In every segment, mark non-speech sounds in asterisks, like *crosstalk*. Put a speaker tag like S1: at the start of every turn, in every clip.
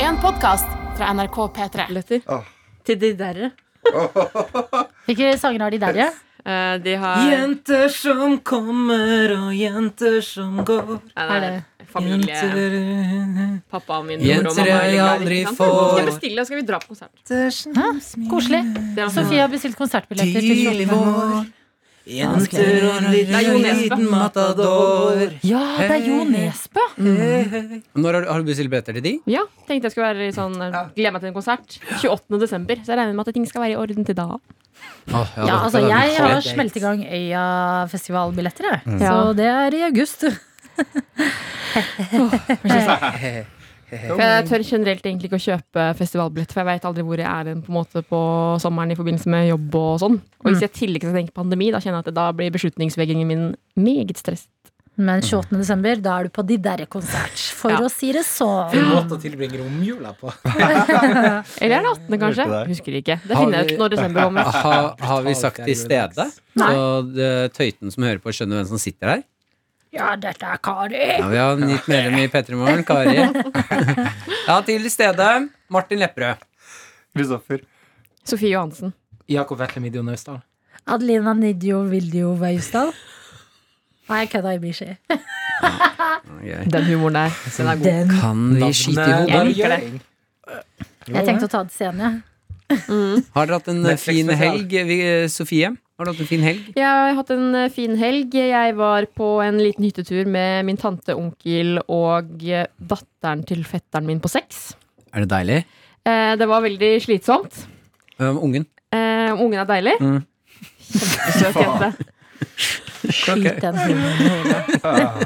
S1: en podkast fra NRK P3.
S2: Billetter
S3: Åh.
S2: til de derre.
S1: Hvilke sanger har de der, ja?
S2: Eh, de har
S4: Jenter som kommer og jenter som går.
S2: Nei, det er familie.
S4: Jenter
S2: Pappa min bror
S4: Jenter
S2: og mamma. er veldig glad
S4: jeg
S2: i det,
S4: aldri
S2: ikke sant?
S4: får.
S2: Skal jeg bestille, og skal vi dra på konsert?
S4: Jenter som
S1: Koselig.
S2: Det er
S1: Sofie har bestilt konsertbilletter til
S4: Tidlig
S1: 28.
S4: vår. Jenter og en
S2: Det er Jo
S4: liten,
S2: Nesbø.
S4: liten matador.
S1: Ja, det er Jo Nesbø!
S5: Når har du, har du bestilt billetter til de?
S2: Ja, tenkte jeg skulle være litt sånn eh, Glede meg til en konsert. 28. desember. Så jeg regner med at ting skal være i orden til da.
S5: Åh,
S1: Ja,
S5: ja, det-
S1: altså,
S5: det-
S1: jeg
S5: det-
S1: har smelt i gang Øya-festivalbilletter, jeg. Så
S2: Ja.
S1: det er i august.
S2: For jeg tør generelt egentlig ikke å kjøpe festivalbillett, for jeg veit aldri hvor jeg er hen på, en måte på sommeren i forbindelse med jobb og sånn. Og hvis jeg i tillegg skal tenke pandemi, da kjenner jeg at det da blir beslutningsvegringen min meget stress.
S1: Men 28. desember, da er du på de derre konsert, for
S2: Ja.
S1: å si det sånn.
S4: En måte å tilbringe romjula på.
S2: Eller er det 18., kanskje?
S3: Hørte deg.
S2: Husker ikke. Det
S5: Har
S2: finner jeg
S5: vi-
S2: ut når desember kommer.
S5: *laughs* Ha, har vi sagt til stede?
S2: Nei.
S5: Så det, tøyten som hører på, skjønner hvem som sitter der?
S1: Ja, dette er Kari!
S5: Ja, vi har nytt medlem i P3 Morgen, Kari. Ja, til stede Martin Lepperød.
S3: Kristoffer.
S2: Sofie Johansen.
S4: Jakob Vetlemidio Naustdal.
S1: Adelina Nidjo Vildio Veusdal. Nei, jeg kødda, jeg blir ikke.
S5: Ok.
S2: Den humoren der. Den er god.
S1: Den.
S5: Kan vi skyte i hodet?
S2: Jeg liker det.
S1: Jeg tenkte å ta det senere.
S5: Har dere hatt en eh,
S4: Netflix
S5: fin
S4: spesial.
S5: helg, vi- eh, Sofie? Har du hatt en fin helg?
S2: Jeg har hatt en eh, fin helg. Jeg var på en liten hyttetur med min tante, onkel og eh, datteren til fetteren min på seks.
S5: Er det deilig?
S2: Eh, Det var veldig slitsomt.
S5: Um, ungen.
S2: Eh, ungen er deilig.
S5: Mm.
S2: Kjempesøt jente.
S1: Skyt den hunden i hodet.
S3: Ah,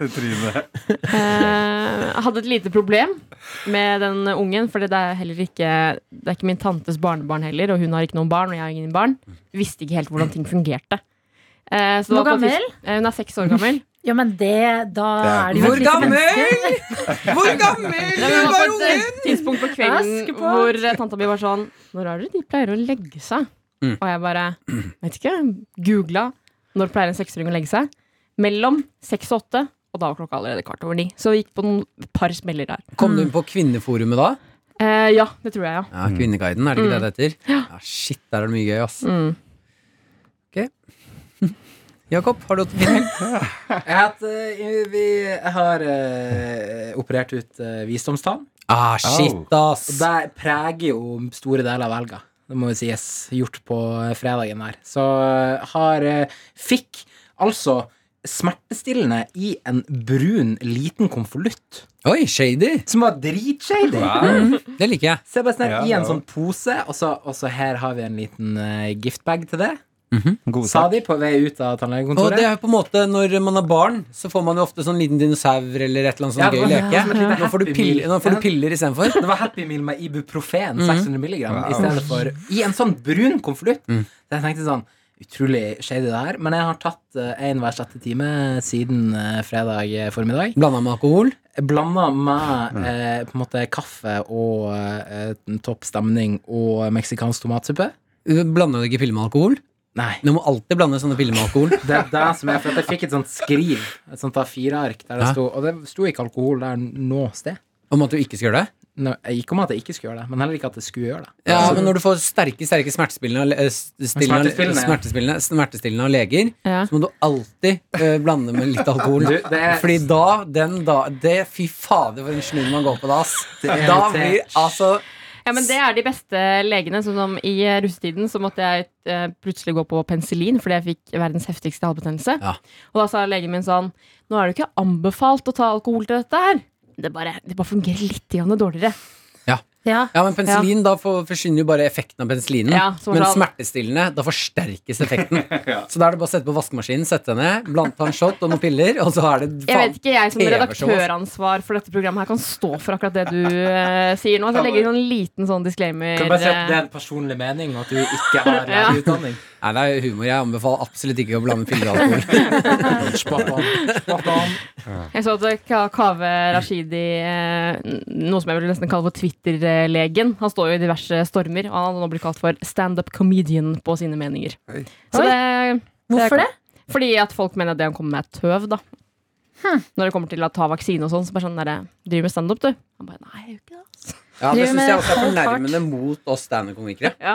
S3: Tryne.
S2: Eh, jeg hadde et lite problem med den ungen, for det er heller ikke Det er ikke min tantes barnebarn heller, og hun har ikke noen barn, og jeg har ingen barn. Visste ikke helt hvordan ting fungerte. Eh, så det
S1: Hvor
S2: var på
S1: gammel?
S2: tids- Eh, hun er seks år gammel.
S1: Ja, men det Da er det jo
S5: Hvor
S1: et lite menneske.
S5: gammel? Hvor gammel
S2: Nei, men hun
S5: var
S2: var på
S5: ungen?
S2: et tidspunkt på kvelden
S1: Askepott.
S2: hvor eh, tanta mi var sånn Når er det de pleier å legge seg?
S5: Mm.
S2: Og jeg bare vet ikke. Googla når pleier en seksåring å legge seg. Mellom seks og åtte. Og da var klokka allerede kvart over ni. Så vi gikk på noen et par smeller der.
S5: Kom du inn på Kvinneforumet da?
S2: Eh, ja, det tror jeg, ja.
S5: Ja, Kvinneguiden, er det ikke det det heter? Ja, shit, der er det mye gøy, ass.
S2: Mm.
S5: *laughs* Jakob, har du hatt en fin helg?
S4: Jeg, har hatt, eh, vi jeg har eh, operert ut eh, visdomstann.
S5: Ah, shit,
S4: Og
S5: ass.
S4: det preger jo store deler av helga. Det må jo sies. Gjort på fredagen her. Så eh, har eh, Fikk altså smertestillende i en brun, liten konvolutt.
S5: Oi, shady.
S4: Som var dritshady!
S2: Mm.
S5: Det liker jeg.
S4: Så jeg bare sånn her,
S3: Ja,
S4: I en
S3: ja.
S4: sånn pose, og så, og så her har vi en liten eh, giftbag til det.
S3: Mhm, God
S4: Sa
S3: sak.
S4: de på vei ut
S5: Og
S4: av
S5: det
S4: tannlegekontoret.
S5: er jo på en måte, når man er barn, så får man jo ofte sånn liten dinosaur eller et eller annet sånn
S4: Ja,
S5: gøy
S4: det var-
S5: leke.
S4: som et lite
S5: Nå får du
S4: Happy
S5: piller,
S4: Meal.
S5: nå får du
S4: Ja.
S5: piller istedenfor.
S4: Det var Happy Meal med
S3: Mhm.
S4: ibuprofen, 600 mg, i stedet for i en sånn brun konvolutt.
S3: Mm.
S4: Så jeg tenkte sånn Utrolig shady det her, men jeg har tatt én hver sjette time siden eh, fredag eh, formiddag.
S5: Blanda med alkohol.
S4: Blanda med eh, på en måte kaffe og eh, topp stemning og meksikansk tomatsuppe.
S5: Blanda du ikke piller med alkohol?
S4: Nei.
S5: Du må alltid blande sånne piller med alkohol.
S4: Det er det som er, for at jeg fikk et sånt skriv, et sånt A4-ark, der det
S5: Ja.
S4: sto Og det sto ikke alkohol der noe sted.
S5: Om at du ikke skal gjøre det.
S4: Nå, ikke om at jeg ikke skulle gjøre det, men heller ikke at jeg skulle gjøre det.
S5: Ja, men når du får sterke sterke smertestillende, eh, s- stillende,
S4: Smertestillende, ja.
S5: smertestillende, smertestillende av leger,
S2: Ja.
S5: så må du alltid eh, blande med litt alkohol.
S4: Du, det er-
S5: Fordi da, den da det, Fy fader, for en snurr man går på da, ass.
S4: er
S5: Da
S4: helt
S5: blir altså
S2: Ja, men Det er de beste legene. Sånn som I eh, russetiden så måtte jeg eh, plutselig gå på penicillin fordi jeg fikk verdens heftigste halebetennelse.
S5: Ja.
S2: Og da sa legen min sånn Nå er det ikke anbefalt å ta alkohol til dette her. Det bare, det bare fungerer litt grann dårligere.
S1: Ja.
S5: Ja, men penicillin, da for, forsvinner jo bare effekten av penicillinen.
S2: Ja, som
S5: men
S2: sånn.
S5: smertestillende, da forsterkes effekten.
S4: *laughs*
S5: Så da er det bare å sette på vaskemaskinen, sette den ned, blant ta en shot og noen piller, og så er det
S2: Jeg vet ikke,
S4: *laughs*
S2: jeg som
S5: TV-show, ass.
S2: redaktøransvar for dette programmet her kan stå for akkurat det du eh, sier nå. Så jeg legger inn en liten sånn disclaimer.
S4: Kan du bare si at det
S2: eh,
S4: er en personlig mening, og at du ikke
S2: *laughs*
S4: har
S2: Ja.
S4: utdanning?
S5: Nei, det er humor. Jeg anbefaler absolutt ikke å blande piller og alkohol.
S4: *laughs* Spot on. Spot on.
S2: Jeg så at Ka- Kaveh Rashidi, eh, n- noe som jeg vil nesten kalle for Twitter-legen Han står jo i diverse stormer, og han har nå blitt kalt for standup-comedian på sine meninger.
S3: Oi.
S2: Så det,
S1: Hvorfor det?
S2: Fordi at folk mener at det han kommer med, er tøv, da. Når det kommer til å ta vaksine og sånn, så bare sånn derre Driver med standup, du? Han bare Nei, jeg gjør ikke det. ass».
S5: Ja,
S1: Driver
S5: Det syns
S1: med
S5: jeg også er
S1: halvfart.
S5: fornærmende mot oss standup-komikere.
S2: Ja.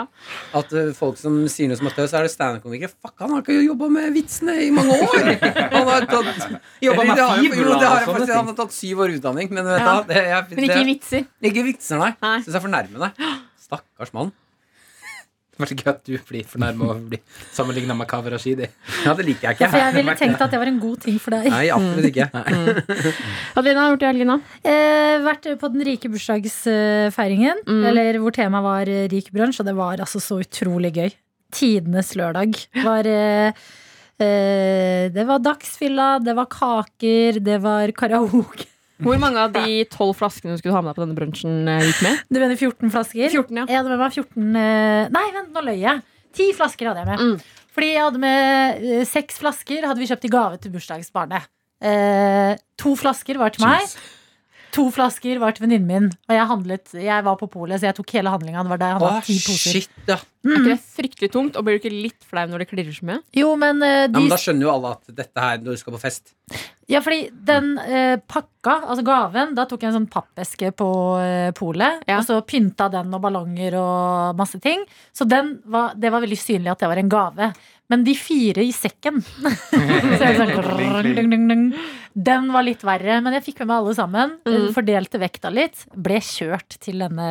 S5: At eh, folk som sier noe som er tøys, er det standup-komikere. Fuck, han har ikke jobba med vitsene i mange *laughs* år! Han har tatt
S4: Jobbet med
S5: Eller, det har jo-
S4: fibrer
S5: jo, det har jeg
S4: og sånne
S5: faktisk. Han
S4: ting.
S5: har tatt syv år utdanning, men vet du
S2: Ja.
S5: hva, det, jeg,
S2: Men ikke i
S5: det,
S2: vitser.
S5: ikke vitser, nei.
S2: Nei.
S5: Syns jeg er fornærmende. Stakkars mann.
S4: Det er gøy at du blir fornærma over å bli sammenligna med Kaveh Rashidi.
S5: Ja, det liker jeg
S1: For
S5: ikke.
S1: jeg ville tenkt at det var en god ting for deg.
S5: Nei, absolutt ikke.
S2: Adelina, hva har du gjort i helgen, da?
S1: Eh, vært på den rike bursdagsfeiringen, eller hvor temaet var eh, rik bransje, og det var altså så utrolig gøy. Tidenes lørdag. Var, eh, eh, det var dagsfylla, det var kaker, det var karaoke.
S2: Hvor mange av de tolv flaskene du skulle ha med deg på denne brunsjen, eh, gikk med?
S1: Du mener 14 flasker?
S2: 14, ja.
S1: Jeg hadde med meg 14 eh, Nei, vent, nå løy jeg. 10 flasker hadde jeg med. Fordi jeg hadde med eh, seks flasker hadde vi kjøpt i gave til bursdagsbarnet. Eh, to flasker var til meg. To flasker var til venninnen min. Og jeg handlet, jeg var på polet, så jeg tok hele handlinga. Det var da jeg
S5: Å,
S1: handla ti poser.
S5: shit, ja.
S2: Er ikke det fryktelig tungt? Og blir du ikke litt flau når det klirrer så mye?
S1: Jo, men eh,
S5: ja.
S1: de
S5: Men da skjønner jo alle at dette her når du skal på fest
S1: Ja, fordi den eh, pakka, altså gaven, da tok jeg en sånn pappeske på eh, polet.
S2: Ja.
S1: Og så pynta den og ballonger og masse ting. Så den var, det var veldig synlig at det var en gave. Men de fire i sekken så jeg sånn, grrrr, dung, dung, dung. Den var litt verre, men jeg fikk med meg alle sammen. eh, Fordelte vekta litt. Ble kjørt til denne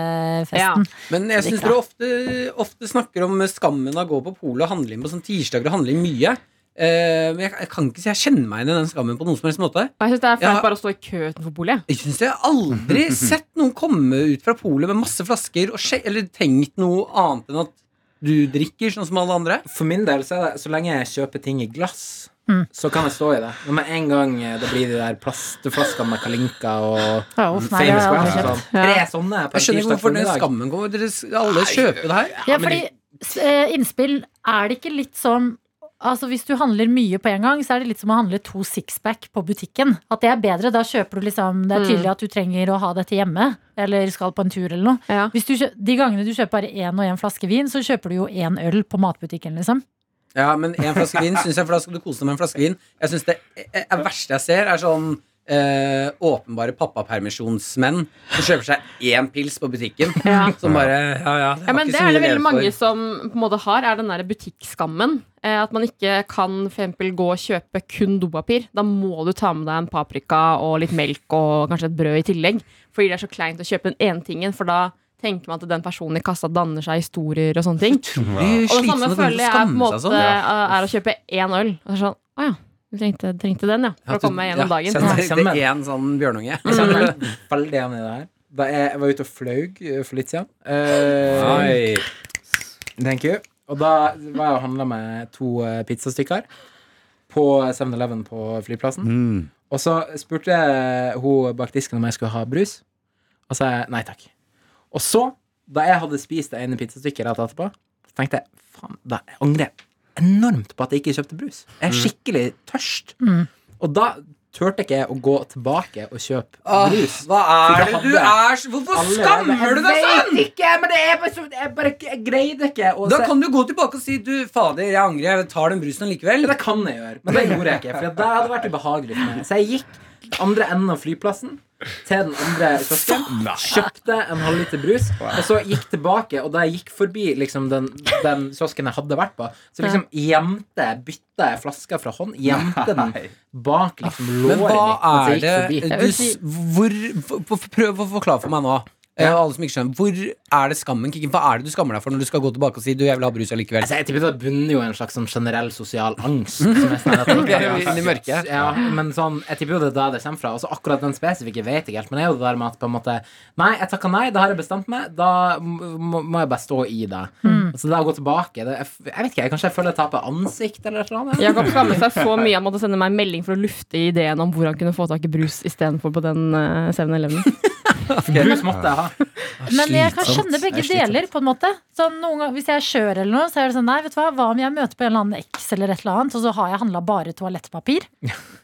S1: festen.
S5: Men jeg syns
S1: Riktig.
S5: dere ofte, ofte snakker om skammen av å gå på polet og handle inn på sånn tirsdager og handle inn mye. Eh, men jeg, jeg kan ikke si jeg kjenner meg inn i den skammen på noen som helst måte.
S2: Og jeg syns det er flaut
S5: Ja.
S2: bare å stå i kø utenfor bolig.
S5: Jeg syns jeg har *laughs* aldri sett noen komme ut fra polet med masse flasker og skje, eller tenkt noe annet enn at du drikker sånn som alle andre.
S4: For min del så er det så lenge jeg kjøper ting i glass,
S1: Mm.
S4: så kan jeg stå i det. Men med en gang eh, det blir de der plastflaskene med Kalinka og
S1: Ja, uff, nei, det har
S4: Famous
S1: jeg aldri
S4: Craft
S1: kjøpt.
S4: og sånn. Tre sånne på
S5: Jeg skjønner ikke
S4: en tirsdag
S5: hvorfor den
S4: formiddag.
S5: skammen kommer. Dere, alle kjøper det her.
S1: Ja,
S4: men
S1: fordi s- eh, innspill er det ikke litt som Altså Hvis du handler mye på en gang, så er det litt som å handle to sixpack på butikken. At det er bedre. Da kjøper du liksom
S5: Mm.
S1: Det er tydelig at du trenger å ha dette hjemme, eller skal på en tur eller noe.
S2: Ja.
S1: Hvis du, kjø- de gangene du kjøper bare én og én flaske vin, så kjøper du jo én øl på matbutikken, liksom.
S5: Ja, men en flaske vin synes jeg, for da skal du kose deg med en flaske vin. Jeg synes det eh, eh, verste jeg ser, er sånn eh, åpenbare pappapermisjonsmenn som kjøper seg én pils på butikken.
S2: *laughs* Ja.
S5: Som bare Ja, ja.
S2: Ja,
S5: har
S2: men
S5: ikke
S2: Det
S5: så
S2: er det veldig
S5: mye å leve for.
S2: mange som på en måte har, er den der butikkskammen. Eh, at man ikke kan for eksempel gå og kjøpe kun dopapir. Da må du ta med deg en paprika og litt melk og kanskje et brød i tillegg. Fordi det er så kleint å kjøpe den ene tingen, for da tenker man at den personen i kassa danner seg historier og sånne
S5: *laughs*
S2: ting. Og
S5: Blir
S2: det
S5: slitsomt
S2: samme
S5: at
S2: føler
S5: folk
S2: jeg er, på en
S5: skammer
S2: måte,
S5: seg sånn.
S2: eh, er å kjøpe én øl. Og så er det sånn, å ja, du trengte, trengte den, ja. For å komme meg gjennom dagen.
S5: Send
S4: Ja, send meg.
S5: deg én sånn bjørnunge.
S4: Jeg kjenner meg Mm. *laughs* veldig igjen i det her. Da jeg, jeg var ute og flaug eh, for litt siden. Eh,
S5: Oi.
S4: Thank you. Og da var jeg og handla med to eh, pizzastykker på 7-Eleven på flyplassen.
S3: Mm.
S4: Og så spurte jeg hun bak disken om jeg skulle ha brus. Og sa jeg nei takk. Og så, da jeg hadde spist det ene pizzastykket rett etterpå, så tenkte jeg faen, da jeg angrer jeg enormt på at jeg ikke kjøpte brus. Jeg er skikkelig tørst.
S1: Mm.
S4: Og da turte ikke jeg å gå tilbake og kjøpe
S5: Åh,
S4: brus.
S5: hva er det
S4: For da
S5: du
S4: hadde
S5: er så- Hvorfor
S4: Alle-
S5: skammer du deg sånn?!
S4: Jeg vet ikke, men det er bare, så- jeg bare jeg greide ikke å
S5: Da
S4: se-
S5: kan du gå tilbake og si du, fader, jeg angrer, jeg tar den brusen likevel.
S4: Det kan jeg gjøre, men det gjorde jeg ikke. For det hadde vært ubehagelig for meg. Så jeg gikk den andre enden av flyplassen til den andre kiosken, kjøpte en halvliter brus, og så gikk tilbake. Og da jeg gikk forbi liksom, den, den kiosken jeg hadde vært på, så liksom gjemte jeg bytta jeg flaska fra hånd, gjemte den bak liksom
S5: Men
S4: låret
S5: hva
S4: mitt mens
S5: er
S4: altså, jeg gikk
S5: det
S4: forbi.
S5: du, s- hvor, hvor- hvor- Prøv å forklare for meg nå. eh, Alle som ikke skjønner Hvor er det skammen kikker inn? Hva er det du skammer deg for når du skal gå tilbake og si Du, jeg vil ha brus allikevel?
S4: Altså, jeg tipper det bunner jo i en slags sånn generell sosial angst. Som er sånn *laughs* at man
S5: Det
S4: ikke
S5: er jo
S4: har-
S5: inn i mørket.
S4: Ja, men sånn, jeg tipper jo det er der det kommer fra. Og så akkurat den spesifikke vet jeg ikke helt. Men det er jo det der med at på en måte Nei, jeg takker nei, det har jeg bestemt meg. Da må, må jeg bare stå i det. Så det å gå tilbake det, jeg, f- jeg vet ikke, jeg, Kanskje jeg føler jeg taper ansikt eller noe sånt?
S2: Jakob skammet seg så mye at han måtte sende meg en melding for å lufte ideen om hvor han kunne få tak i brus istedenfor på den eh, 7-Eleven.
S4: Brus måtte jeg ha. *laughs*
S1: Men jeg kan
S5: Slitsomt.
S1: skjønne begge
S5: Det er slitsomt.
S1: deler, på en måte. Sånn, noen ganger, hvis jeg er skjør eller noe, så er det sånn Nei, vet du hva, hva om jeg møter på en eller annen eks eller
S5: *laughs*
S1: et eller annet, og så har jeg handla bare toalettpapir?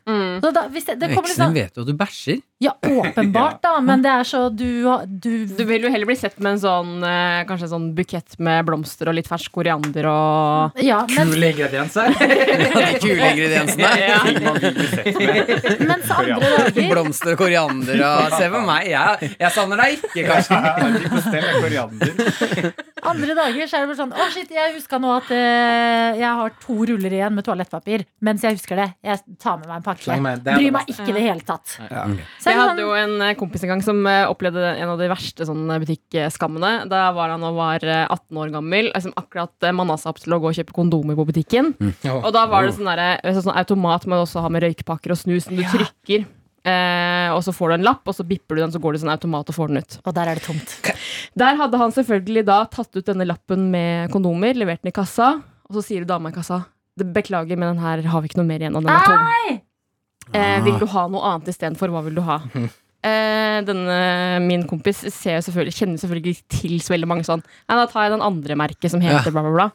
S1: Så da, hvis jeg, det kommer litt
S5: Mm. Eksen
S1: sånn
S5: vet jo at du bæsjer.
S1: Ja, åpenbart, da, men det er så du, du,
S2: Du vil jo heller bli sett med en sånn eh, Kanskje en sånn bukett med blomster og litt fersk koriander og
S1: ja, men,
S4: Kule ingredienser.
S5: De kule *laughs* ingrediensene.
S2: ja.
S3: Ting man vil bli sett med.
S1: Mens andre dager
S5: Blomster, koriander og Se på meg, jeg, jeg savner deg ikke, kanskje.
S3: Ikke bestell en koriander.
S1: Andre dager så er det bare sånn Å, shit, jeg huska nå at eh, jeg har to ruller igjen med toalettpapir. Mens jeg husker det. Jeg tar med meg en
S4: Sleng
S1: pakke.
S4: meg, det er
S1: Bryr
S4: det
S1: meg ikke i det hele tatt. Så er det
S2: Jeg hadde
S1: sånn-
S2: jo en eh, kompis en gang som eh, opplevde en av de verste sånne butikksskammene. Da var han og var eh, 18 år gammel, liksom akkurat eh, manna seg opp til å gå og kjøpe kondomer på butikken. Og da var det sånn, derre- eh, sånn automat man også har med røykpakker og snus, som du trykker. Eh, og så får du en lapp, og så bipper du den, så går det sånn automat og får den ut.
S1: Og der er det tomt.
S2: Der hadde han selvfølgelig da tatt ut denne lappen med kondomer, levert den i kassa, og så sier dama i kassa "Det- Beklager, men den her har vi ikke noe mer igjen av. Den er tom. Eh, vil du ha noe annet istedenfor? Hva vil du ha? Eh, denne, min kompis ser jo selvfølgelig, kjenner selvfølgelig til så veldig mange sånn. Nei, da tar jeg den andre merket som heter bla, bla, bla.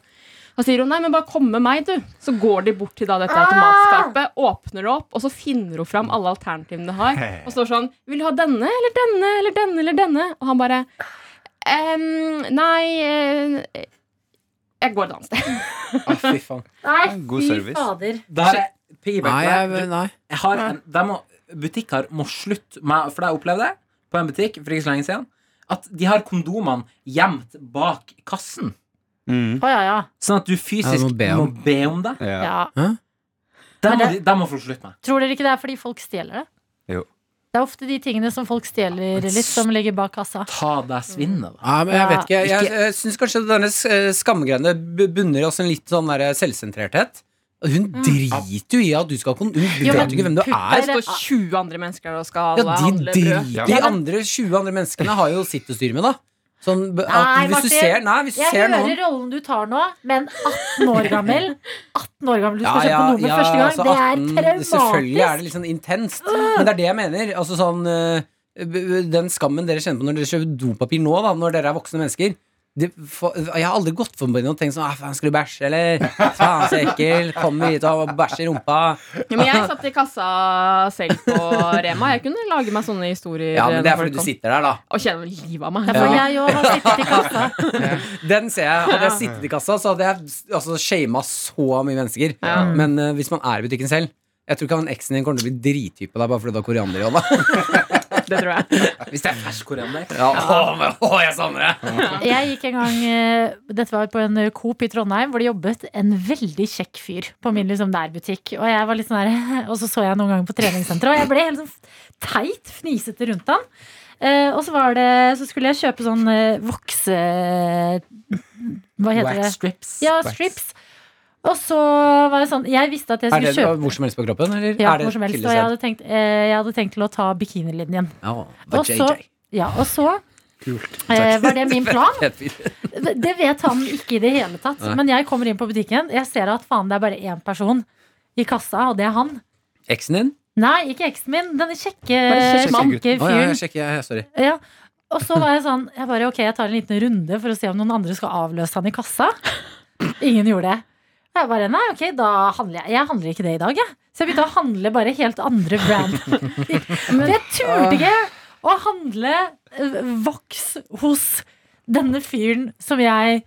S2: Da sier hun nei, men bare kom med meg, du. Så går de bort til da dette automatskapet, åpner det opp, og så finner hun fram alle alternativene de har. Og står sånn Vil du ha denne eller denne eller denne eller denne? Og han bare Ehm, nei eh, Jeg går et annet sted.
S4: Å, fy faen.
S1: Nei,
S3: God
S1: fy
S3: service.
S1: fader.
S4: Der, piggyback
S5: Nei,
S4: der.
S5: jeg, nei.
S4: Jeg har en, de må, butikker må slutte med For jeg opplevde det på en butikk for ikke så lenge siden. At de har kondomene gjemt bak kassen.
S3: Mm.
S1: Å ja, ja.
S4: Sånn at du fysisk
S5: Ja, du
S4: må, be om. det.
S3: Ja.
S1: ja.
S4: Det
S1: Men
S4: må,
S1: det-
S4: de- det må folk slutte med.
S1: Tror dere ikke det er fordi folk stjeler det?
S3: Jo.
S1: Det er ofte de tingene som folk stjeler litt, som ligger bak kassa.
S4: Ta deg svinnet, da.
S5: Ja, men jeg
S1: Ja.
S5: vet ikke. Jeg, jeg syns kanskje denne eh, skamgreiene b- bunner i oss en litt sånn der selvsentrerthet. Og Hun driter jo i at du skal ha kon- Hun
S1: Mm. Jo, men
S5: vet jo ikke hvem du
S1: putter
S5: er.
S2: Det står 20 "Ah." andre mennesker der og skal
S5: Ja,
S2: alle
S5: de
S2: handle brød.
S5: driter
S3: brød.
S5: De andre 20 andre menneskene har jo sitt å styre med, da. Sånn, b-
S1: Nei,
S5: at
S1: Martin.
S5: hvis du ser Nei, hvis du
S1: Jeg
S5: ser
S1: hører
S5: noen
S1: rollen du tar nå, men 18 år
S5: *laughs*
S1: gammel 18 år gammel, Du skal kjøpe nummer første gang.
S5: altså,
S1: det
S5: 18,
S1: er
S5: Selvfølgelig er det
S1: traumatisk.
S5: litt sånn intenst. Men det er det jeg mener. Altså sånn eh, b- b- Den skammen dere kjenner på når dere kjøper dopapir nå, da, når dere er voksne mennesker det, fa- jeg har aldri gått forbi noen og tenkt sånn «Ah, Faen, skal du bæsje, eller? Faen, så ekkel. Kommer hit og bæsjer i rumpa.
S2: Ja, men jeg satt i kassa selv på Rema. Jeg kunne lage meg sånne historier.
S5: Ja, men det
S2: når
S5: er fordi
S2: folk
S5: du
S2: kom.
S5: sitter der, da.
S2: Og kjenner livet av meg.
S1: Det er for jeg òg har sittet i kassa.
S5: Den ser jeg. Hadde jeg sittet i kassa, så hadde jeg altså, shama så mye mennesker.
S2: Ja.
S5: Men eh, hvis man er i butikken selv Jeg tror ikke han eksen din kommer til å bli drithypp på deg bare fordi du har koriander i hånda.
S2: Det tror jeg.
S4: Hvis det er fersk koriander.
S5: Ja, å, men, å, jeg savner det!
S1: Jeg gikk en gang eh, Dette var på en eh, Coop i Trondheim, hvor det jobbet en veldig kjekk fyr på min liksom nærbutikk. Og jeg var litt sånn der, *laughs* og så så jeg noen ganger på treningssenteret, og jeg ble helt sånn teit, fnisete rundt han. Eh, og så, var det, så skulle jeg kjøpe sånn eh, vokse... Hva heter det?
S4: Wax strips.
S1: Ja,
S4: Wax.
S1: strips. Og så var jeg sånn Jeg visste at jeg
S5: Er
S1: skulle
S5: det
S1: kjøpe
S5: hvor som helst på kroppen, eller?
S1: ja,
S5: er det
S1: hvor som helst. Og jeg
S5: fillesær?
S1: hadde tenkt, eh, jeg hadde tenkt til å ta bikinilinjen.
S5: Ja,
S1: Og så, ja, og så eh, var det
S5: *laughs*
S1: min plan. Det vet han ikke i det hele tatt.
S5: Nei.
S1: Men jeg kommer inn på butikken, jeg ser at faen, det er bare én person i kassa, og det er han.
S5: Eksen din?
S1: Nei, ikke eksen min. Denne kjekke,
S2: Bare kjekke
S1: slanke
S5: Å, ja,
S1: fyren.
S5: jeg sjekker, ja, ja, sorry.
S1: Ja. Og så var jeg sånn Jeg bare, ok, jeg tar en liten runde for å se om noen andre skal avløse han i kassa. Ingen gjorde det. Og Jeg bare, nei, ok, da handler jeg Jeg handler ikke det i dag, jeg. Så jeg begynte å handle bare helt andre
S3: *laughs*
S1: brand. Men jeg turte ikke å handle eh, voks hos denne fyren som jeg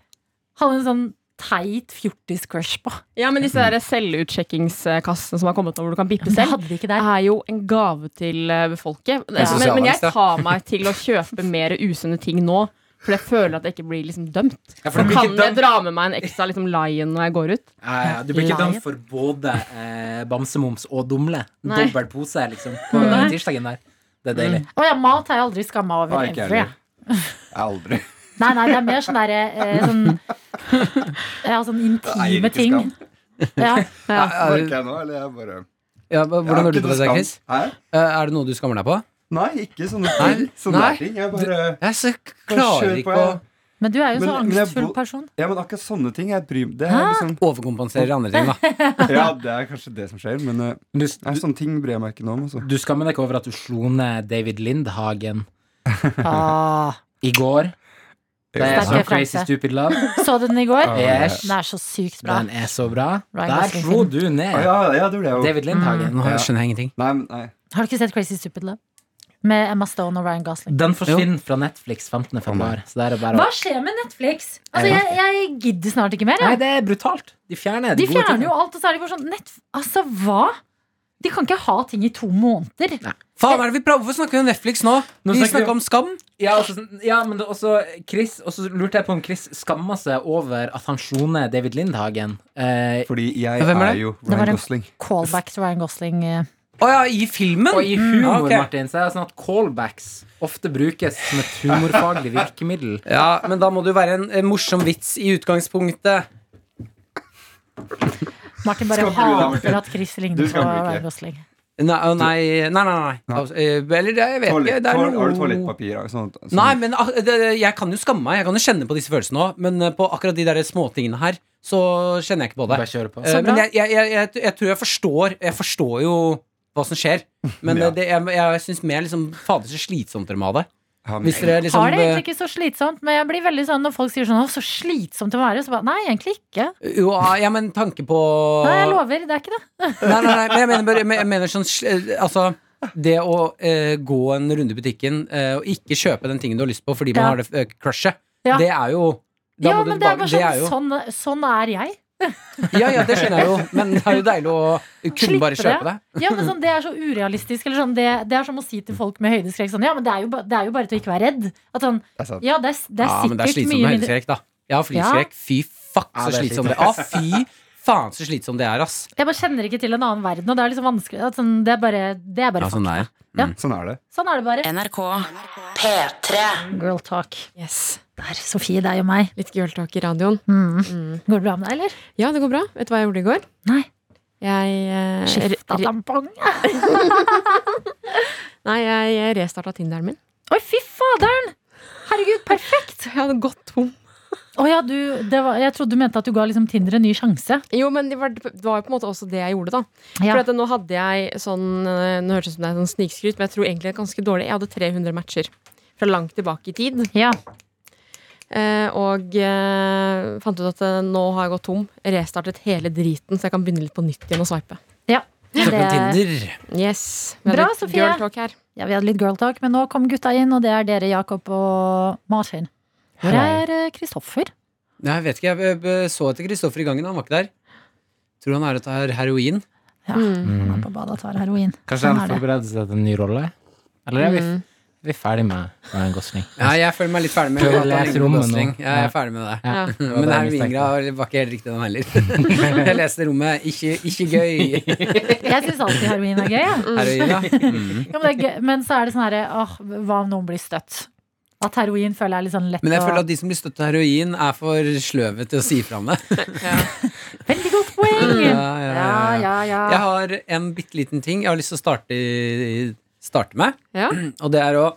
S1: hadde en sånn teit fjortis-crush på.
S2: Ja, men disse der selvutsjekkingskassene som har kommet nå, hvor du kan bippe
S1: Men jeg
S2: selv.
S1: hadde det ikke
S2: Det
S1: der.
S2: er jo en gave til eh, folket. Men, men jeg
S5: sosialangst, ja.
S2: tar meg til å kjøpe mer usunne ting nå. For jeg føler at jeg ikke blir liksom dømt.
S4: Ja, for du blir
S2: Kan
S4: ikke
S2: jeg
S4: dømt,
S2: dra med meg en ekstra liksom, lion når jeg går ut?
S4: ja, ja, du blir ikke
S1: Live.
S4: dømt for både eh, bamsemums og dumle.
S2: Nei.
S4: Dobbel pose, liksom, på
S2: Nei.
S4: tirsdagen der. Det er deilig.
S1: Å ja, mat har jeg aldri skamma over.
S3: Nei, ikke jeg
S1: ever, jeg.
S3: heller. Aldri.
S1: Nei, nei, det er mer sånn derre
S3: *laughs*
S1: eh, sånn, ja, sånn
S3: Eier
S1: intime
S3: ikke
S1: ting.
S3: skam.
S1: Ja.
S3: Merker jeg nå, eller jeg bare
S5: Ja, hva-
S3: Jeg har
S5: hvordan har du
S3: ikke
S5: det,
S3: noe
S5: Chris?
S3: skam. Hæ?
S5: Eh, Er det noe du skammer deg på?
S3: Nei, ikke sånne
S5: Nei,
S3: ting. Sånne
S5: nei.
S3: ting. Jeg bare
S5: Jeg så
S3: Kjør
S5: klarer
S3: på,
S5: ikke å
S1: Men du er jo så
S3: Men- men jeg
S1: angstfull
S3: bo-
S1: person.
S3: Ja, men akkurat sånne ting jeg bryr Det er liksom
S5: overkompensere andre ting, da.
S3: Ja, det er kanskje det som skjer, men eh,
S4: Du,
S3: nei,
S4: du,
S3: sånne ting bryr jeg meg ikke noe om. Altså.
S4: du skammer deg ikke over at du slo ned David Lindhagen
S1: Ah.
S4: i går? Det er
S1: Sterk
S4: så crazy
S1: referanse.
S4: stupid love.
S1: Så du den i går?
S4: Yes.
S1: Den er så sykt bra.
S4: Den er så bra.
S1: Ryan
S4: Der
S1: Gosling
S4: slo
S1: film.
S4: du
S3: Å,
S4: ned
S3: ja, ja, det blir jeg jo.
S4: David Lindhagen.
S5: Nå
S3: Ja.
S5: skjønner jeg ingenting.
S3: Nei, men nei.
S1: Har du ikke sett Crazy Stupid Love? med Emma Stone og Ryan Gosling.
S4: Den forsvinner fra Netflix 15. februar. Så der er det bare
S1: Hva
S4: å
S1: skjer med Netflix? Altså, jeg, jeg gidder snart ikke mer.
S4: Nei,
S1: Jeg.
S4: det er brutalt. De fjerner
S1: De
S4: de gode
S1: fjerner
S4: tingene.
S1: jo alt, og så er de bare sånn nett, Altså, hva? De kan ikke ha ting i to måneder.
S5: Faen, er det vi prater? Hvorfor snakker vi om Netflix nå?
S4: Nå
S5: vi
S4: snakker vi
S5: snakker
S4: om-
S5: om Skam.
S4: Ja, altså, sånn- ja, men det er også Chris Og så lurte jeg på om Chris skamma seg over at han sjoner David Lindhagen. Eh,
S3: Fordi jeg
S5: Hvem er
S3: er,
S5: det?
S3: jo
S1: var
S3: Ryan
S1: en-
S3: Gosling.
S1: Callback til Ryan Gosling. eh.
S5: Å ja, i filmen?
S4: og i humor,
S5: Mm, ok.
S4: Martin, så er det sånn at callbacks ofte brukes som et *laughs* humorfaglig virkemiddel.
S5: Ja, men da må det jo være en, en morsom vits i utgangspunktet.
S1: Martin bare
S3: Skal du da, Martin?
S1: hater at Chris
S3: Du
S1: ligner på
S3: skal bruke.
S1: Ryan Gosling.
S5: Nei, å, nei, nei, nei, nei. Altså, eh, Eller det- jeg vet ikke.
S3: Toalett,
S5: Det er
S3: toal- har du
S5: noe
S3: toalettpapir? Sånn, og Sånt, sånt?
S5: Nei, men ah, det, jeg kan jo skamme meg. Jeg kan jo kjenne på disse følelsene òg. Men eh, på akkurat de der småtingene her, så kjenner jeg ikke på det.
S4: Bare kjøre på.
S5: Eh,
S1: Så bra.
S5: Men jeg, jeg, jeg, jeg, jeg tror jeg forstår Jeg forstår jo hva som skjer. Men
S3: Ja.
S5: eh, det, jeg, jeg syns mer liksom Fader, så slitsomt dere må ha det.
S3: Ha med
S5: Hvis dere liksom
S1: Har det
S5: eh,
S1: egentlig ikke så slitsomt, men jeg blir veldig sånn når folk sier sånn Å, så slitsomt å være. Så bare Nei, egentlig ikke.
S5: Jo, ah, ja, men tanke på
S1: Nei, jeg lover. Det er ikke det.
S5: Nei, nei, nei, men jeg mener, bare, men jeg mener sånn sl- eh, Altså, det å eh, gå en runde i butikken eh, og ikke kjøpe den tingen du har lyst på fordi man
S1: Ja.
S5: har det eh, crushet,
S1: Ja.
S5: det er jo da
S1: Ja,
S5: må du
S1: men det er bare
S5: bare-
S1: sånn,
S5: jo,
S1: sånn, sånn er jeg.
S5: Ja, ja, det skjønner jeg jo, men det er jo deilig å kunne
S1: Slippe
S5: bare kjøpe det.
S1: det. Ja, men sånn, Det er så urealistisk. Eller sånn, det, det er som å si til folk med høydeskrekk sånn Ja, men det er jo, ba- det er jo bare til å ikke være redd. At sånn,
S3: Det er sant.
S1: ja, det er, det er
S5: ja, men
S1: sikkert
S5: det er slitsomt
S1: mye
S5: med
S1: mindre
S5: høydeskrekk, da. Jeg har flyskrekk. Fy fuck,
S4: Ja,
S5: så
S4: det er
S5: slitsomt det er. Ah, fy faen, så slitsomt det er, ass.
S1: Jeg bare kjenner ikke til en annen verden, og det er liksom vanskelig. At sånn, det er bare, det er bare
S5: Ja, sånn
S1: fakta.
S5: det er.
S3: Sånn er det.
S1: Sånn er det bare.
S6: NRK P3
S1: Girl talk.
S2: Yes.
S1: Der, Sofie, deg og meg.
S2: Litt girl talk i radioen.
S1: Mm.
S2: Mm.
S1: Går det bra med deg, eller?
S2: Ja, det går bra. Vet du hva jeg gjorde i går?
S1: Nei.
S2: Jeg, eh,
S1: Skifta
S2: re- re-
S1: tampong.
S2: nei, jeg restarta Tinderen min.
S1: Oi, fy faderen! Herregud, perfekt!
S2: Så jeg hadde gått tom.
S1: Å ja, du, det var, jeg trodde du mente at du ga liksom Tinder en ny sjanse.
S2: Jo, men det var, det var jo på en måte også det jeg gjorde, da. For
S1: Ja.
S2: at nå hadde jeg sånn eh, Nå hørtes det ut som det er sånn snikskryt, men jeg tror egentlig det er ganske dårlig. Jeg hadde 300 matcher fra langt tilbake i tid.
S1: Ja.
S2: eh, Og eh, fant ut at eh, nå har jeg gått tom. Restartet hele driten, så jeg kan begynne litt på nytt igjen og swipe.
S1: Det,
S5: Snakker om Tinder.
S2: Yes.
S1: Bra,
S2: litt
S1: Sofie.
S2: Girl talk her.
S1: ja, vi hadde litt girl talk, men nå kom gutta inn, og det er dere, Jakob og Martin. Hvor er eh, Kristoffer?
S5: Nei, jeg vet ikke, jeg b- b- så etter Kristoffer i gangen, han var ikke der. Tror han er og tar heroin.
S1: Ja,
S2: Mm.
S1: han er på badet og tar heroin.
S4: Kanskje
S1: Sånn
S4: han
S1: er det.
S4: forbereder seg til en ny rolle? Eller er vi,
S2: Mm.
S4: vi er ferdig med Ryan Gosling?
S5: Ja, jeg føler meg litt ferdig med
S4: Prøv å
S5: at han
S4: lese
S5: ligner på
S4: rommet nå.
S5: Gosling. Ja, jeg er ferdig med det.
S2: Ja.
S4: *laughs* det var
S5: Men
S4: det jeg
S5: heroingra
S4: mistenkte.
S5: var ikke helt riktig, den heller. *laughs* Jeg leste rommet. Ikke, ikke
S1: *laughs*
S5: gøy.
S1: Jeg syns alltid heroin er gøy. jeg.
S5: Heroin, ja. Mm.
S1: Ja, men, det er gøy. men så er det sånn herre Åh, hva om noen blir støtt? At heroin føler jeg er litt sånn lett
S5: Men jeg føler
S1: å
S5: at de som blir støtt av heroin, er for sløve til å si fra om det.
S1: Veldig godt poeng!
S5: Ja,
S1: Ja,
S5: ja,
S1: ja, ja.
S5: Jeg har en bitte liten ting jeg har lyst til å starte, i- starte med.
S2: Ja.
S5: *clears throat* Og det er å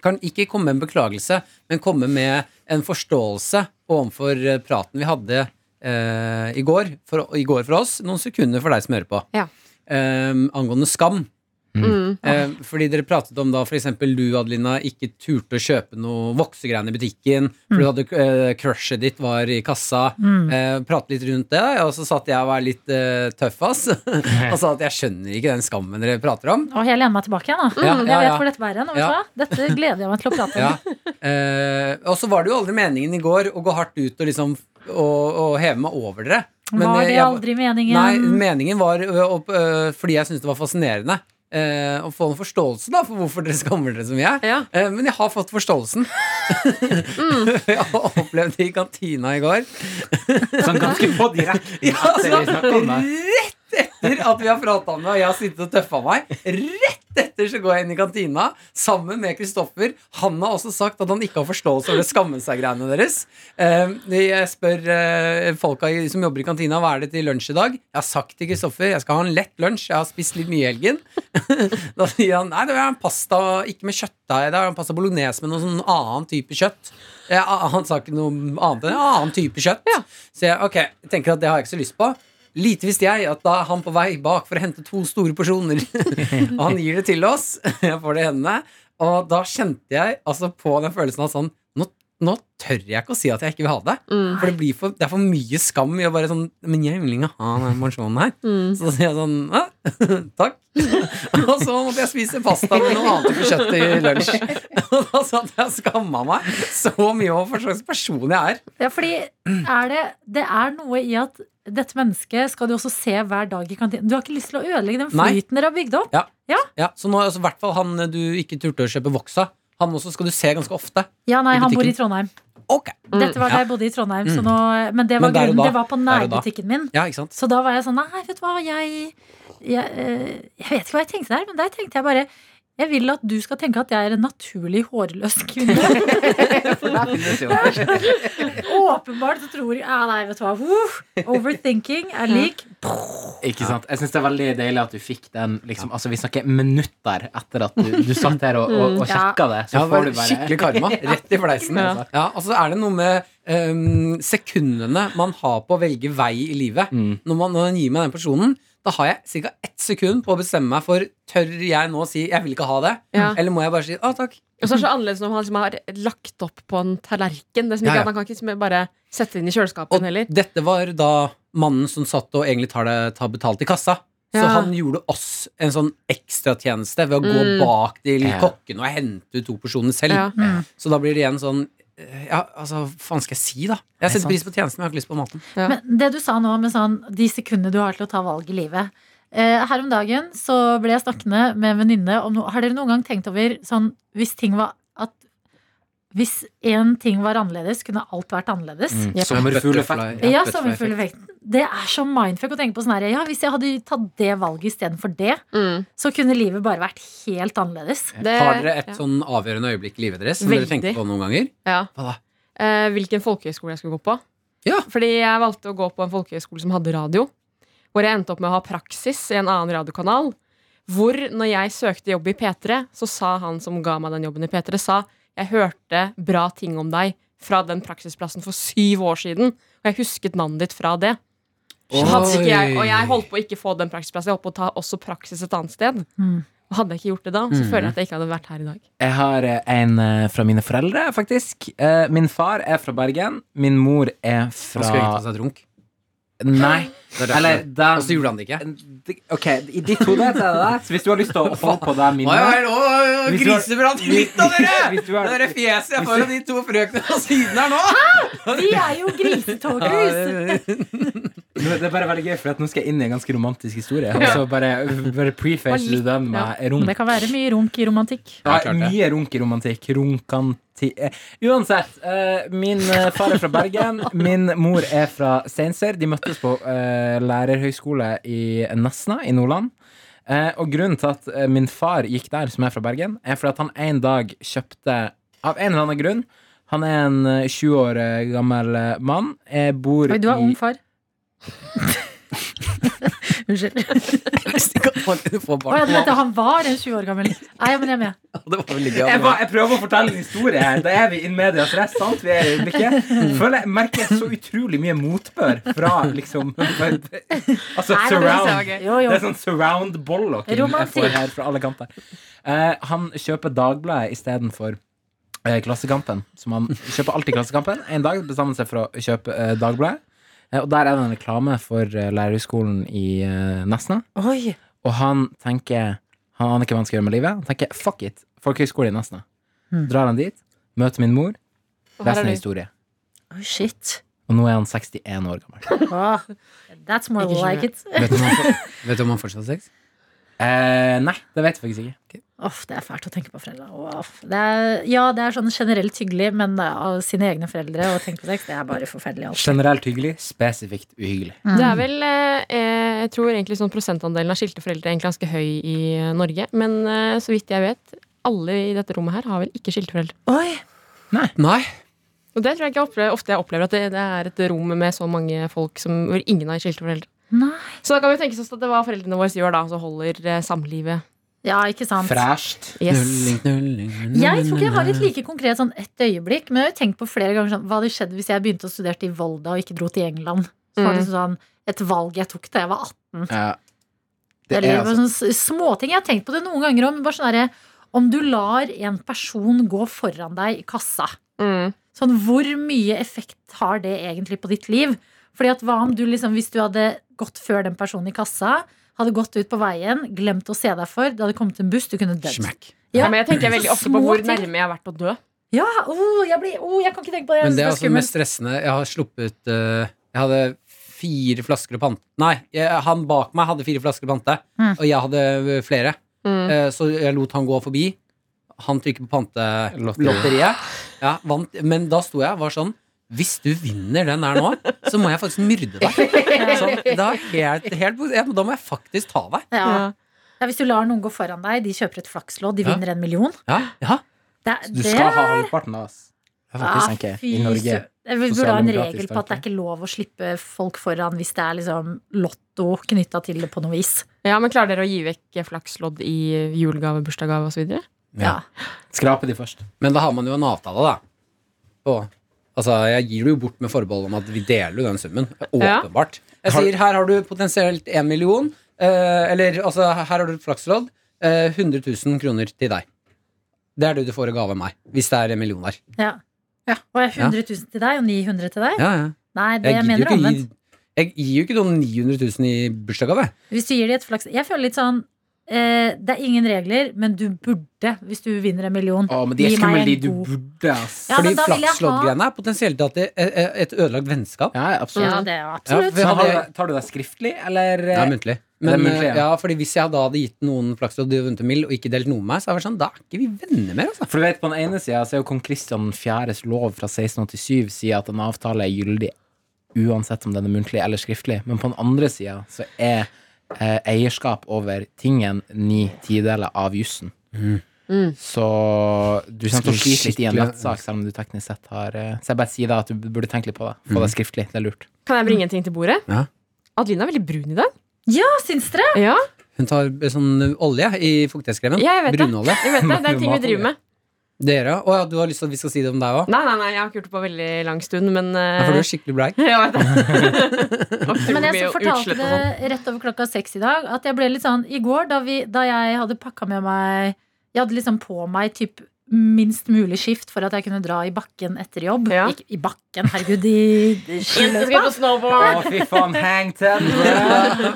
S5: kan ikke komme med en beklagelse, men komme med en forståelse overfor eh, praten vi hadde eh, i, går, for, i går for oss. Noen sekunder for deg som hører på.
S2: Ja.
S5: Eh, angående skam.
S2: Mm.
S5: Eh, fordi dere pratet om da f.eks. du, Adelina, ikke turte å kjøpe noe voksegreiene i butikken.
S1: Mm.
S5: For du hadde eh, crushet ditt var i kassa. Eh, pratet litt rundt det, og så satt jeg og var litt eh, tøff, ass. *laughs* og sa at jeg skjønner ikke den skammen dere prater om.
S1: Og jeg lener meg tilbake igjen, da.
S5: Ja, ja,
S1: Jeg
S5: ja.
S1: vet hvor dette bærer hen. og vet du
S5: Ja.
S1: hva? Dette gleder jeg meg til å prate om.
S5: Ja. Eh, og så var det jo aldri meningen i går å gå hardt ut og liksom og, og heve meg over dere.
S1: var
S5: eh,
S1: det
S5: jeg-
S1: aldri meningen?
S5: Nei, meningen var ø, opp, ø, fordi jeg syntes det var fascinerende. eh, å få en forståelse da for hvorfor dere skammer dere så mye.
S2: Ja.
S5: Eh, men jeg har fått forståelsen. *laughs* jeg opplevde det i kantina i går.
S4: Sånn ganske på direkte. *laughs*
S5: Ja, altså,
S4: etter vi snakket om det.
S5: rett etter at vi har prata om det, og jeg har sittet og tøffa meg, rett etter så går jeg inn i kantina sammen med Kristoffer. Han har også sagt at han ikke har forståelse over det skamme seg-greiene deres. Eh, Jeg spør eh, folka i- som jobber i kantina, hva er det til lunsj i dag? Jeg har sagt til Kristoffer jeg skal ha en lett lunsj, jeg har spist litt mye i helgen. *laughs* Da sier han nei, det er en pasta ikke med kjøttdeig, det er en pasta bolognese med noe sånn annen type kjøtt. Eh, Han sa ikke noe annet enn en annen type kjøtt. Så jeg ok, jeg tenker at det har jeg ikke så lyst på. Lite visste jeg at da er han på vei bak for å hente to store porsjoner. *laughs* og han gir det *laughs* til oss. Jeg får det i hendene. Og da kjente jeg altså på den følelsen av sånn Nå nå tør jeg ikke å si at jeg ikke vil ha det.
S2: Mm.
S5: For det, blir for, det er for mye skam i å bare sånn Men jeg vil ikke ha den pensjonen her.
S2: Mm.
S5: Så sier jeg sånn Hæ? *laughs* Takk. Og så måtte jeg spise pasta med noe annet enn kjøtt i lunsj. *laughs* Og da satt jeg og skamma meg så mye over hva slags person jeg er.
S1: Ja, fordi er det, det er noe i at dette mennesket skal du også se hver dag i kantinen. Du har ikke lyst til å ødelegge den
S5: Nei.
S1: flyten dere har bygd opp.
S5: Ja, Så nå, altså, i hvert fall han du ikke turte å kjøpe voks av, han også skal du se ganske ofte.
S1: Ja, nei,
S5: I
S1: han bor i
S5: butikken.
S1: Trondheim.
S5: Ok.
S1: Dette var
S5: Ja.
S1: da jeg bodde i Trondheim, så
S5: Mm.
S1: nå, men det var
S5: Men der og
S1: grunnen.
S5: da.
S1: Det var på
S5: Der og da.
S1: nærbutikken min.
S5: Ja, ikke sant?
S1: Så da var jeg sånn Nei, vet du hva, jeg Jeg, eh, jeg vet ikke hva jeg tenkte der, men der tenkte jeg bare jeg vil at du skal tenke at jeg er en naturlig hårløs kvinne. Åpenbart så tror jeg ah, Nei, vet du hva. uff, overthinking er lik
S4: Ikke sant? Jeg syns det er veldig deilig at du fikk den. Liksom, altså, vi snakker minutter etter at du, du satt her og, og, og
S1: Mm. Ja.
S4: sjekka det. Så
S5: Ja,
S4: får du bare
S5: Skikkelig
S4: *laughs*
S5: karma. Rett i fleisen.
S2: Ja.
S5: altså. Ja, og så er det noe med ehm, sekundene man har på å velge vei i livet.
S4: Mm.
S5: Når, man, når man gir meg den personen, da har jeg ca. ett sekund på å bestemme meg for Tør jeg nå si 'jeg vil ikke ha det',
S2: Ja.
S5: eller må jeg bare si 'å, takk'?
S2: Og så er det så annerledes når han liksom har lagt opp på en tallerken. Det er som
S5: Ja,
S2: ikke
S5: ja.
S2: at Man kan ikke liksom bare sette det inn i
S5: Og
S2: kjøleskapet heller.
S5: dette var da mannen som satt og egentlig tar, det, tar betalt i kassa. Så
S2: Ja.
S5: han gjorde oss en sånn ekstratjeneste ved å
S2: Mm.
S5: gå bak til
S4: Ja.
S5: kokken og hente ut to porsjoner selv.
S2: Ja.
S1: Mm.
S5: Så da blir det igjen sånn eh, Ja, altså, hva faen skal jeg si, da? Jeg setter pris på tjenesten, men jeg har ikke lyst på maten.
S2: Ja.
S1: Men det du sa nå med sånn de sekundene du har til å ta valg i livet eh, Her om dagen så ble jeg snakkende med en venninne om noe. Har dere noen gang tenkt over sånn hvis ting var at hvis én ting var annerledes, kunne alt vært annerledes?
S4: Mm.
S2: Yep.
S4: Sommerfugleffekten.
S1: Ja,
S5: butterfly
S1: sommerfugleffekten. Det er så mindfuck å tenke på sånn her. Ja, hvis jeg hadde tatt det valget istedenfor det,
S2: Mm.
S1: så kunne livet bare vært helt annerledes.
S2: Det-
S5: Har dere et
S2: ja.
S5: sånn avgjørende øyeblikk i livet deres som dere
S2: Veldig.
S5: tenker på noen ganger?
S2: Ja.
S5: Hva da?
S2: Eh, hvilken folkehøyskole jeg skulle gå på.
S5: Ja.
S2: Fordi jeg valgte å gå på en folkehøyskole som hadde radio. Hvor jeg endte opp med å ha praksis i en annen radiokanal. Hvor når jeg søkte jobb i P3, så sa han som ga meg den jobben i P3, sa jeg hørte bra ting om deg fra den praksisplassen for syv år siden. Og jeg husket navnet ditt fra det. Så Hadde ikke jeg, og jeg holdt på å ikke få den praksisplassen. Jeg holdt på å ta også praksis et annet sted.
S1: Mm.
S2: Og hadde jeg ikke gjort det da, så
S5: Mhm.
S2: føler jeg at jeg ikke hadde vært her i dag.
S4: Jeg har eh, en eh, fra mine foreldre, faktisk. Eh, Min far er fra Bergen. Min mor er
S5: Han skulle
S4: fra
S5: egentlig ta seg drunk.
S4: Nei. Eller da
S5: Og så gjorde han det ikke.
S4: Ok, i ditt hode er det det. Så hvis du har lyst til å få på deg
S5: Oi,
S4: minnet
S5: oi, oi, oi,
S4: Hvis du har-
S5: Griseprat litt av dere!
S4: *laughs* Hvis du
S5: Det
S4: har-
S5: der fjeset jeg får av de to frøkene på siden her nå!
S1: Vi er jo grisetåkehus!
S4: Nå, Det er bare veldig gøy, for at nå skal jeg inn i en ganske romantisk historie. Og så bare, bare prefacer du den med
S1: Det
S4: runk.
S1: kan være mye runk i romantikk.
S5: Ja,
S4: Ja,
S5: klart det.
S4: mye runk i romantikk. Runkanti... eh, Uansett. eh, min eh, far er
S1: *laughs*
S4: fra Bergen. Min mor er fra Steinkjer. De møttes på eh, lærerhøyskole i Nesna i Nordland. Eh, og grunnen til at eh, min far gikk der, som er fra Bergen, er fordi at han en dag kjøpte Av en eller annen grunn Han er en eh, 20 år eh, gammel eh, mann. Jeg bor
S1: Oi, du er
S4: i
S1: ung far. Unnskyld.
S5: Jeg visste ikke at man kunne få
S1: Å ja, du
S5: barn.
S1: mente han var en 20 år gammel. Nei, men jeg er med.
S5: Det var veldig gøy.
S4: Jeg, bare- jeg prøver å fortelle en historie her. Da er vi in media stress, sant? Vi er i øyeblikket. Føler jeg merker så utrolig mye motbør fra liksom Altså
S2: Nei, men det synes jeg var
S4: surround.
S2: gøy.
S1: Jo,
S4: Det
S1: jo.
S4: er sånn surround bollock jeg får
S1: Romantikk.
S4: her fra alle kanter. Eh, han kjøper Dagbladet istedenfor eh, Klassekampen. Som han kjøper alltid Klassekampen. En dag bestemmer han seg for å kjøpe eh, Dagbladet. Eh, og der er det en reklame for eh, lærerhøgskolen i eh, Nesna.
S1: Oi.
S4: Og han tenker Han aner ikke hva han skal gjøre med livet. Han tenker fuck it, folkehøgskole i Nesna.
S1: Mm.
S4: Drar han dit, møter min mor,
S2: Og her
S4: leser
S2: er
S4: en
S2: du.
S4: historie.
S1: Oi, shit.
S4: Og nå er han 61 år gammel.
S1: Åh, that's more
S2: Ikke
S1: like it.
S5: Vet du om han for- vet du om han fortsatt har sex?
S4: Eh, nei, det vet jeg faktisk ikke.
S1: Uff, det er fælt å tenke på foreldre. Uff. Det er, ja, det er sånn generelt hyggelig, men eh, av sine egne foreldre å tenke på sex, det er bare forferdelig. Altså.
S4: Generelt hyggelig, spesifikt uhyggelig.
S2: Det
S1: Mm.
S2: er vel, eh, eh, jeg tror egentlig sånn prosentandelen av skilte foreldre er egentlig ganske høy i eh, Norge. Men eh, så vidt jeg vet, alle i dette rommet her har vel ikke skilte foreldre.
S1: Oi.
S5: Nei.
S2: Og det tror jeg ikke jeg opplever, ofte jeg opplever, at det, det er et rom med så mange folk som, hvor ingen har skilte foreldre.
S1: Nei.
S2: Så da kan vi tenke oss at det var foreldrene våre gjør da, så holder eh, samlivet.
S1: Ja, ikke sant.
S4: Fræscht.
S2: Yes.
S1: Jeg tror ikke jeg har et like konkret sånn ett øyeblikk, men jeg har jo tenkt på flere ganger sånn, hva hadde skjedd hvis jeg begynte å studere i Volda og ikke dro til England? Så var det sånn et valg jeg tok da jeg var 18.
S4: Ja. Det
S1: Eller det
S4: er
S1: var
S4: altså
S1: sånne s- småting. Jeg har sånn tenkt på det noen ganger òg, men bare sånn herre om du lar en person gå foran deg i kassa,
S2: Mm.
S1: Sånn, hvor mye effekt har det egentlig på ditt liv? Fordi at hva om du liksom, Hvis du hadde gått før den personen i kassa, hadde gått ut på veien, glemt å se deg for, det hadde kommet en buss, du kunne dødd.
S5: Smack.
S1: Ja.
S2: Ja, men jeg tenker veldig
S1: Så
S2: ofte på
S1: små
S2: hvor
S1: ting.
S2: nærme jeg har vært å dø.
S1: Ja, oh, jeg, blir, oh, jeg kan ikke tenke på det.
S5: Men det er
S1: Jeg synes
S5: altså det mest
S1: skummelt.
S5: stressende. Jeg har sluppet eh, Jeg hadde fire flasker å pante. Nei, jeg, han bak meg hadde fire flasker å pante,
S1: Mm.
S5: og jeg hadde eh, flere.
S2: Mm.
S5: Eh, så jeg lot han gå forbi. Han trykker på
S4: Lotteri.
S5: pantelotteriet. Ja, vant. Men da sto jeg og var sånn Hvis du vinner den her nå, så må jeg faktisk myrde deg. Sånn, da, helt, helt, ja, men da må jeg faktisk ta deg.
S1: *laughs* ja. Ja, Hvis du lar noen gå foran deg, de kjøper et flakslodd, de
S5: Ja.
S1: vinner en million.
S5: Ja, ja.
S1: Det, sånn-
S4: Du
S1: det-
S4: skal ha halvparten av oss. Det er
S1: Ah,
S4: faktisk, tenker jeg, I Norge.
S1: sø- Eh, Vi burde ha en
S4: Sosialdemokratisk
S1: regel på at det er
S4: tanke.
S1: ikke lov å slippe folk foran hvis det er liksom lotto knytta til det på noe vis.
S2: Ja, men Klarer dere å gi vekk eh, flakslodd i julegave, bursdagsgave osv.?
S1: Ja.
S4: Skrape de først.
S5: Men da har man jo en avtale, da. På, altså, jeg gir det jo bort med forbehold om at vi deler jo den summen. Åpenbart. Jeg sier her har du potensielt én million, eh, eller altså her har du et flakslodd. Eh, 100 000 kroner til deg. Det er det du får i gave av meg, hvis det er en million der.
S1: Ja. Og jeg har 100 000 til deg og 900 til deg?
S5: Ja, ja.
S1: Nei, det
S5: Jeg, gir
S1: mener
S5: jo ikke,
S1: omvendt.
S5: gi- jeg gir jo ikke noen 900 000 i bursdagsgave.
S1: Hvis du gir de et flaks Jeg føler litt sånn eh, Det er ingen regler, men du burde, hvis du vinner en million
S4: Å, men de er
S1: Gi meg
S4: skumle,
S1: en
S4: de du
S1: god-
S4: burde, ass.
S1: Ja,
S5: Fordi
S1: men da vil jeg ha-
S5: flaksloddgreiene er potensielt til at det er et ødelagt vennskap.
S4: Ja, absolutt.
S1: Ja, det er
S5: Ja,
S1: absolutt.
S5: for jeg
S4: Men har
S5: hadde,
S4: du, det- tar du det skriftlig, eller eh,
S5: Det er muntlig.
S4: Det
S5: Men,
S4: er muntlig,
S5: eh, ja.
S4: ja.
S5: fordi Hvis jeg da hadde gitt noen flakslodd og vunnet en mill, og ikke delt noe med meg, så hadde jeg vært sånn, da er ikke vi venner mer. altså
S4: For du vet, På den ene sida er jo kong Kristian 4.s lov fra 1687 sier at en avtale er gyldig uansett om den er muntlig eller skriftlig. Men på den andre sida så er eh, eierskap over tingen ni tideler av jussen.
S2: Mm.
S4: Så du kommer til å slite litt i en rettssak, selv om du teknisk sett har eh, Så jeg bare sier da at du burde tenke litt på det. Få det skriftlig. Det er lurt.
S2: Kan jeg bringe en ting til bordet?
S5: Ja.
S2: Adelina er veldig brun i dag.
S1: Ja, syns dere?
S2: Ja,
S5: Hun tar eh, sånn olje i fuktighetskremen.
S2: Ja, jeg vet det.
S5: Brunolje.
S2: jeg vet det. Det er en ting vi
S4: Matolje.
S2: driver med.
S5: Dere òg? Å ja, du har lyst til at vi skal si det om deg òg?
S2: *laughs* Nei, nei, nei, jeg har ikke gjort det på veldig lang stund, men
S5: Ja, for du
S2: *laughs*
S5: er
S2: eh,
S5: skikkelig brag.
S2: Jeg vet
S5: *laughs*
S2: det. Ofte
S1: Men
S2: mye
S1: jeg fortalte
S2: utslett og sånn.
S1: det rett over klokka seks i dag at jeg ble litt sånn I går, da, vi, da jeg hadde pakka med meg Jeg hadde liksom på meg typ minst mulig skift for at jeg kunne dra i bakken etter jobb.
S2: Ja.
S1: Ikke i bakken, herregud, i
S2: Jente *laughs* skal på snowboard.
S4: Å, fy faen. Hang ten,
S2: *laughs*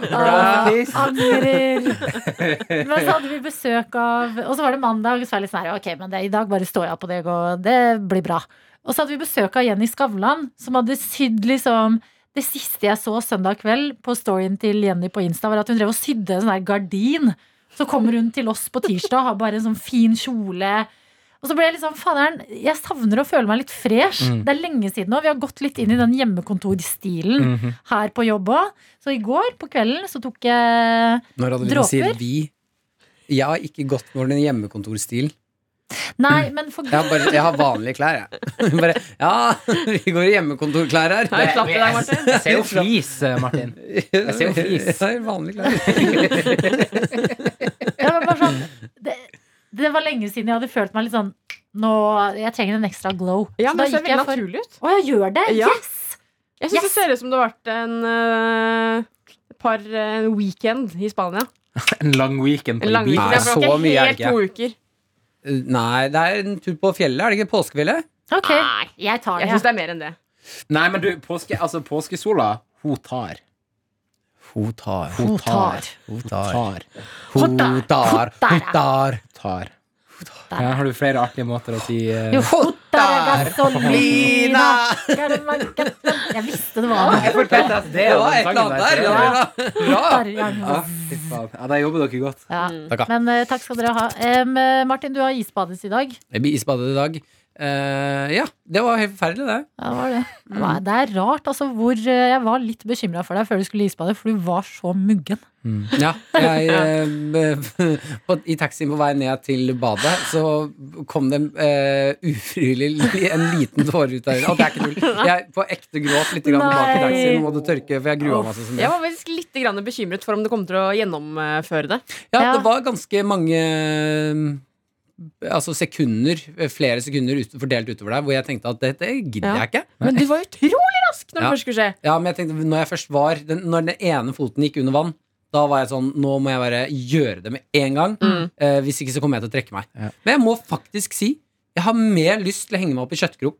S1: Bra. Angrer. Men så hadde vi besøk av Og så var det mandag, og så var jeg litt sånn her Ok, men det, i dag bare står jeg på deg, og det blir bra. Og så hadde vi besøk av Jenny Skavlan, som hadde sydd liksom Det siste jeg så søndag kveld på storyen til Jenny på Insta, var at hun drev og sydde en sånn her gardin. Så kommer hun til oss på tirsdag og har bare en sånn fin kjole. Og så ble jeg litt sånn, faderen, jeg savner å føle meg litt fresh. Det er lenge siden nå. Vi har gått litt inn i den hjemmekontorstilen her på jobb òg. Så i går på kvelden så tok jeg
S5: Når Adeline sier
S1: Dråper?
S5: vi Jeg har ikke gått med den hjemmekontorstilen.
S1: Nei, men for
S5: Jeg har, bare, jeg har vanlige klær, jeg. *laughs* Bare, ja, vi går i hjemmekontorklær her.
S2: Nei, slapp i deg, Martin.
S4: Jeg ser jo flis, eh, Martin.
S5: Jeg
S4: ser jo fis.
S5: Vanlige klær.
S1: jeg var bare sånn, det, det var lenge siden jeg hadde følt meg litt sånn nå, Jeg trenger en ekstra glow.
S2: Ja,
S1: så
S2: men
S1: da
S2: det ser
S1: gikk jeg
S2: veldig
S1: for
S2: naturlig ut.
S1: Å, jeg gjør det?
S2: Ja.
S1: Yes!
S2: Jeg syns
S1: Yes.
S2: det ser ut som det har vært en eh, par eh, weekend i Spania.
S4: En lang weekend på
S2: En lang
S4: Ibiza.
S2: weekend.
S5: Nei,
S2: ja, for det
S5: så
S2: var
S5: mye
S2: ikke
S5: er det
S2: helt to uker.
S5: *laughs* Nei, det er en tur på fjellet, er det ikke? Påskefjellet?
S1: Ok,
S2: Nei,
S1: jeg tar
S2: jeg
S1: det.
S2: syns det er mer enn det.
S4: Nei, men du, påske, altså, påskesola Hun tar.
S5: Hun tar.
S4: Hun tar.
S5: Hun
S4: Tar.
S1: Hun tar.
S5: Hotar.
S1: Hotar.
S5: Hotar.
S4: tar. Ja, har du flere artige måter å si eh,
S1: Jo, hotta
S5: Hotar.
S1: gasolina Jeg visste det var noe.
S4: Jeg får PTSD
S5: Det
S4: av
S5: var
S4: den
S5: et eller
S4: sangen
S5: annet der.
S4: der, ser jeg.
S5: Ja, bra.
S1: Hotar, ja.
S4: Ja, fy faen. Ja, der jobber dere godt.
S1: Ja.
S5: Takk, da.
S1: Men eh, takk skal dere ha. Em, eh, Martin, du har isbades i dag.
S5: Jeg blir isbadet i dag. Eh, ja, det var helt forferdelig, det.
S1: Ja, det var det. Nei, Det er rart, altså, hvor eh, Jeg var litt bekymra for deg før du skulle isbade, for du var så muggen.
S5: *laughs* Ja, jeg, eh, *laughs* på, I taxien på vei ned til badet så kom det eh, ufrivillig li- en liten tåre ut av øynene. Og det er ikke *laughs* tull. Jeg på ekte gråt litt grann bak i
S1: Nei.
S5: taxien og måtte tørke, for jeg grua meg sånn. som det.
S2: Jeg var faktisk litt grann bekymret for om det kom til å gjennomføre det.
S5: Ja,
S1: Ja.
S5: det var ganske mange eh, Altså sekunder, eh, flere sekunder ut, fordelt utover der, hvor jeg tenkte at dette gidder
S2: Ja.
S5: jeg ikke.
S2: Men du var utrolig rask når
S5: Ja.
S2: det først skulle skje.
S5: Ja, men jeg tenkte Når jeg først var den, Når den ene foten gikk under vann da var jeg sånn, nå må jeg bare gjøre det med en gang
S2: Mm.
S5: eh, Hvis ikke så kommer jeg til å trekke meg
S4: Ja.
S5: Men jeg må faktisk si Jeg har mer lyst til å henge meg opp i kjøttkrok.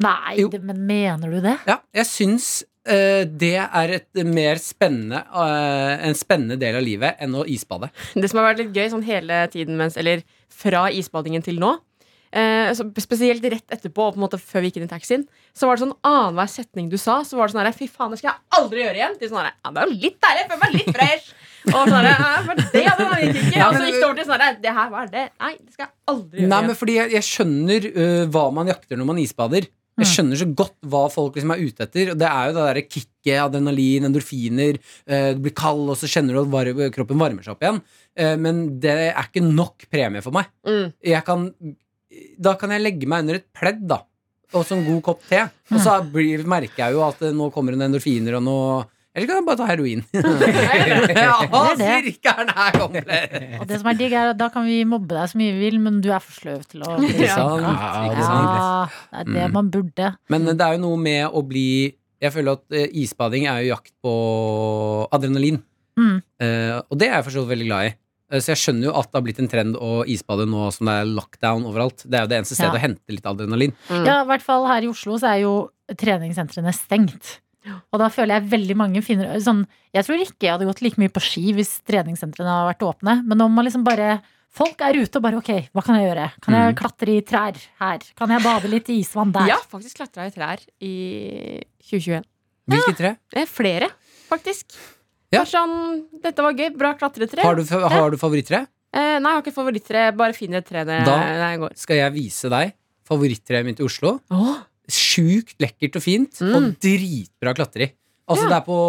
S1: Nei,
S5: Jo.
S1: det, men mener du det?
S5: Ja, jeg syns eh, det er et mer spennende, eh, en spennende del av livet enn å isbade.
S2: Det som har vært litt gøy sånn hele tiden mens, Eller fra isbadingen til nå eh, så Spesielt rett etterpå Og på en måte før vi gikk inn i taxien Så var det sånn annenhver setning du sa Så var det sånn her, fy faen, det skal jeg aldri gjøre igjen Til sånn her, ja, det er jo litt deilig, jeg føler meg litt fresh Og sånn her, ja, for det hadde man ikke ikke
S5: Ja,
S2: Og så
S5: men-
S2: gikk det over til sånn her, det her var det Nei, det skal jeg aldri gjøre
S5: Nei, men
S2: igjen
S5: fordi jeg, jeg skjønner eh, hva man jakter når man isbader.
S1: Mm.
S5: Jeg skjønner så godt hva folk liksom er ute etter. Og det er jo det derre kicket, adrenalin, endorfiner. eh, du blir kald, og så kjenner du at var kroppen varmer seg opp igjen. Eh, men det er ikke nok premie for meg. *laughs*
S2: Mm.
S5: Jeg kan, da kan jeg legge meg under et pledd, da. Og så en god kopp te. Og så
S1: Mm.
S5: blir, merker jeg jo at eh, nå kommer det noen endorfiner og noe Eller kan jeg bare ta
S1: *laughs*
S5: heroin? *laughs* ja,
S1: Det er
S5: sirkelen er komplett!
S1: Og det som er digg er at Da kan vi mobbe deg så mye vi vil, men du er for sløv til *laughs* å
S5: Ikke sant?
S4: Ja,
S5: Ikke sant?
S1: Ja, det er det
S5: Mm.
S1: man burde.
S5: Men det er jo noe med å bli Jeg føler at eh, isbading er jo jakt på adrenalin.
S1: Mm.
S5: Eh, og det er jeg for så vidt veldig glad i. Eh, så jeg skjønner jo at det har blitt en trend å isbade nå som det er lockdown overalt. Det er jo det eneste stedet
S1: Ja.
S5: å hente litt adrenalin.
S1: Ja, i hvert fall her i Oslo så er jo treningssentrene stengt. Og da føler jeg veldig mange finner sånn, Jeg tror ikke jeg hadde gått like mye på ski hvis treningssentrene hadde vært åpne. Men om man liksom bare Folk er ute og bare OK, hva kan jeg gjøre? Kan jeg klatre i trær her? Kan jeg bade litt i isvann der?
S2: Ja, faktisk klatret jeg i trær i 2021
S5: Hvilke tre?
S2: Det er flere, faktisk
S5: Ja.
S2: Bare Sånn, dette var gøy, bra klatretre
S5: Har du, fa- har du favorittre?
S2: Eh, nei, jeg har ikke favorittre. Bare finner et tre når jeg-
S5: Da-
S2: når jeg går.
S5: Skal jeg vise deg favorittreet mitt i Oslo? Sjukt lekkert og fint, og dritbra å klatre i.
S2: Ja.
S5: Altså Det er på,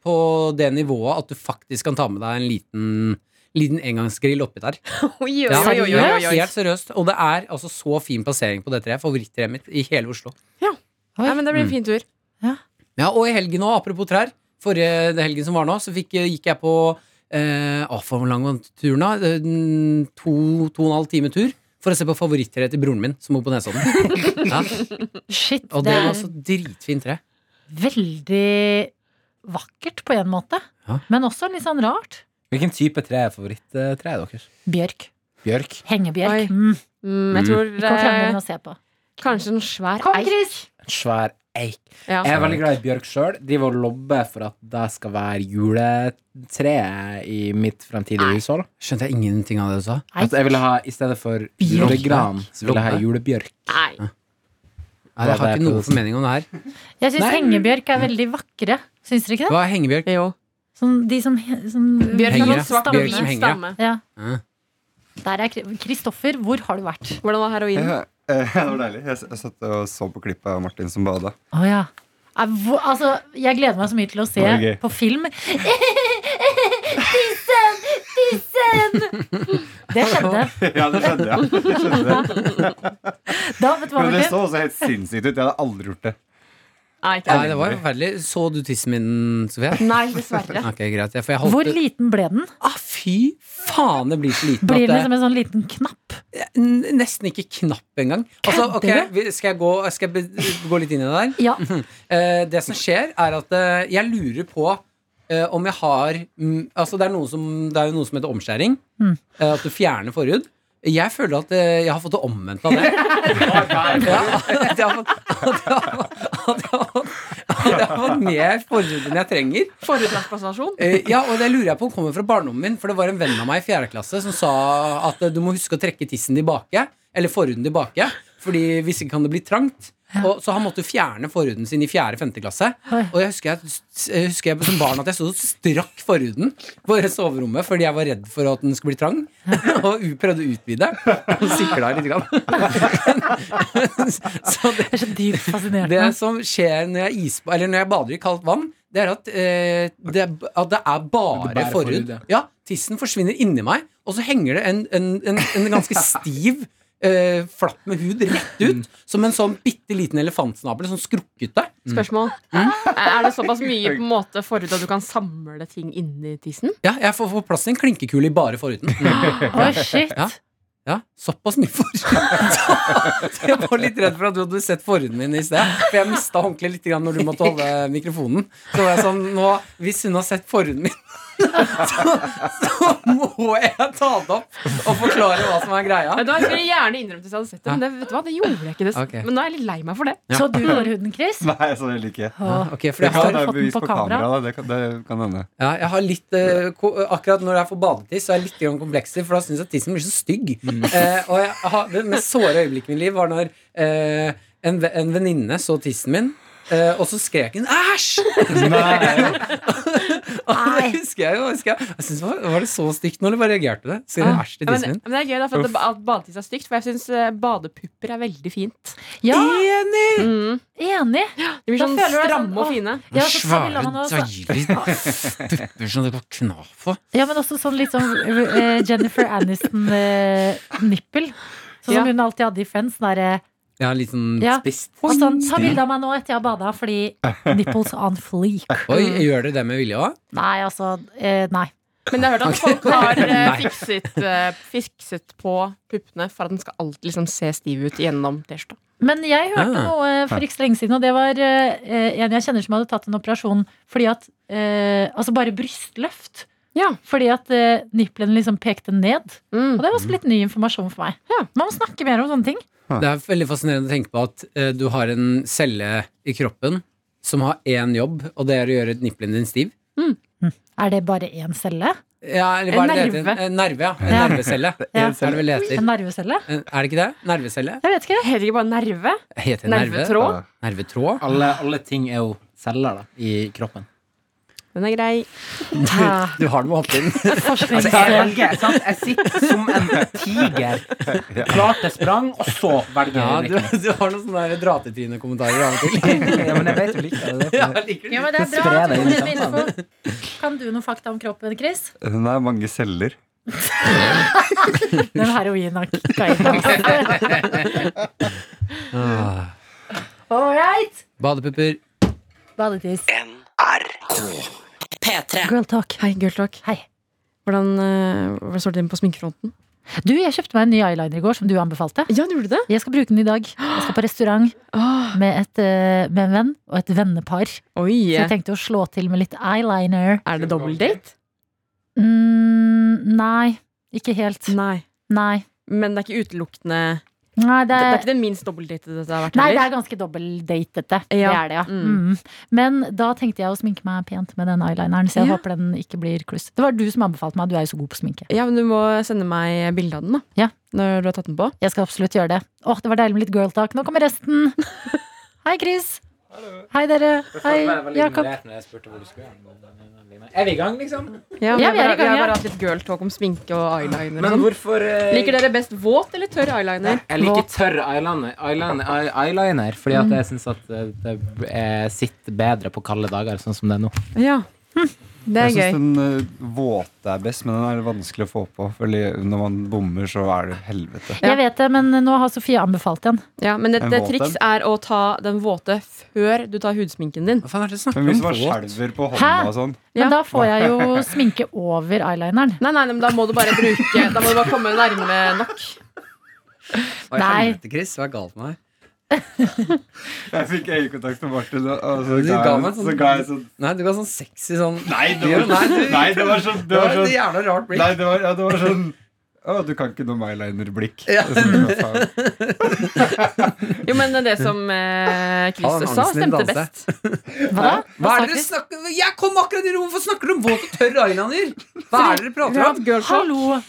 S5: på det nivået at du faktisk kan ta med deg en liten, liten engangsgrill oppi der.
S2: Oi, oi,
S5: Ja,
S2: oi, oi, oi, oi.
S5: Helt seriøst. Og det er altså så fin plassering på det treet. Favorittreet mitt i hele Oslo.
S2: Nei, men det
S5: Mm.
S2: blir en fin tur.
S5: Ja, Og i helgen òg, apropos trær. Forrige den helgen som var nå, så fikk, gikk jeg på eh, å, for hvor lang var turen, da? Eh, den To, to og en halv time tur. For å se på favorittreet til broren min, som bor på Nesodden. *laughs* Ja,
S1: Shit,
S5: og
S1: det
S5: det var
S1: er
S5: også dritfint tre.
S1: veldig vakkert på en måte.
S5: Ja.
S1: Men også litt sånn rart.
S4: Hvilken type tre er favorittreet deres?
S1: Bjørk.
S4: Bjørk.
S2: Oi.
S1: Hengebjørk. Mm.
S2: Mm, jeg tror
S1: Vi kan
S2: eh,
S1: krangle men å se på.
S2: kanskje en svær
S1: Kom,
S2: eik.
S1: Chris!
S4: En svær eik.
S2: Ja.
S4: Jeg er veldig glad i bjørk sjøl. Driver og lobber for at det skal være juletreet i mitt fremtidige hushold.
S5: Skjønte jeg ingenting av det du sa?
S1: Nei.
S4: At Altså, jeg ville ha, I stedet for julegran, så ville jeg ha julebjørk.
S2: Nei.
S5: Nei, jeg har ikke noe formening om det her.
S1: Jeg syns
S4: Nei.
S1: hengebjørk er veldig vakre. Syns dere ikke det?
S5: Hva er hengebjørk?
S2: Jo.
S1: Sånn, de som, som
S2: Bjørk
S5: Henger
S2: har
S5: det?
S2: en svart
S5: Bjørk som
S2: hvit
S5: henger, ja.
S2: stamme.
S1: Ja.
S5: Ja.
S1: Der er Kri- Kristoffer, hvor har du vært?
S2: Hvordan var heroinen?
S3: Ja, eh, det var deilig. Jeg, s- jeg satt og så på klippet av Martin som bada.
S1: Å ja. Eh, hvor- Altså, jeg gleder meg så mye til å se
S3: Var det gøy?
S1: på film. *laughs* Tissen! Tissen! Det skjedde.
S3: *laughs* Ja, det skjedde, ja. Det skjedde.
S1: Da, vet du hva,
S3: Men det
S1: Martin?
S3: så også helt sinnssykt ut. Jeg hadde aldri gjort det. *laughs*
S2: Nei, ikke
S5: Nei,
S2: det.
S5: det var jo forferdelig. Så du tissen min, Sofie?
S2: Nei, dessverre.
S5: Ok, greit. Ja, for jeg holdt
S1: Hvor
S5: det-
S1: liten ble den?
S5: Ah, fy faen, det blir så liten
S1: Blir den
S5: at
S1: liksom en sånn liten knapp?
S5: det N- Nesten ikke knapp engang. Altså, ok,
S1: Kødder
S5: vi- skal jeg gå, skal jeg be- gå litt inn i det der?
S1: Ja.
S5: Eh, det som skjer, er at eh, jeg lurer på eh, om jeg har mm, Altså, det er, noe som, det er jo noe som heter omskjæring. Eh, at du fjerner forhud. Jeg føler at eh, jeg har fått det omvendt av det. *laughs* ja, *laughs* at jeg har fått- at jeg har fått- at jeg har fått- at jeg har fått mer forhud enn jeg trenger.
S2: Forhudtransplantasjon?
S5: Eh, ja, og det lurer jeg på om kommer fra barndommen min. For det var en venn av meg i fjerde klasse som sa at eh, du må huske å trekke tissen tilbake. Eller forhuden tilbake. Fordi hvis ikke kan det bli trangt. Og, så han måtte jo fjerne forhuden sin i fjerde-femte klasse.
S1: Oi.
S5: Og jeg husker, jeg, jeg husker jeg som barn at jeg så strakk forhuden på det soverommet fordi jeg var redd for at den skulle bli trang. *laughs* Og u- prøvde å utvide. Og sikla litt. Grann. *laughs* så det,
S1: Det er så dypt
S5: det
S1: fascinerende.
S5: som skjer når jeg, isba, eller når jeg bader i kaldt vann, det er at, eh, det, er- at det er bare,
S4: Det er bare
S5: forhud.
S4: forhud, ja.
S5: Ja, tissen forsvinner inni meg, og så henger det en, en, en, en
S4: *laughs*
S5: ganske stiv eh, flapp med hud rett
S4: Mm.
S5: ut, som en sånn bitte liten elefantsnabel, sånn skrukkete.
S4: Mm.
S2: Spørsmål.
S5: Mm.
S2: Eh, Er det såpass mye på en måte forhud at du kan samle ting inni tissen?
S5: Ja, jeg får, får plass til en klinkekule i bare forhuden.
S1: Oi, shit.
S5: Ja. Ja, såpass mye forhud. Så, *laughs* så jeg var litt redd for at du hadde sett forhuden min i sted. For jeg mista håndkleet litt grann når du måtte holde mikrofonen. Så var jeg sånn, nå, Hvis hun har sett forhuden min, *laughs* så, så må jeg ta det opp og forklare hva som er greia.
S2: Vet du hva, Jeg skulle gjerne innrømt hvis jeg hadde sett det, men det, vet du hva, det gjorde jeg ikke. Det,
S5: Ok.
S2: Men nå er jeg litt lei meg for det.
S1: Så du får huden, Chris?
S3: Nei, så vil ikke.
S1: Åh.
S5: Ah, Ok, for
S3: Det
S5: jeg
S3: kan
S5: har,
S1: fått
S3: være
S1: den
S3: bevis
S1: på
S3: på kamera,
S1: kamera,
S3: da. Det kan, det kan hende.
S5: ja, jeg har litt eh, ko Akkurat når jeg får badetiss, så er jeg litt grann komplekser, for da syns jeg tissen blir så stygg. Eh, og jeg har, det mest såre øyeblikket i mitt liv var når eh, en, ve- en venninne så tissen min, eh, og så skrek hun 'æsj'!
S4: *laughs*
S3: Nei,
S5: Og
S1: Nei.
S5: det husker jeg jo. Husker jeg. Jeg synes, det var, var det så stygt når du bare reagerte på det? Sier du
S2: Ja.
S5: 'æsj' til
S2: Ja,
S5: tissen
S2: men,
S5: min?
S2: men det er gøy da, for at, det- at badetiss er stygt, for jeg syns eh, badepupper er veldig fint.
S1: Ja,
S5: Enig!
S2: Mm.
S1: enig.
S2: De blir
S1: Da
S2: sånn
S1: føler du deg sånn,
S2: stramme og
S1: åh.
S2: fine.
S1: Ja, så skal vi la han også-
S5: pupper som det var kna på.
S1: Ja, men også sånn litt sånn eh, Jennifer Aniston-nippel. sånn
S2: Ja.
S1: som hun alltid hadde i Friends. sånn Der, eh,
S5: Ja, litt sånn
S1: Ja.
S5: spist.
S1: og sånn, ta bilde av meg nå etter jeg har bada, fordi nipples on fleak.
S5: Oi, gjør dere det med vilje òg?
S1: Nei, altså. Eh, nei.
S2: Men jeg har hørt at folk har eh,
S5: *laughs* Nei.
S2: fikset, eh, fikset på puppene for at den skal alltid liksom se stiv ut gjennom T-skjorta.
S1: Men jeg hørte
S5: Ah.
S1: noe eh, for ikke så lenge siden, og det var eh, en jeg kjenner som hadde tatt en operasjon fordi at eh, Altså bare brystløft.
S2: Ja.
S1: Fordi at eh, nippelen liksom pekte ned. Og
S2: Mm.
S1: det var også litt ny informasjon for meg.
S2: Ja.
S1: Man må snakke mer om sånne ting.
S5: Det er veldig fascinerende å tenke på at eh, du har en celle i kroppen som har én jobb, og det er å gjøre nippelen din stiv.
S1: Er det bare én celle?
S5: Ja, eller hva
S2: En
S5: er det det heter?
S2: nerve.
S5: En nerve, ja. En
S1: Ja.
S5: nervecelle.
S1: Ja.
S5: Er det vel det heter?
S1: En nervecelle?
S4: *laughs*
S5: En- Er det ikke det? Nervecelle?
S1: Jeg vet ikke.
S2: Heter ikke bare nerve?
S5: Heter det nerve?
S2: Nervetråd?
S5: Nervetråd?
S4: Alle, alle ting er jo celler da, i kroppen.
S2: Den er grei.
S1: Ah,
S5: Du har det med å hoppe inn.
S1: forsknings...
S4: Altså, jeg, velger, sant? jeg sitter som en tiger. Klart jeg sprang, og så velger
S5: Ja,
S4: jeg
S5: du, *laughs*
S4: virkning.
S5: du har noen sånne der dratetrynekommentarer av og til.
S4: *laughs* Ja, men jeg vet jo like det.
S5: Ja,
S4: er
S5: jeg liker det.
S1: Ja, men det er bra.
S4: Spre
S1: at
S4: det
S1: du
S4: inn i
S1: kommer med info. Kan du noen fakta om kroppen, Chris?
S3: Den er mange celler.
S1: Den heroin har kicka inn.
S4: *laughs*
S1: altså.
S5: Ah.
S1: All right.
S5: Badepupper.
S1: Badetiss.
S6: P3.
S1: Girl talk.
S2: Hei, girl talk.
S1: Hei.
S2: Hvordan, eh, hvordan står det til på sminkefronten?
S1: Du, jeg kjøpte meg en ny eyeliner i går, som du anbefalte.
S2: Ja, du gjorde det?
S1: Jeg skal bruke den i dag. Jeg skal på restaurant
S2: Åh,
S1: med, et, eh, med en venn og et vennepar. Så
S2: oi.
S1: jeg tenkte å slå til med litt eyeliner.
S2: Er det dobbeltdate?
S1: Mm, nei, ikke helt.
S2: Nei.
S1: Nei.
S2: Men det er ikke utelukkende
S1: Nei,
S2: Det
S1: det
S2: er
S1: er,
S2: ikke den minst dobbeltdatede det har vært
S1: nei, det
S2: heller.
S1: er ganske dobbeltdatete. Det
S2: Ja.
S1: er det, ja.
S2: Mm.
S1: Mm. Men da tenkte jeg å sminke meg pent med den eyelineren, så jeg
S2: Ja.
S1: håper den ikke blir kluss. Det var du som anbefalte meg, du er jo så god på sminke.
S2: Ja, men du må sende meg bilde av den, da.
S1: Ja.
S2: Når du har tatt den på.
S1: Jeg skal absolutt gjøre det. Åh, det var deilig med litt girl talk. Nå kommer
S2: *laughs*
S1: resten. Hei, Chris. Hei, dere. Hei, Jakob.
S4: Er vi i gang, liksom?
S1: Ja,
S2: Ja, vi har
S1: vi er i
S2: bare, vi
S1: gang,
S2: har
S1: ja.
S2: bare hatt litt girl talk om sminke og eyeliner.
S4: Men
S2: og sånn.
S4: hvorfor eh,
S2: Liker dere best våt eller tørr eyeliner?
S4: Jeg liker tørr eyeliner, eyeliner, eye- eyeliner fordi at
S1: Mm.
S4: jeg syns at eh, det eh, sitter bedre på kalde dager, sånn som det er nå.
S2: Ja. Hm. Det
S3: Jeg
S2: er
S3: syns
S2: gøy.
S3: den eh, våte er best, men den er vanskelig å få på. Fordi når man bommer, så er det helvete.
S1: Jeg
S2: Ja.
S1: vet det, men nå har Sofie anbefalt en.
S2: Ja, men et
S3: En
S2: et
S3: våt
S2: triks er å ta den våte før du tar hudsminken din.
S5: Hva faen er det du snakker
S3: Men
S5: om?
S3: hvis man
S5: Våt?
S3: skjelver på
S1: Hæ?
S3: hånda og sånn
S1: Men
S2: Ja.
S1: da får jeg jo sminke over eyelineren.
S2: Nei, nei, nei, men da må du bare bruke Da må du bare komme nærme nok.
S5: Hva i
S1: Nei.
S5: helvete, Chris? Hva er galt med deg?
S3: Jeg fikk øyekontakt med Martin, og- og så
S5: Du
S3: ga
S5: ga
S3: jeg-
S5: meg sånn-
S3: så ga jeg sånn
S5: Nei, du ga sånn sexy sånn
S3: Nei, det
S5: Jo, nei,
S3: var,
S5: du-
S3: nei, det var sånn Det
S5: Det
S3: var
S5: var et
S3: sånn
S5: jævla rart blikk.
S3: Nei, det var, ja, det var sånn Å, du kan ikke noe eyeliner-blikk.
S5: Ja.
S3: Det er sånn, hva faen.
S2: Jo, men det som eh,
S5: Ja, den
S2: Chris sa,
S5: angsten din
S2: stemte
S5: danser.
S2: best.
S1: Hva da?
S5: Hva er det dere snakker Jeg kom akkurat i rommet! Hvorfor snakker du om våt og tørr eyeliner? Hva er det dere prater om?
S1: Hallo!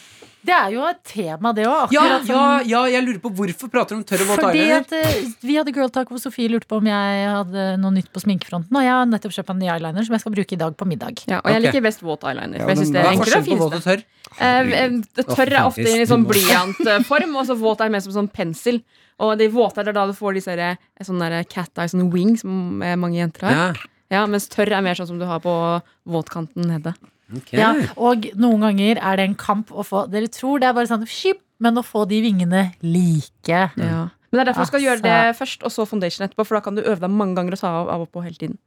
S1: Det er jo et tema, det òg.
S5: Ja, ja, ja, jeg lurer på hvorfor prater dere om tørr og våt
S1: Fordi
S5: eyeliner?
S1: at eh, Vi hadde girl talk hvor Sofie lurte på om jeg hadde noe nytt på sminkefronten. Og jeg har nettopp kjøpt meg en ny eyeliner som jeg skal bruke i dag på middag.
S2: Ja, og jeg
S5: Ok.
S2: liker best våt eyeliner.
S3: Ja,
S2: For jeg synes
S3: men
S2: det
S5: Hva
S2: er
S5: er
S2: enklere og
S5: forskjellen på våt
S2: fineste.
S5: og tørr?
S2: Eh, eh, det tørre er ofte i en litt sånn blyantform, og så våt er mer som sånn pensel. Og de våte er da du får disse der, sånn der cat eye, sånn wing, som eh, mange jenter har.
S5: Ja,
S2: Ja, mens tørr er mer sånn som du har på våtkanten nede.
S5: ok.
S1: Ja, og noen ganger er det en kamp å få Dere tror det er bare sånn skip, men å få de vingene like.
S2: Ja. Mm. Men det er derfor du skal gjøre
S1: Altså.
S2: det først, og så foundation etterpå. For da kan du øve deg mange ganger og ta av, av og på hele tiden.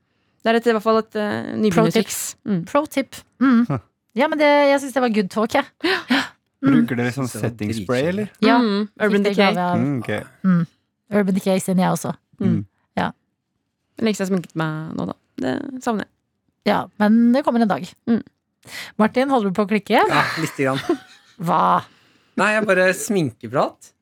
S2: Det er et, i hvert fall et uh,
S1: Pro
S2: nybegynnertriks.
S1: tips.
S2: Mm.
S1: Pro tip. Mm. Ja, men det, jeg syns det var good talk, jeg.
S3: Bruker dere sånn
S5: Det var
S3: setting spray, eller?
S1: Ja.
S2: Mm,
S1: Fikk
S2: Urban
S1: det i
S2: Decay.
S1: gave av
S3: Mm, ok.
S1: Urban Decay sin, jeg også.
S2: Lenge siden jeg sminket meg nå, da. Det savner jeg.
S1: Ja, men det kommer en dag.
S2: Mm.
S1: Martin, holder du på å klikke?
S5: Ja, lite grann.
S1: Hva?
S5: Nei, jeg bare sminkeprat.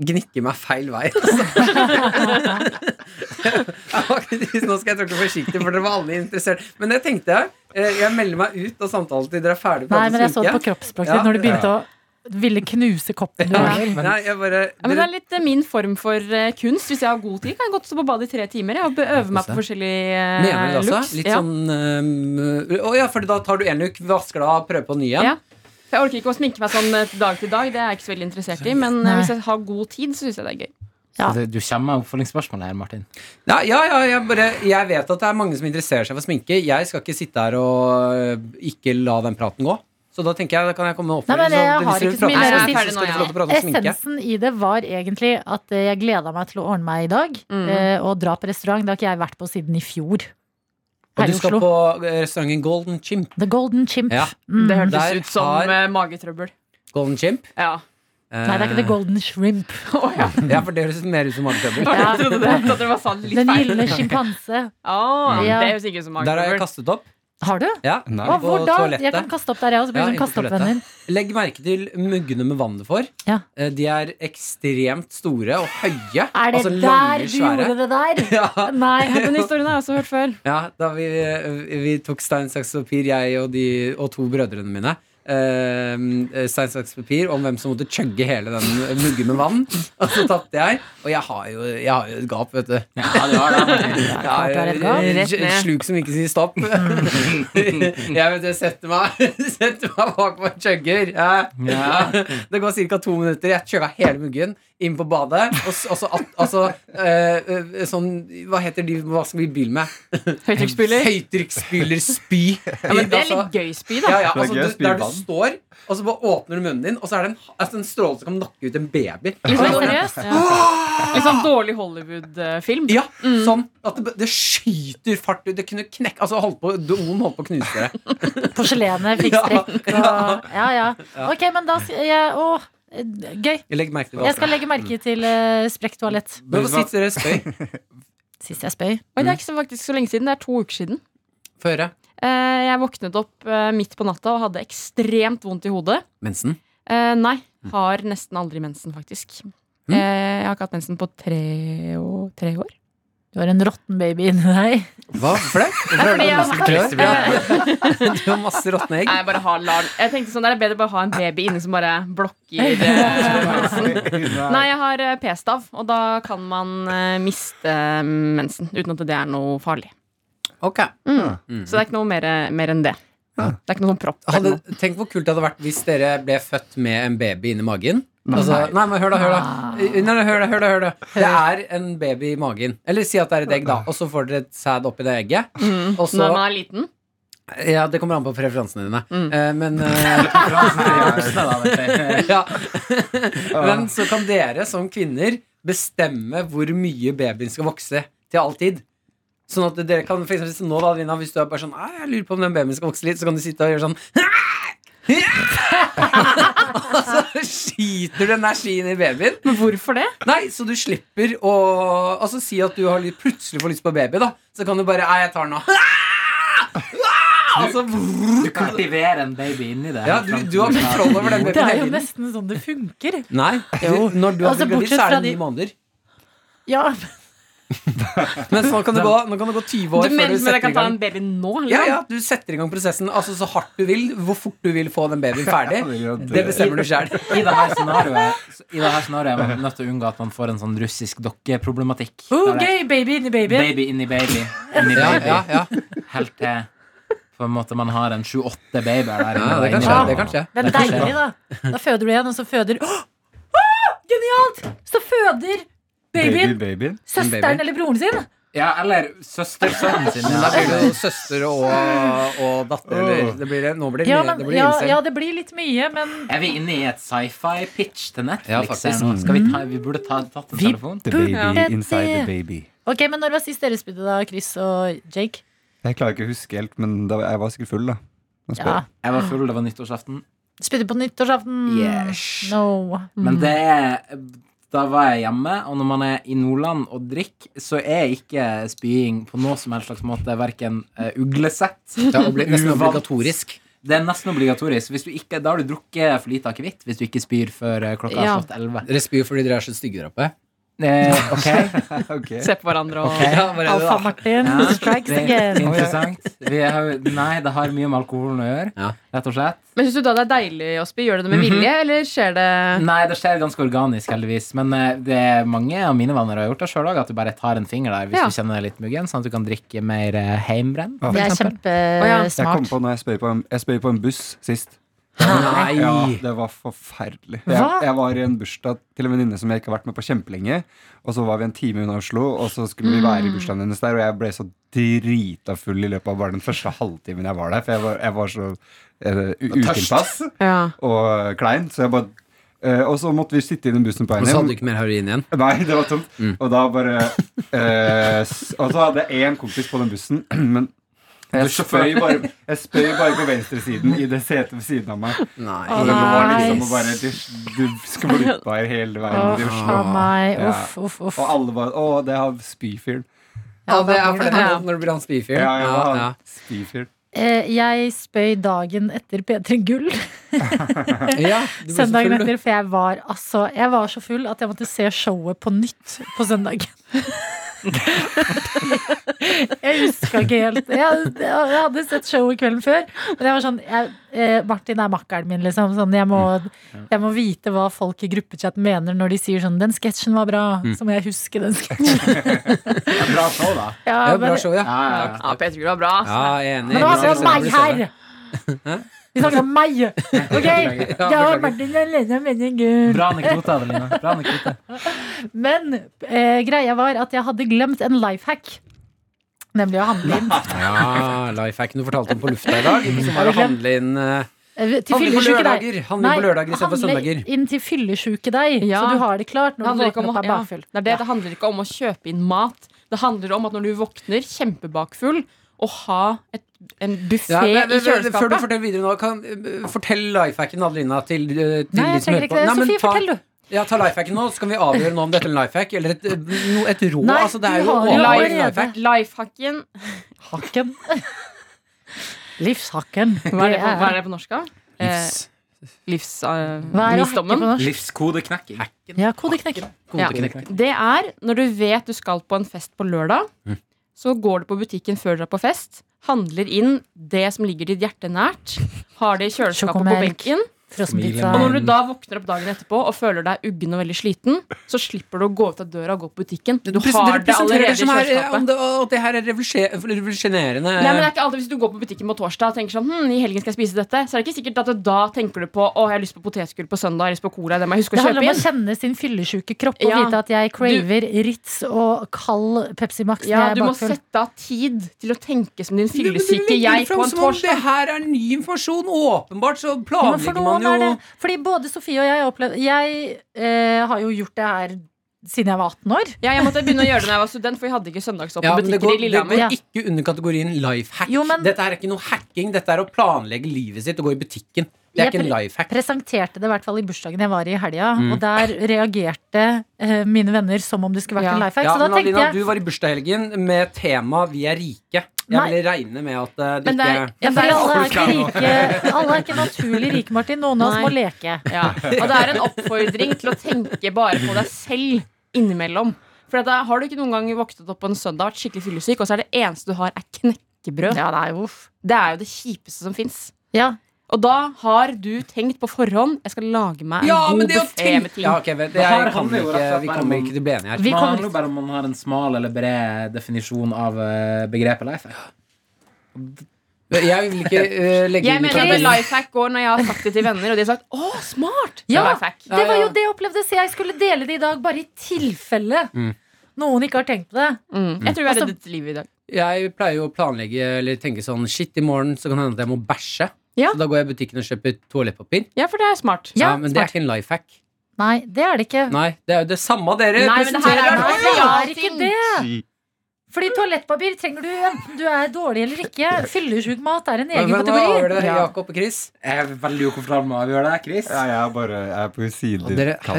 S5: Gnikker meg feil vei, altså. Jeg var ikke- Nå skal jeg tråkke forsiktig, for dere var alle interessert. Men det tenkte jeg. Eh, Jeg melder meg ut av samtalen til dere er ferdig.
S1: Nei, men jeg så det på kroppsspråket ditt
S5: Ja.
S1: når du begynte å ville knuse koppen. Du har.
S5: Nei, jeg bare
S2: Ja, men det
S5: dere,
S2: er litt eh, min form for eh, kunst. Hvis jeg har god tid, kan jeg godt stå på badet i tre timer. Jeg og be- øve meg på forskjellige eh,
S5: Mener du det
S2: looks.
S5: også? Litt
S2: ja.
S5: sånn ehm, Å ja, for da tar du én uke, vasker deg av, prøver på en ny igjen.
S2: Ja. For Jeg orker ikke å sminke meg sånn eh, dag til dag. Det er jeg ikke så veldig interessert i. Men eh,
S1: Nei.
S2: hvis jeg har god tid, så syns jeg det er gøy.
S1: Ja.
S4: Så det- Du kommer med oppfølgingsspørsmål her, Martin.
S5: Ja, ja, ja jeg, bare, jeg vet at det er mange som interesserer seg for sminke. Jeg skal ikke sitte her og øh, ikke la den praten gå. Så da tenker jeg, da kan jeg komme med
S1: Nei, men
S5: oppfølging.
S1: jeg
S5: så
S1: har
S5: hvis dere
S1: ikke så mye
S5: prater
S2: mer å
S5: om
S2: si.
S5: sminke, så skal dere få lov til å prate om sminke.
S1: Essensen i det var egentlig at eh, jeg gleda meg til å ordne meg i dag.
S5: Mm.
S1: eh, Og dra på restaurant. Det har ikke jeg vært på siden i fjor.
S5: Og
S1: Her
S5: du
S1: i
S5: skal
S1: Oslo.
S5: på eh, restauranten Golden Chimp.
S1: The Golden Chimp.
S5: Ja.
S1: Mm.
S2: Det hørtes
S5: Der
S2: ut som
S5: har-
S2: eh, magetrøbbel.
S5: Golden Chimp.
S2: Ja.
S1: Nei, det er ikke The Golden Shrimp.
S5: Eh, *laughs* Ja, for det høres mer ut som magetrøbbel.
S1: Ja.
S2: Jeg trodde det. Jeg trodde det var sånn litt
S1: Den
S2: feil.
S5: *laughs*
S1: gylne sjimpanse.
S2: Å,
S1: Ja.
S2: Det høres ikke ut som
S5: Mm. Der har
S2: magetrøbbel.
S5: jeg kastet opp.
S1: Har du?
S5: Ja,
S3: Nei.
S1: Å,
S5: på
S1: hvor da? Jeg kan
S5: toalettet.
S1: kaste opp der, jeg også.
S5: Ja,
S1: Blir
S5: inn
S1: sånn
S5: på
S1: kaste opp
S5: toalettet.
S1: venner.
S5: Legg merke til muggene med vannet for.
S1: Ja.
S5: Eh, De er ekstremt store og høye.
S1: Er det
S5: altså
S1: der
S5: lange,
S1: du
S5: svære.
S1: gjorde det
S5: *laughs*
S1: der?
S5: Ja,
S1: Nei.
S2: Den
S5: *laughs*
S2: historien har jeg også hørt før. *laughs*
S5: Ja, da vi, vi tok stein, saks, papir, jeg og, de, og to brødrene mine. Eh, stein, saks, papir om hvem som måtte chugge hele den muggen med vann. Og så tapte jeg. Og jeg har jo, jeg har jo et gap, vet du.
S4: Ja, du har *laughs* det.
S1: Ja, klart du har et gap.
S5: Jeg er
S2: Rett
S5: et
S2: ned.
S5: sluk som ikke sier stopp.
S1: *laughs*
S5: jeg vet det, setter meg, *laughs* setter meg bak meg og chugger. Ja. Ja. Det går ca. to minutter. Jeg chugga hele muggen inn på badet. Og s- og så at- altså, eh, eh, sånn Hva heter de hva skal vi i bil med?
S2: Høytrykksspyler.
S5: Høytrykksspyler, spy.
S2: Ja, men det er
S5: Altså,
S2: litt gøy spy,
S5: ja,
S2: da.
S5: ja,
S3: Det er gøy
S5: altså,
S3: å
S5: du,
S3: spy
S5: der du
S3: vann.
S5: står, og så bare åpner du munnen din, og så er det en, altså, en stråle som kan nakke ut en baby.
S1: Men
S5: Altså,
S1: seriøst?
S2: Litt sånn dårlig Hollywood-film.
S5: ja, sånn at det, det skyter fart ut. Det kunne knekke Altså, holdt på, doen holdt på å knuse dere.
S1: Porselenet fikk
S5: Ja,
S1: strekk og Ja, ja. Ok, men da skal jeg Å, eh, gøy.
S5: Jeg legger merke til
S1: Jeg
S5: det.
S1: skal legge merke til uh, sprekk toalett.
S5: Men hvorfor sitter dere spøy?
S1: Sist jeg spøy.
S2: Oi, det er ikke så, faktisk så lenge siden. Det er to uker siden.
S5: Få høre.
S2: Eh, Jeg våknet opp eh, midt på natta og hadde ekstremt vondt i hodet.
S5: Mensen.
S2: Eh, Nei, har nesten aldri mensen, faktisk.
S5: Mm.
S2: Eh, Jeg har ikke hatt mensen på tre, og, tre år.
S1: Du har en råtten baby inni deg.
S5: Hva? Hvorfor det? Hvorfor er
S2: fordi
S5: det
S2: jeg-
S5: nesten tre år? Du har masse råtne egg.
S2: Nei, jeg bare har lar Jeg tenkte sånn, Det er bedre bare å ha en baby inne som bare blokker *laughs* eh, Nei, jeg har eh, p-stav, og da kan man eh, miste eh, mensen uten at det er noe farlig.
S5: Ok.
S2: Så det er ikke noe mer, mer enn det. Det er ikke noe sånn propp. eller
S5: Hadde,
S2: noe.
S5: tenk hvor kult det hadde vært hvis dere ble født med en baby inni magen. Altså, nei, men hør da, hør da. Eh, Nei, nei, hør da, hør da, hør da. Det er en baby i magen. Eller si at det er et egg, da. Og så får dere et sæd oppi det egget. Og så
S2: Når man er liten.
S5: Ja, det kommer an på preferansene dine.
S2: Mm.
S5: Eh, men eh, *laughs* ja. Men så kan dere som kvinner bestemme hvor mye babyen skal vokse til all tid. Sånn at dere kan, for eksempel, så nå da, Lina, Hvis du er bare sånn «Nei, Jeg lurer på om den babyen skal vokse litt, så kan du sitte og gjøre sånn *laughs* Og så skyter du energien i babyen.
S2: Men hvorfor det?
S5: Nei, så du slipper å Altså si at du har litt, plutselig får lyst på baby, da. Så kan du bare Nei, jeg tar den nå. *laughs* Altså,
S4: Du kultiverer en baby inni deg.
S5: ja, du, du har kontroll over *laughs* den
S1: Det er
S5: babyen.
S1: jo
S5: hele tiden.
S1: nesten sånn det funker.
S5: Nei, du, når du har
S1: Altså,
S5: blitt gravid,
S1: bortsett
S5: så er
S1: fra
S5: det ni
S1: de-
S5: måneder.
S1: Ja,
S5: Men sånn kan det gå. Nå kan det gå 20 år
S2: Du mener
S5: før du
S2: men jeg
S5: setter
S2: kan
S5: i
S2: ta
S5: gang.
S2: en baby nå? Liksom?
S5: Ja, ja, du setter i gang prosessen altså, så hardt du vil, hvor fort du vil få den babyen ferdig. Det bestemmer du sjøl.
S4: I det her scenarioet så- I det her scenarioet er man nødt til å unngå at man får en sånn russisk dokkeproblematikk.
S1: oh,
S4: Der det er
S1: gøy, baby inni baby.
S4: Baby inni baby. Inni
S5: Ja,
S4: baby.
S5: ja, ja.
S4: Helt til på en måte man har en sju-åtte babyer der
S5: ja, det kan skje.
S4: inni der.
S5: Det kan skje.
S1: Det er deilig, da. Da føder du igjen, og så føder Åh! Åh, Genialt! Så føder
S3: Baby,
S1: babyen
S3: babyen.
S1: søsteren eller broren sin.
S4: Ja, eller søster-sønnen sin.
S5: Men da
S4: Ja.
S5: blir det jo søster og, og datter. Eller, det blir, nå blir det,
S1: Ja,
S5: mye-
S1: men,
S5: det blir
S1: ja,
S5: incel.
S1: ja, det blir litt mye, men
S4: Er vi inne i et sci-fi-pitch til
S5: Ja,
S4: Netflix?
S5: faktisk.
S4: her nå? Skal vi, ta, vi burde ta, tatt en
S1: Vi-
S4: telefon.
S3: The
S1: Burde
S3: baby
S1: det-
S3: inside the baby.
S1: Ok, men når var sist dere spydde, da, Chris og Jake?
S3: Jeg klarer ikke å huske helt, men da, jeg var sikkert full, da. Nå spør
S1: Ja.
S3: jeg.
S4: Jeg var full, det var nyttårsaften.
S5: Mm.
S1: Spydde på nyttårsaften?
S4: Yes.
S1: No.
S4: Men det er Da var jeg hjemme, og når man er i Nordland og drikker, så er ikke spying på noe som helst slags måte verken eh, uglesett
S5: Det er obli- nesten
S4: uvant.
S5: obligatorisk.
S4: Det er nesten obligatorisk. Hvis du ikke, da har du drukket for lite akevitt hvis du ikke spyr før eh, klokka
S2: Ja.
S4: har slått elleve.
S5: Dere spyr fordi dere er så stygge der oppe.
S4: Eh, ok,
S3: *laughs* Ok.
S2: Se på hverandre og
S5: Ja, hva er det da?
S1: Alfa-Martin
S4: *laughs* Ja.
S1: strikes
S4: det er
S1: again.
S4: interessant. Vi har, jo- nei, det har mye med alkoholen å gjøre,
S5: Ja.
S4: rett og slett.
S2: Men syns du da det er deilig å spy? Gjør du det
S5: Mhm.
S2: med vilje, eller skjer det
S4: Nei, det skjer ganske organisk, heldigvis. Men eh, det er mange av mine venner har gjort det sjøl òg, at du bare tar en finger der hvis
S2: Ja.
S4: du kjenner deg litt muggen, sånn at du kan drikke mer eh, heimbrent.
S1: Det er
S3: Jeg kom
S1: kjempesmart.
S3: på når jeg spøy på en, jeg spøy på en buss sist.
S5: Nei.
S3: Ja, det var forferdelig. Jeg,
S1: Hva?
S3: jeg var i en bursdag til en venninne som jeg ikke har vært med på kjempelenge. Og så var vi en time unna Oslo, og så skulle vi være i bursdagen hennes der. Og jeg ble så drita full i løpet av bare den første halvtimen jeg var der, for jeg var, jeg var så eh, u- utilpass
S2: Ja.
S3: og klein. Så jeg bare eh, Og så måtte vi sitte i den bussen på
S5: Og
S3: veien
S5: så
S3: hjem.
S5: hadde du ikke mer heroin igjen.
S3: Nei, det var tomt. Og da bare eh, s- Og så hadde jeg én kompis på den bussen, *clears throat* men jeg spøy bare, jeg spøy bare på venstresiden i det setet ved siden av meg.
S5: Nei.
S3: Og det var liksom å
S1: nice.
S3: bare Du du skvulpa hele veien
S1: Å,
S3: ned i Oslo.
S1: faen meg.
S3: Ja.
S1: Uff, uff, uff.
S3: Og alle bare Å, det er spyfyren.
S5: Ja, det er
S1: da blir
S5: fordi
S1: det-
S5: når- når det blir han spyfyren.
S3: Ja, ja,
S5: Ja, ja.
S3: han spyfyren.
S1: Eh, Jeg spøy dagen etter P3 Gull.
S5: Ja, du ble så
S1: Søndagen
S5: full, du.
S1: etter, for jeg var, altså, jeg var så full at jeg måtte se showet på nytt på søndagen. *laughs* jeg huska ikke helt. Jeg, jeg hadde sett showet kvelden før. Men jeg var sånn jeg, eh, Martin er makkeren min, liksom. Sånn, jeg, må,
S5: Mm.
S1: jeg må vite hva folk i gruppechatten mener når de sier sånn 'Den sketsjen var bra',
S5: Mm.
S1: så må jeg huske den sketsjen.
S4: Ja, bra show, da.
S5: Det
S1: Ja,
S5: er bra
S1: men,
S5: show, ja.
S4: Ja, ja, ja.
S2: Ja, Peter Gull var bra.
S5: Ja, jeg er enig.
S1: men det var
S5: Bra
S1: altså
S5: show,
S1: meg
S5: blir
S1: her!
S5: senere.
S1: Vi snakker om meg! Ok?
S5: *laughs* Ja,
S1: Jeg og
S5: beklager.
S1: Martin alene mener Gull.
S4: Bra anekdote, Adelina. Bra anekdote.
S1: Men eh, greia var at jeg hadde glemt en life hack. Nemlig å handle inn.
S5: Ja, lifehacken du fortalte om på lufta
S1: *laughs*
S5: i dag. Som var å handle inn eh,
S1: Eh, Til
S5: Handle på
S1: fyllesyke deg.
S5: lørdager Handle inn på lørdager istedenfor søndager.
S1: handle inn til fyllesyke deg,
S2: Ja.
S1: så du har det klart
S2: Det
S1: når du
S2: handler, ikke
S1: våkner
S2: om,
S1: opp og er
S2: ja,
S1: bakfull.
S2: det, er det, det handler ikke om å kjøpe inn mat. Det handler om at når du våkner kjempebakfull, å ha et, en buffé
S5: Ja, men-
S2: i
S5: men- men- Før du
S2: kjøleskapet.
S5: forteller videre nå, kan, eh, fortell lifehacken, Adelina, til, eh, til
S1: Nei, jeg
S5: de
S1: trenger
S5: som hører på.
S1: ikke det.
S5: Nei, men
S1: Sofie,
S5: ta-
S1: fortell, du.
S5: Ja, ta lifehacken nå, så kan vi avgjøre nå om dette er en lifehack eller et, eh, no, et råd.
S1: Nei,
S5: altså, det er
S1: du
S5: jo
S1: har jo
S5: åpenbart en
S1: allerede-
S5: lifehack.
S2: Lifehacken
S1: Hakken. *laughs* Livshakken.
S2: Hva er det på, hva
S1: er-
S2: er det på norsk, da? Eh,
S1: Hva er å hacke på
S2: Livsvisdommen.
S1: norsk?
S4: Livskodeknekking.
S1: Ja, kodeknekken.
S2: ja. Det er når du vet du skal på en fest på lørdag,
S1: Mm.
S2: så går du på butikken før du er på fest, handler inn det som ligger ditt hjerte nært, har det i kjøleskapet på
S1: Sjokomelk.
S2: benken,
S1: Frossenpizza.
S2: og når du da våkner opp dagen etterpå og føler deg uggen og veldig sliten, så slipper du å gå ut av døra og gå på butikken. Du
S5: Presen- dere
S2: har det
S5: presenterer
S2: allerede i
S5: som her, eh, om
S2: kjøleskapet.
S5: det, og det her er revolusje- revolusjonerende
S1: Eh.
S2: Nei, men det er ikke alltid Hvis du går på butikken på torsdag og tenker sånn, hm, i helgen skal jeg spise dette, så er det ikke sikkert at du da tenker du på å, jeg har lyst på potetgull på søndag, jeg har lyst på cola, det må jeg huske
S1: Det
S2: å
S1: handler
S2: kjøpe
S1: om å
S2: inn.
S1: kjenne sin fyllesyke kropp og
S2: Ja.
S1: vite at jeg craver Ritz og kald Pepsi Max når
S2: Ja,
S1: jeg
S2: Du
S1: er
S2: må
S1: bakfull.
S2: sette av tid til å tenke som din
S5: Du- du- du
S2: fyllesyke
S5: legger
S2: jeg
S5: fram
S2: på en
S5: som om Det
S2: torsdag.
S5: her er ny informasjon. Åpenbart så
S1: Ja, men for
S5: planlegger
S1: noen er det.
S5: man jo
S1: Fordi både Sofie og jeg har opplevd Jeg eh, har jo gjort det her siden jeg var 18 år.
S2: Ja, jeg måtte begynne å gjøre det når jeg var student, for vi hadde ikke søndagsåpne
S5: Ja, men det
S2: butikker
S5: går,
S2: i
S5: det
S2: Lillehammer.
S5: går ikke under kategorien life hack.
S1: Jo, men-
S5: dette er ikke noe hacking, dette er å planlegge livet sitt og gå i butikken. Det er
S1: Jeg
S5: ikke en
S1: pre-
S5: life hack.
S1: Presenterte det i hvert fall i bursdagen jeg var i i helga,
S2: Mm.
S1: og der reagerte eh, mine venner som om det skulle vært
S2: Ja.
S1: en life hack.
S5: Ja,
S1: så da
S5: men
S1: tenkte jeg
S5: Adelina, du var i bursdagshelgen med tema 'Vi er rike'. Jeg
S1: Nei.
S5: vil regne med at eh, det
S2: Men det
S5: ikke
S1: ja,
S2: er, ja,
S1: for
S2: det er
S1: alle, er ikke rike, alle er ikke naturlig rike, Martin. Noen av oss må
S2: Nei.
S1: leke.
S2: Ja, og det er en oppfordring til å tenke bare på deg selv innimellom. For da har du ikke noen gang våknet opp på en søndag, vært skikkelig fyllesyk, og så er det eneste du har, er knekkebrød.
S1: Ja, det er jo uff.
S2: Det er jo det kjipeste som fins.
S1: Ja.
S2: Og da har du tenkt på forhånd Jeg skal lage meg en
S5: Ja, men
S2: god
S5: det å
S2: buffé
S5: tenke-
S2: med ting.
S5: ja, ok, vet- det
S4: Det her
S5: jeg kan
S4: handler jo
S5: ikke,
S4: rett og slett
S5: Vi
S4: bare
S5: kommer
S4: om-
S5: ikke til å bli enige her.
S1: Vi
S4: Det
S1: kommer
S4: handler jo bare om man har en smal eller bred definisjon av eh, begrepet life.
S5: Jeg vil ikke eh, legge
S2: Jeg
S5: ut
S2: mener
S5: at
S2: at
S5: det-
S2: life hack går når jeg har sagt det til venner, og de har sagt 'å, smart'. Det er
S1: Ja.
S2: life hack.
S1: Det var jo det jeg opplevde, så jeg skulle dele det i dag, bare i tilfelle noen ikke har tenkt på det.
S2: Mm. Jeg tror vi har
S1: Altså-
S2: reddet livet i dag.
S5: Jeg pleier jo å planlegge eller tenke sånn Shit, i morgen så kan det hende at jeg må bæsje.
S2: Ja.
S5: Så da går jeg i butikken og kjøper toalettpapir.
S2: Ja, for det er smart.
S1: Ja,
S5: men det er ikke en life hack.
S1: Nei, det er det ikke.
S5: Nei, det er jo det samme dere
S2: Nei, men det her
S5: presenterer.
S2: er
S1: Nei, det er ikke det! Fordi toalettpapir trenger du enten du er dårlig eller ikke. Fyllesyk mat er en egen
S5: Men hva gjør
S1: kategori.
S5: dere, Jakob og Chris?
S4: Jeg er veldig ukomfortabel med å avgjøre det, Chris.
S3: Ja, jeg er bare jeg er på sidekanten.
S5: Og dere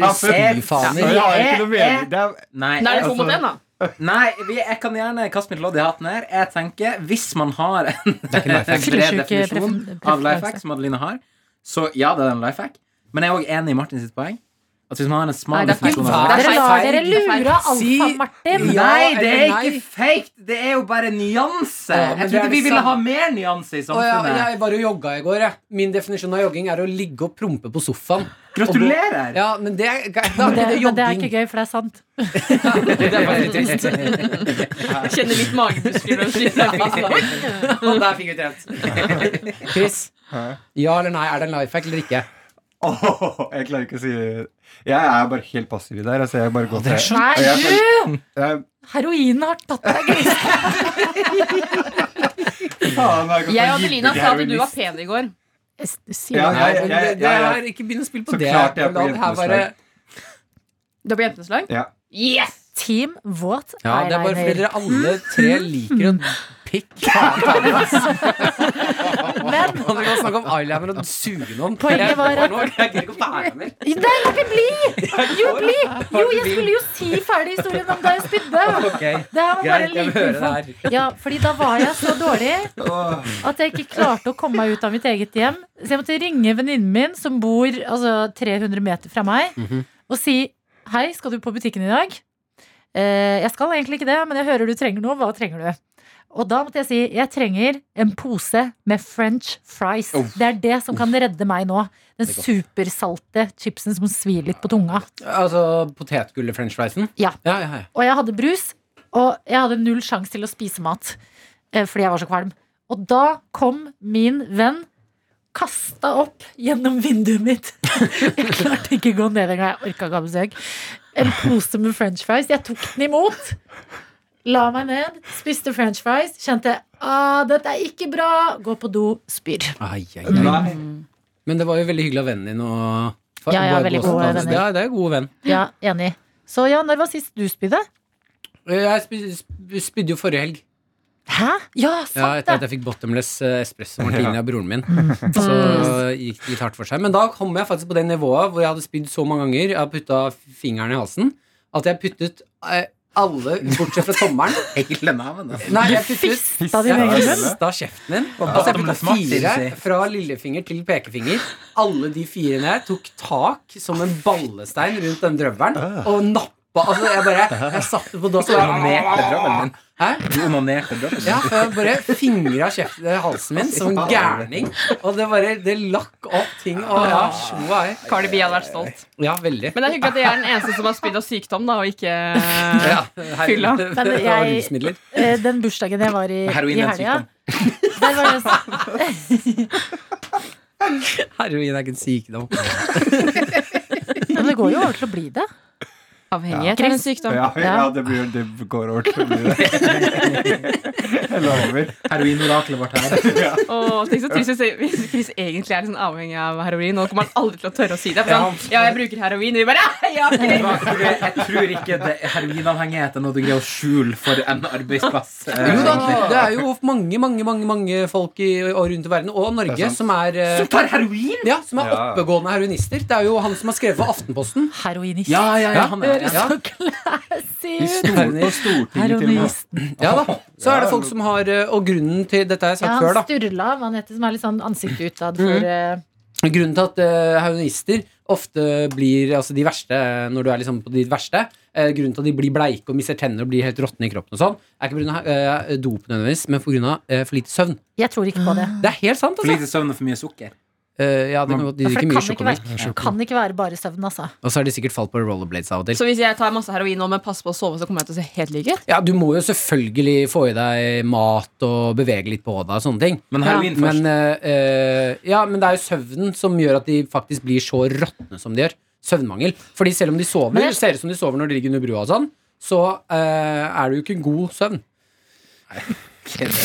S3: *laughs* Ja, for-
S5: selvfaner.
S3: Ja, jeg har ikke noe mening. Det er,
S4: Nei,
S2: Da er det to
S4: altså-
S2: mot én, da.
S4: Nei, vi, jeg kan gjerne kaste mitt lodd i hatten her. Jeg tenker, Hvis man har *laughs* en bred
S1: Fyllesyke
S4: definisjon
S1: pref-
S4: av life
S1: preferanse.
S4: hack, som Adeline har, så ja, det er en life hack. Men jeg er òg enig i Martin sitt poeng. At hvis man har en
S2: Nei,
S4: smal
S2: det er feil.
S4: definisjon av
S2: Det
S1: Dere
S2: er
S4: life
S2: feil.
S1: lar dere
S2: Det er feil.
S1: lure
S5: Si-
S1: Alfa-Martin.
S5: Ja,
S4: Nei, det er
S5: eller
S4: ikke fake! Det er jo bare nyanse.
S5: Ja, men det
S4: jeg
S5: er
S4: trodde vi
S5: det samme.
S4: ville ha mer nyanse i
S5: Å, ja,
S4: samfunnet.
S5: jeg var og jogga i går. Jeg. Min definisjon av jogging er å ligge og prompe på sofaen.
S4: Gratulerer!
S5: Ja, men det er, da er
S1: Det,
S5: ikke *laughs* det
S1: men det er ikke
S5: jogging.
S1: gøy, for det er sant.
S5: Det er veldig
S4: *laughs*
S5: trist.
S2: Jeg Kjenner litt magepusk. når du sier *laughs* det.
S4: Og der fikk vi trent.
S5: Chris,
S3: Hæ?
S5: ja eller nei, er det en life hack eller ikke?
S3: Åh, jeg klarer ikke å si Jeg er bare helt passiv i det her. Altså, jeg bare går til Og
S1: Nei,
S3: jeg føler-
S1: du!
S3: Jeg-
S1: Heroinen har tatt deg. Chris.
S3: faen, jeg kan
S2: Jeg
S3: ta
S2: og Adelina sa at du var
S3: jippeheroinist.
S2: pen i går.
S1: Si
S3: Ja,
S1: det.
S5: Nei,
S3: jeg-
S5: men
S3: jeg-
S5: det, det
S3: jeg-
S5: er ikke begynn å spille på
S3: Så
S5: det.
S3: klart jeg er på
S5: La det her
S3: jentenes
S5: være-
S3: lag.
S2: Du er på jentenes lag?
S3: Ja.
S2: Yes!
S1: Team våt
S5: Ja, det er bare
S1: eyeliner.
S5: fordi dere alle tre liker en pikk.
S1: Men
S5: Og dere kan snakke om eyeliner og suge noen.
S1: Poenget var at-
S5: Nå greier jeg ikke å bære mer.
S1: Nei, la meg bli! Jo, bli! Jo, jeg skulle jo si ferdig historien om da jeg
S5: *laughs*
S1: spydde.
S5: Ok,
S1: Det her var bare
S5: Greit,
S1: en
S5: jeg vil høre
S1: liten
S5: det her.
S1: Ja, fordi da var jeg så dårlig
S3: Åh,
S1: at jeg ikke klarte å komme meg ut av mitt eget hjem. Så jeg måtte ringe venninnen min, som bor altså, 300 meter fra meg, og si Hei, skal du på butikken i dag? Eh, jeg skal egentlig ikke det, men jeg hører du trenger noe. Hva trenger du? Og da måtte jeg si jeg trenger en pose med french fries. Det er det som kan redde meg nå. Den supersalte chipsen som svir litt på tunga.
S5: Altså potetgullet french friesen?
S1: Ja.
S5: ja, ja, ja.
S1: Og jeg hadde brus, og jeg hadde null sjanse til å spise mat eh, fordi jeg var så kvalm. Og da kom min venn kasta opp gjennom vinduet mitt. *laughs* Jeg klarte ikke å gå ned engang. Jeg orka ikke ha besøk. En pose med french fries. Jeg tok den imot. La meg ned, spiste french fries. Kjente ah, dette er ikke bra. Gå på do, spyr.
S5: Ai, ai, ai.
S3: Nei.
S5: Men det var jo veldig hyggelig av vennen din å
S1: Ja, ja,
S5: bare
S1: veldig
S5: gå sånn,
S1: gode
S5: altså.
S1: venner.
S5: Ja, det er en god venn.
S1: Ja, enig. Så ja, når var sist du spydde?
S5: Jeg spy- sp- spydde jo forrige helg.
S1: Hæ? Ja,
S5: Ja,
S1: sant
S5: etter at
S1: det!
S5: jeg fikk bottomless eh, espresso martini av broren min. Så gikk det litt hardt for seg. Men da kom jeg faktisk på det nivået hvor jeg hadde spydd så mange ganger, jeg hadde putta fingeren i halsen, at jeg puttet eh, alle, bortsett fra tommelen
S4: Hele navnet. altså.
S5: Nei, jeg puttet
S1: Da din
S3: Ja,
S1: egen
S3: hele.
S1: munn.
S5: Fista kjeften min. Altså, jeg
S4: bottomless
S5: putta
S4: makt, vil
S5: fire
S4: du si.
S5: fra lillefinger til pekefinger. Alle de fire ned tok tak som en ballestein rundt den drøvelen og nappa. Altså, jeg bare Jeg satt på dass og
S4: Onanerte drømmen
S5: jeg
S4: din.
S5: Hæ?
S4: Du onanerte drømmen din.
S5: Ja, for jeg bare fingra kjeften i halsen min som en gærning. Og det bare Det lakk opp ting. Og ja, slo jeg.
S2: Cardi B hadde vært stolt.
S5: Ah. Ja, veldig.
S2: Men det er hyggelig at jeg er den eneste som har spydd av sykdom, da, og ikke
S5: ja, *laughs*
S2: Fylla.
S5: Det
S1: Men
S5: var
S1: jeg-
S5: rusmidler.
S1: Eh, Den bursdagen jeg var i,
S4: Heroin
S1: i
S4: er en
S1: helga Der var det så-
S5: Heroin er ikke en sykdom.
S1: Men det går jo over til å bli det.
S2: *laughs* Avhengighet er en sykdom.
S3: Ja, ja det, blir, det går over til å bli det. Jeg lover.
S4: Heroinoraklet *laughs* vårt her.
S2: Og tenk så trist hvis- hvis Chris egentlig er litt sånn avhengig av heroin. Nå kommer han aldri til å tørre å si det. For han, ja, jeg bruker heroin. Og vi bare *laughs* ja, ok.
S4: Jeg tror ikke det heroinavhengighet er noe du greier å skjule for en arbeidsplass. Eh,
S5: Jo da, det er jo mange, mange, mange mange folk i, og rundt i verden, og
S3: Det er
S5: Norge,
S3: sant.
S5: som er eh,
S4: Som tar heroin?
S5: Ja, som er
S3: Ja.
S5: oppegående heroinister. Det er jo han som har skrevet for Aftenposten.
S1: Heroinist.
S4: Ja, ja, ja. Han er,
S1: Høres
S4: ja.
S1: så classy
S3: I
S1: ut!
S3: stor, på Stortinget til og med.
S1: Heroinist.
S5: Ja *laughs* da, Så er det folk som har eh, Og grunnen til dette har
S1: Ja,
S5: jeg sagt
S1: han
S5: før, da.
S1: Sturla, hva han heter, som er litt sånn ansikt utad for eh,
S5: Grunnen til at eh, heroinister ofte blir altså de verste eh, når du er liksom på ditt verste. eh, grunnen til at de blir bleike og mister tenner og blir helt råtne i kroppen, og sånn er ikke pga. Uh, dop, nødvendigvis, men pga. Uh, for lite søvn.
S1: Jeg tror ikke på det.
S5: Det er helt sant,
S4: For
S5: altså.
S4: lite søvn og for mye sukker.
S5: Eh, ja, det kan godt, de
S1: Ja, for
S5: drikker
S1: det
S5: mye
S1: kan ikke,
S5: sjokolade.
S1: være, kan ikke være bare søvn, altså.
S5: Og så har de sikkert falt på rollerblades av og til.
S2: Så hvis jeg tar masse heroin nå, men passer på å sove, så kommer jeg til å se helt lik ut?
S5: Ja, du må jo selvfølgelig få i deg mat og bevege litt på deg og sånne ting.
S4: Men heroin først.
S5: Men, eh, eh, ja, men det er jo søvnen som gjør at de faktisk blir så råtne som de gjør. Søvnmangel. Fordi selv om de sover,
S1: Men jeg-
S5: ser ut som de sover når de ligger under brua og sånn, så eh, er det jo ikke god søvn.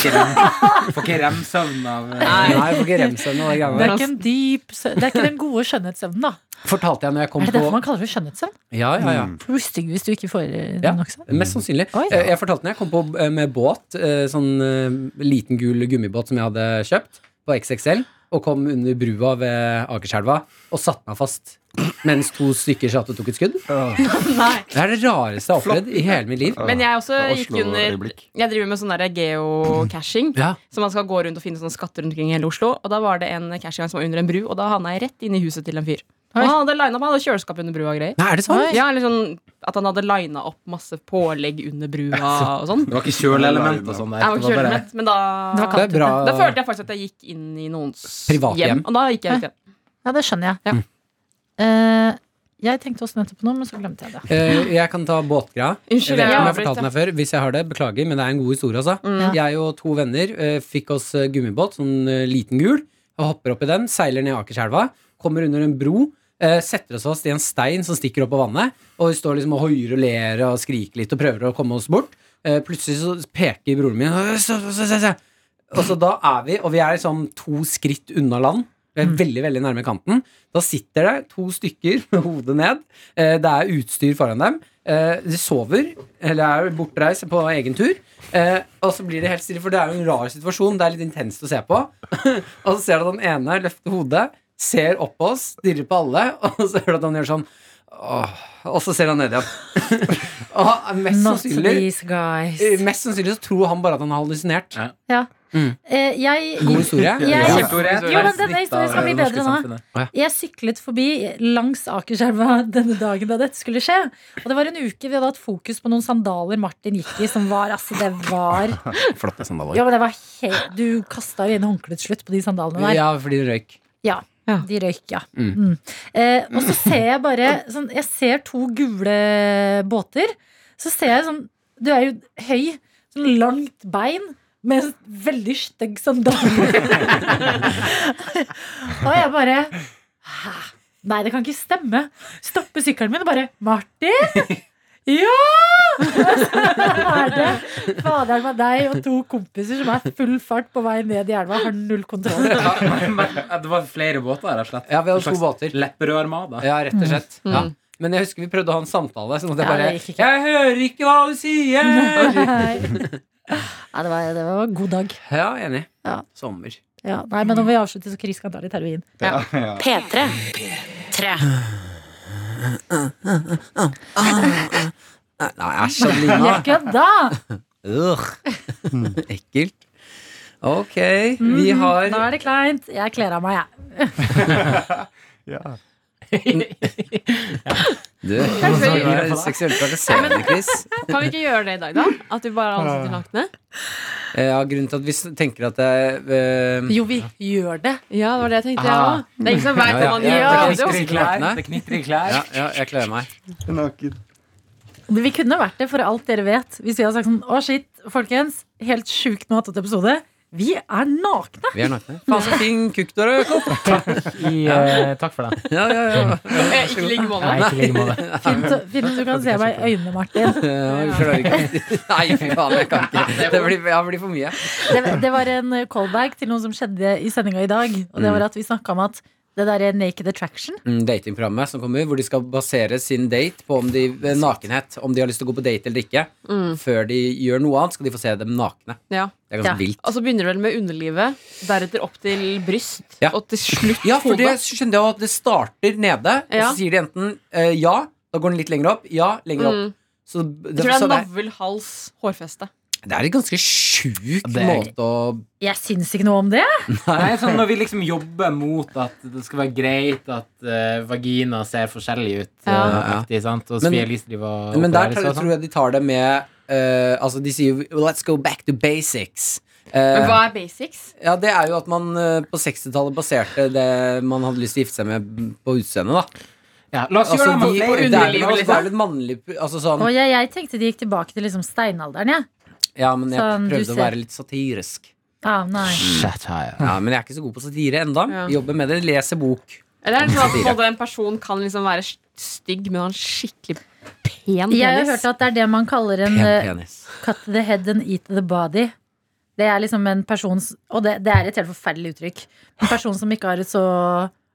S4: Får ikke rem søvn av eh,
S5: Nei, jeg får ikke remse noe av de
S1: Det
S5: greiene
S1: er ikke en dyp sø- Det er ikke den gode skjønnhetssøvnen, da.
S5: der. Fortalte jeg når jeg
S1: Er
S5: kom
S1: det derfor
S5: på
S1: man kaller det skjønnhetssøvn?
S5: Ja, ja, ja.
S1: For du blir stygg hvis du ikke får eh,
S5: Ja.
S1: den også.
S5: Mest sannsynlig.
S1: Oi.
S5: Eh, Jeg fortalte når jeg kom på eh, med båt, eh, sånn eh, liten gul gummibåt som jeg hadde kjøpt på XXL, og kom under brua ved Akerselva og satte meg fast mens to stykker satt og tok et skudd.
S2: *laughs* Nei.
S5: Det er det rareste jeg har opplevd i hele mitt liv.
S2: Men jeg også
S3: Oslo-
S2: gikk under
S3: øyeblikk.
S2: Jeg driver med sånn der geocaching.
S5: Ja.
S2: Så man skal gå rundt og finne sånne skatter rundt omkring i hele Oslo. Og da var det en cashgang som var under en bru, og da havna jeg rett inn i huset til en fyr. Og
S1: Oi.
S2: han hadde lina opp, han hadde kjøleskap under brua og greier.
S5: Nei, er det sant?
S2: Ja, eller sånn at han hadde lina opp masse pålegg under *laughs* brua og sånn.
S4: Det var ikke kjøleelement og sånn der.
S2: Jeg var ikke
S4: det var bare-
S2: kjølemett, men da
S1: Det var
S5: Det er bra.
S2: Da følte jeg faktisk at jeg gikk inn i noens
S5: Privathjem.
S2: hjem. Og da gikk jeg ut igjen.
S1: Ja, det skjønner jeg.
S2: Ja.
S1: Eh, jeg tenkte også nettopp på noe, men så glemte jeg det.
S5: Eh, jeg kan ta båtgreia. Jeg
S2: Unnskyld, jeg Mm.
S5: vet ikke om jeg har
S2: avbryter.
S5: fortalt den her før. Hvis jeg har det, beklager, men det er en god historie, altså. Jeg og to venner eh, fikk oss eh, gummibåt, sånn eh, liten gul, og hopper opp i den, seiler ned Akerselva, kommer under en bro, eh, setter oss fast i en stein som stikker opp av vannet, og vi står liksom og hoier og ler og skriker litt og prøver å komme oss bort. Eh, plutselig så peker broren min «Øh, se, se, se, se!» Og så da er vi, og vi er liksom to skritt unna land. Vi er veldig, veldig nærme kanten. Da sitter det to stykker med hodet ned. Eh, Det er utstyr foran dem. Eh, De sover, eller er bortreist på egen tur. Eh, Og så blir det helt stille, for det er jo en rar situasjon. Det er litt intenst å se på. *laughs* Og så ser du at den ene løfter hodet, ser opp på oss, stirrer på alle, *laughs* og så hører du at han gjør sånn Åh. Og så ser han ned igjen. *laughs* Og mest
S1: Not
S5: sannsynlig,
S1: these guys.
S5: mest sannsynlig så tror han bare at han har hallusinert.
S1: Ja.
S5: Mm.
S1: Eh, jeg,
S5: God historie.
S1: Jeg-
S4: God
S1: Ja.
S4: historie.
S1: Jo, men denne historien skal bli
S4: Det
S1: bedre
S4: er snitt av det norske
S1: nå.
S4: samfunnet.
S1: Jeg syklet forbi langs Akerselva *laughs* denne dagen da dette skulle skje. Og det var en uke vi hadde hatt fokus på noen sandaler Martin gikk i, som var altså Det
S4: *laughs*
S1: var
S4: Flotte sandaler.
S1: Ja, men det var helt Du kasta jo inn håndkleet til slutt på de sandalene der.
S5: Ja, fordi det røyk.
S1: Ja,
S2: Ja.
S1: de røyk, ja.
S5: Mm.
S1: Mm. Eh, og så ser jeg bare sånn, Jeg ser to gule båter. Så ser jeg sånn Du er jo høy, sånn langt bein med en veldig stygg sandal. *laughs* og jeg bare Hæ? Nei, det kan ikke stemme. Stopper sykkelen min og bare Martin! Ja! *laughs* Hva er det? Faderen med deg og to kompiser som er full fart på vei ned i elva, har null kontroll.
S4: Det var flere båter, rett og slett.
S5: Ja, vi hadde
S4: En
S5: to
S4: slags
S5: båter.
S4: Lepperødarmada.
S5: Ja, rett og slett. Ja.
S2: Mm.
S5: Men jeg husker vi prøvde å ha en samtale. Sånn at jeg
S1: Ja,
S5: bare
S1: det gikk ikke.
S5: Jeg hører ikke Mm. hva du sier!
S1: Nei. *laughs* Nei, det var, det var en god dag.
S5: Ja, enig.
S1: Ja.
S5: Sommer.
S1: Ja. Nei, men når vi avslutter, så Chris kan ta litt heroin.
S3: Ja.
S6: P3. P3.
S5: Nei, æsj, *laughs* Adelina.
S1: Jeg kødda!
S5: Ugh. *laughs* Ekkelt. Ok, vi har
S1: Da er det kleint. Jeg kler av meg, jeg.
S3: Ja.
S2: veldig
S5: Du, du er
S4: glad for det.
S5: seksuelt trakasserende, Chris.
S2: Kan vi ikke gjøre det i dag, da? At vi bare alle sitter nakne?
S5: Eh, Ja, grunnen til at vi s- tenker at det er eh,
S1: Jo, vi gjør det.
S2: Ja, det var det jeg tenkte, jeg
S4: Ah.
S2: òg. Det er ingen som veit
S5: Ja, ja.
S2: hva man gjør.
S1: Ja,
S2: på
S5: det er
S2: radio.
S5: riktig. Klær.
S4: Det knitrer i klær.
S5: ja, ja, jeg klør meg.
S3: Naken.
S1: Men vi kunne vært det, for alt dere vet. Hvis vi hadde sagt sånn Å, shit, folkens. Helt sjukt matete episode. Vi er nakne!
S5: Vi er nakne. Faen så fin kukk du har, Jakob.
S7: I, eh, takk for det.
S5: Ja, ja, ja.
S2: Eh, Ikke ligg i
S7: Nei,
S2: måneden.
S7: ikke i like måte.
S1: Fint, fint at du kan se meg i øynene, Martin.
S5: Ja, jeg klarer ikke. Nei, fy faen, jeg kan ikke. Det blir, ja, det blir for mye.
S1: Det, det var en callback til noe som skjedde i sendinga i dag. Og det var at vi snakka om at det derre Naked Attraction
S5: mm, datingprogrammet som kommer, hvor de skal basere sin date på om de, eh, nakenhet. Om de har lyst til å gå på date eller ikke.
S2: Mm.
S5: Før de gjør noe annet, skal de få se dem nakne.
S2: Ja.
S5: Det er ganske
S1: Ja.
S5: vilt.
S2: Og så begynner du vel med underlivet, deretter opp til bryst,
S5: Ja.
S2: og til slutt
S5: Ja, for
S2: hodet.
S5: det skjønner jeg jo at det starter nede, og
S2: Ja.
S5: så sier de enten eh, ja, da går den litt lenger opp, ja, lenger opp.
S2: Mm.
S5: Så det,
S2: Jeg tror det
S5: så
S2: er
S5: det,
S2: navl, hals, hårfeste.
S5: er- det er en ganske sjuk
S4: Det er-
S5: måte å
S1: Jeg syns ikke noe om det.
S4: Nei, sånn Når vi liksom jobber mot at det skal være greit at eh, vagina ser forskjellig ut, eh,
S5: Ja.
S4: aktig, sant? og
S5: Men-
S4: Sofie Elise driver og
S5: Men der
S4: opererer
S5: tar,
S4: seg og sånn.
S5: tror jeg de tar det med eh, Altså, de sier jo 'let's go back to basics'. Eh,
S2: Men hva er basics?
S5: ja, det er jo at man eh, på 60-tallet baserte det man hadde lyst til å gifte seg med, på utseendet, da.
S4: ja, La oss
S5: Altså,
S4: gjøre det
S5: de,
S4: med
S5: det, er vel, altså, det
S4: underlivet,
S5: er
S4: liksom.
S5: vel et mannlig altså, sånn,
S1: Og jeg, jeg tenkte de gikk tilbake til liksom steinalderen, jeg.
S5: Ja, men jeg
S1: sånn, du
S5: prøvde
S1: ser-
S5: å være litt satirisk.
S1: Ja, nei.
S5: Ja, Men jeg er ikke så god på satire enda
S2: Ja.
S5: Jobber med det, leser bok.
S2: Eller er det sånn at på en, måte en person kan liksom være st- stygg, men ha en skikkelig pen
S1: Jeg har
S2: penis?
S1: hørt at det er det man kaller en
S5: Pen
S1: eh,
S5: penis.
S1: cut the head and eat the body. Det er liksom en person s- Og det, det er et helt forferdelig uttrykk. En person som ikke har et så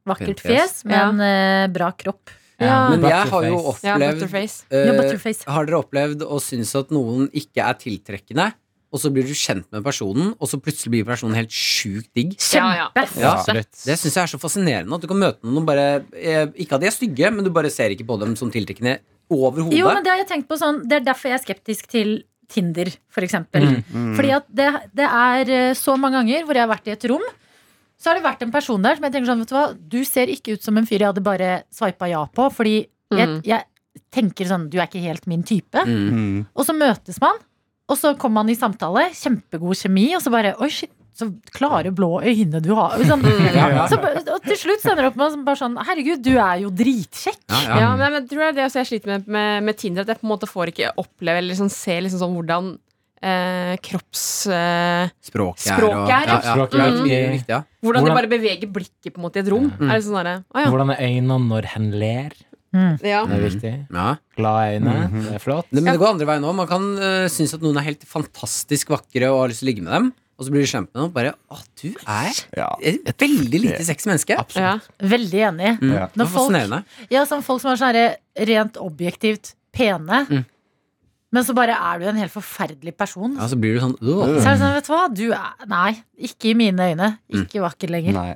S1: vakkert
S5: Pent fjes.
S1: fjes, men eh, bra kropp.
S2: Ja.
S5: Men jeg har jo
S7: Butterface.
S2: Ja,
S5: opplevd
S2: butterface.
S5: eh,
S1: Ja, butterface.
S5: Har dere opplevd å synes at noen ikke er tiltrekkende, og så blir du kjent med personen, og så plutselig blir personen helt sjukt digg?
S2: Eh, Ja, ja.
S1: Kjempe!
S5: Ja.
S7: Absolutt.
S5: Det syns jeg er så fascinerende. At du kan møte noen og bare eh, Ikke at de er stygge, men du bare ser ikke på dem som tiltrekkende
S1: Jo, men
S5: overhodet.
S1: det har jeg tenkt på sånn Det er derfor jeg er skeptisk til Tinder, for eksempel.
S3: Mm.
S1: Fordi at det, det er eh, så mange ganger hvor jeg har vært i et rom, så har det vært en person der som jeg tenker sånn, vet du hva, du ser ikke ut som en fyr jeg hadde bare swipa ja på, fordi jeg,
S2: Mm.
S1: jeg tenker sånn, du er ikke helt min type.
S5: Mm.
S3: Mm.
S1: Og så møtes man, og så kommer man i samtale, kjempegod kjemi, og så bare Oi, shit, så klare blå øyne du har. Sånn. Så, og til slutt sender det opp med bare sånn Herregud, du er jo dritkjekk.
S5: Ja, ja.
S2: Ja, men jeg- men tror jeg det også jeg sliter med, med med Tinder, at jeg på en måte får ikke oppleve eller liksom se liksom sånn hvordan eh, kropps... Eh,
S5: Språket,
S2: Språket er,
S5: ja,
S2: ja.
S5: ja.
S7: Språket er
S5: Mm.
S7: viktig.
S5: Viktig, ja.
S2: hvordan, de
S7: Hvordan-
S2: bare beveger blikket på en måte i et rom. Er det sånn derre Å ja.
S7: Hvordan er øynene når hen ler?
S2: ja.
S5: Mhm.
S7: Det er viktig.
S5: ja.
S7: Glade øyne.
S5: Mhm.
S7: Det er flott.
S5: Det, men det går andre veien òg. Man kan eh, synes at noen er helt fantastisk vakre og har lyst til å ligge med dem, og så blir du kjent med dem og bare Å, du er
S3: Ja.
S5: et veldig lite sexy menneske.
S2: Ja.
S1: Veldig enig.
S5: Mm.
S3: Ja.
S5: Det er fascinerende.
S1: Ja, sånn folk som er sånn herre rent objektivt pene,
S5: Mm.
S1: men så bare er du en helt forferdelig person.
S5: Ja, så blir du sånn «Åh».
S1: Så er det sånn, vet du hva, du er Nei, ikke i mine øyne.
S5: Mm.
S1: Ikke vakker lenger.
S3: Nei.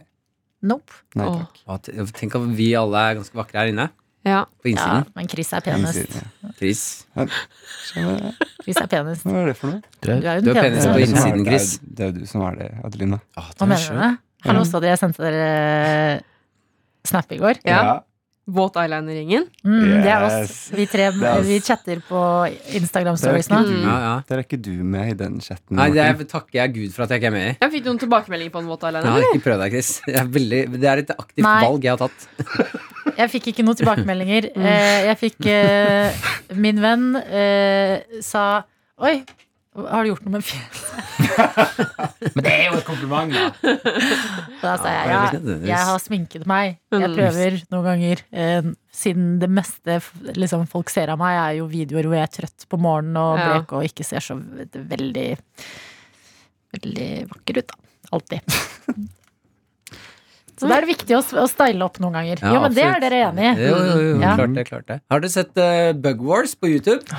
S1: Nope.
S3: Nei
S2: Åh.
S3: takk.
S5: Ja, t- Tenk at vi alle er ganske vakre her inne.
S2: ja.
S5: På
S1: Ja,
S5: innsiden.
S1: men Chris er
S3: Innsiden,
S1: penest.
S3: ja.
S5: Chris.
S3: Skjønner jeg.
S1: Chris er penest.
S3: Hva er det for noe?
S1: Du er jo
S5: Du
S1: den
S5: er penest
S3: Det
S1: peneste.
S3: er du
S5: på
S3: som er-
S5: innsiden, Chris.
S3: Det er det er du som er det, Adelina.
S1: Hva mener du? med det? Hallo, sa dere jeg sendte dere eh, snap i går?
S2: Ja. Våt eyeliner-ringen.
S1: Mm, Det er oss.
S3: Yes.
S1: Vi tre
S3: Det er oss.
S1: vi chatter på Instagram-stories nå.
S3: Det er ikke du.
S5: Ja, ja.
S3: Der er ikke du med i den chatten.
S5: Nei, det
S3: Martin.
S5: er- takker jeg Gud for at jeg ikke er med i.
S2: Jeg fikk noen tilbakemeldinger på en våt
S5: Jeg
S2: eyeliner.
S5: har ikke prøvd deg, Chris. Jeg er veldig, det er et aktivt
S1: Nei.
S5: valg jeg har tatt.
S1: Jeg fikk ikke noen tilbakemeldinger.
S5: Mm.
S1: Eh, Jeg fikk eh, Min venn eh, sa Oi, har du gjort noe med fjeset?
S7: Men det er jo et kompliment, da.
S1: *laughs* Da sa jeg
S5: Ja,
S1: ja,
S5: det er Mm. litt
S1: jeg har sminket meg. Jeg prøver noen ganger. eh, Siden det meste f- liksom, folk ser av meg, er jo videoer hvor jeg er trøtt på morgenen og
S2: Ja.
S1: blek og ikke ser så v- veldig Veldig vakker ut, da.
S5: *laughs*
S1: Alltid. Så da er det viktig å, s- å style opp noen ganger.
S5: Ja,
S1: jo, men det er
S5: absolutt.
S1: dere enig i.
S5: Jo, jo, jo,
S1: Ja.
S5: klart det, klart det. Har dere sett eh, Bug Wars på YouTube?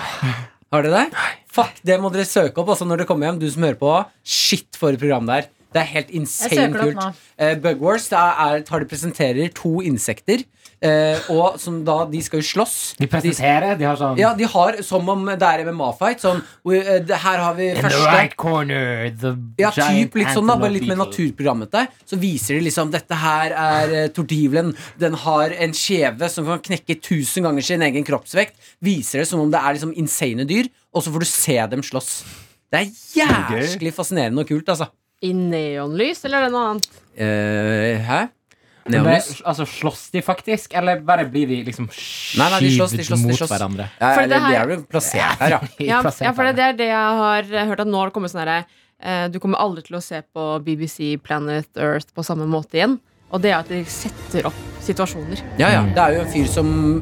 S5: Har dere det? Fuck, det må dere søke opp altså, når dere kommer hjem. Du som hører på. Shit, for et program der. Det er helt insane
S1: Jeg søker det opp
S5: kult. Eh, Bug Wars det er, tar de presenterer to insekter, eh, og som da De skal jo slåss.
S7: De presenterer, de har sånn
S5: Ja, de har som om det er MMA-fight. Sånn we- eh, det- Her har vi
S7: In the
S5: første
S7: right corner, the
S5: Ja, typ
S7: giant
S5: litt sånn da, bare litt mer
S7: antelope beetle.
S5: naturprogrammete. Så viser de liksom dette her er eh, tordivelen. Den har en kjeve som kan knekke tusen ganger sin egen kroppsvekt. Viser det som om det er liksom insane dyr, og så får du se dem slåss. Det er jæsklig fascinerende og kult, altså.
S2: I neonlys, eller er det noe annet?
S5: Eh, hæ?
S7: Men
S5: Neonlys?
S7: det- Altså, slåss de faktisk, eller bare blir de liksom
S5: Nei, nei, de slåss, de
S7: skyvd
S5: slåss, de
S7: mot
S5: slåss.
S7: hverandre? *laughs*
S5: Ja,
S2: For
S5: eller
S2: det her-
S5: de er jo plassert her, ja.
S2: Ja, ja, for det, det er det jeg har hørt at nå har det kommet sånn herre eh, Du kommer aldri til å se på BBC Planet Earth på samme måte igjen. Og det er at de setter opp situasjoner.
S5: ja, ja. Det er jo en fyr som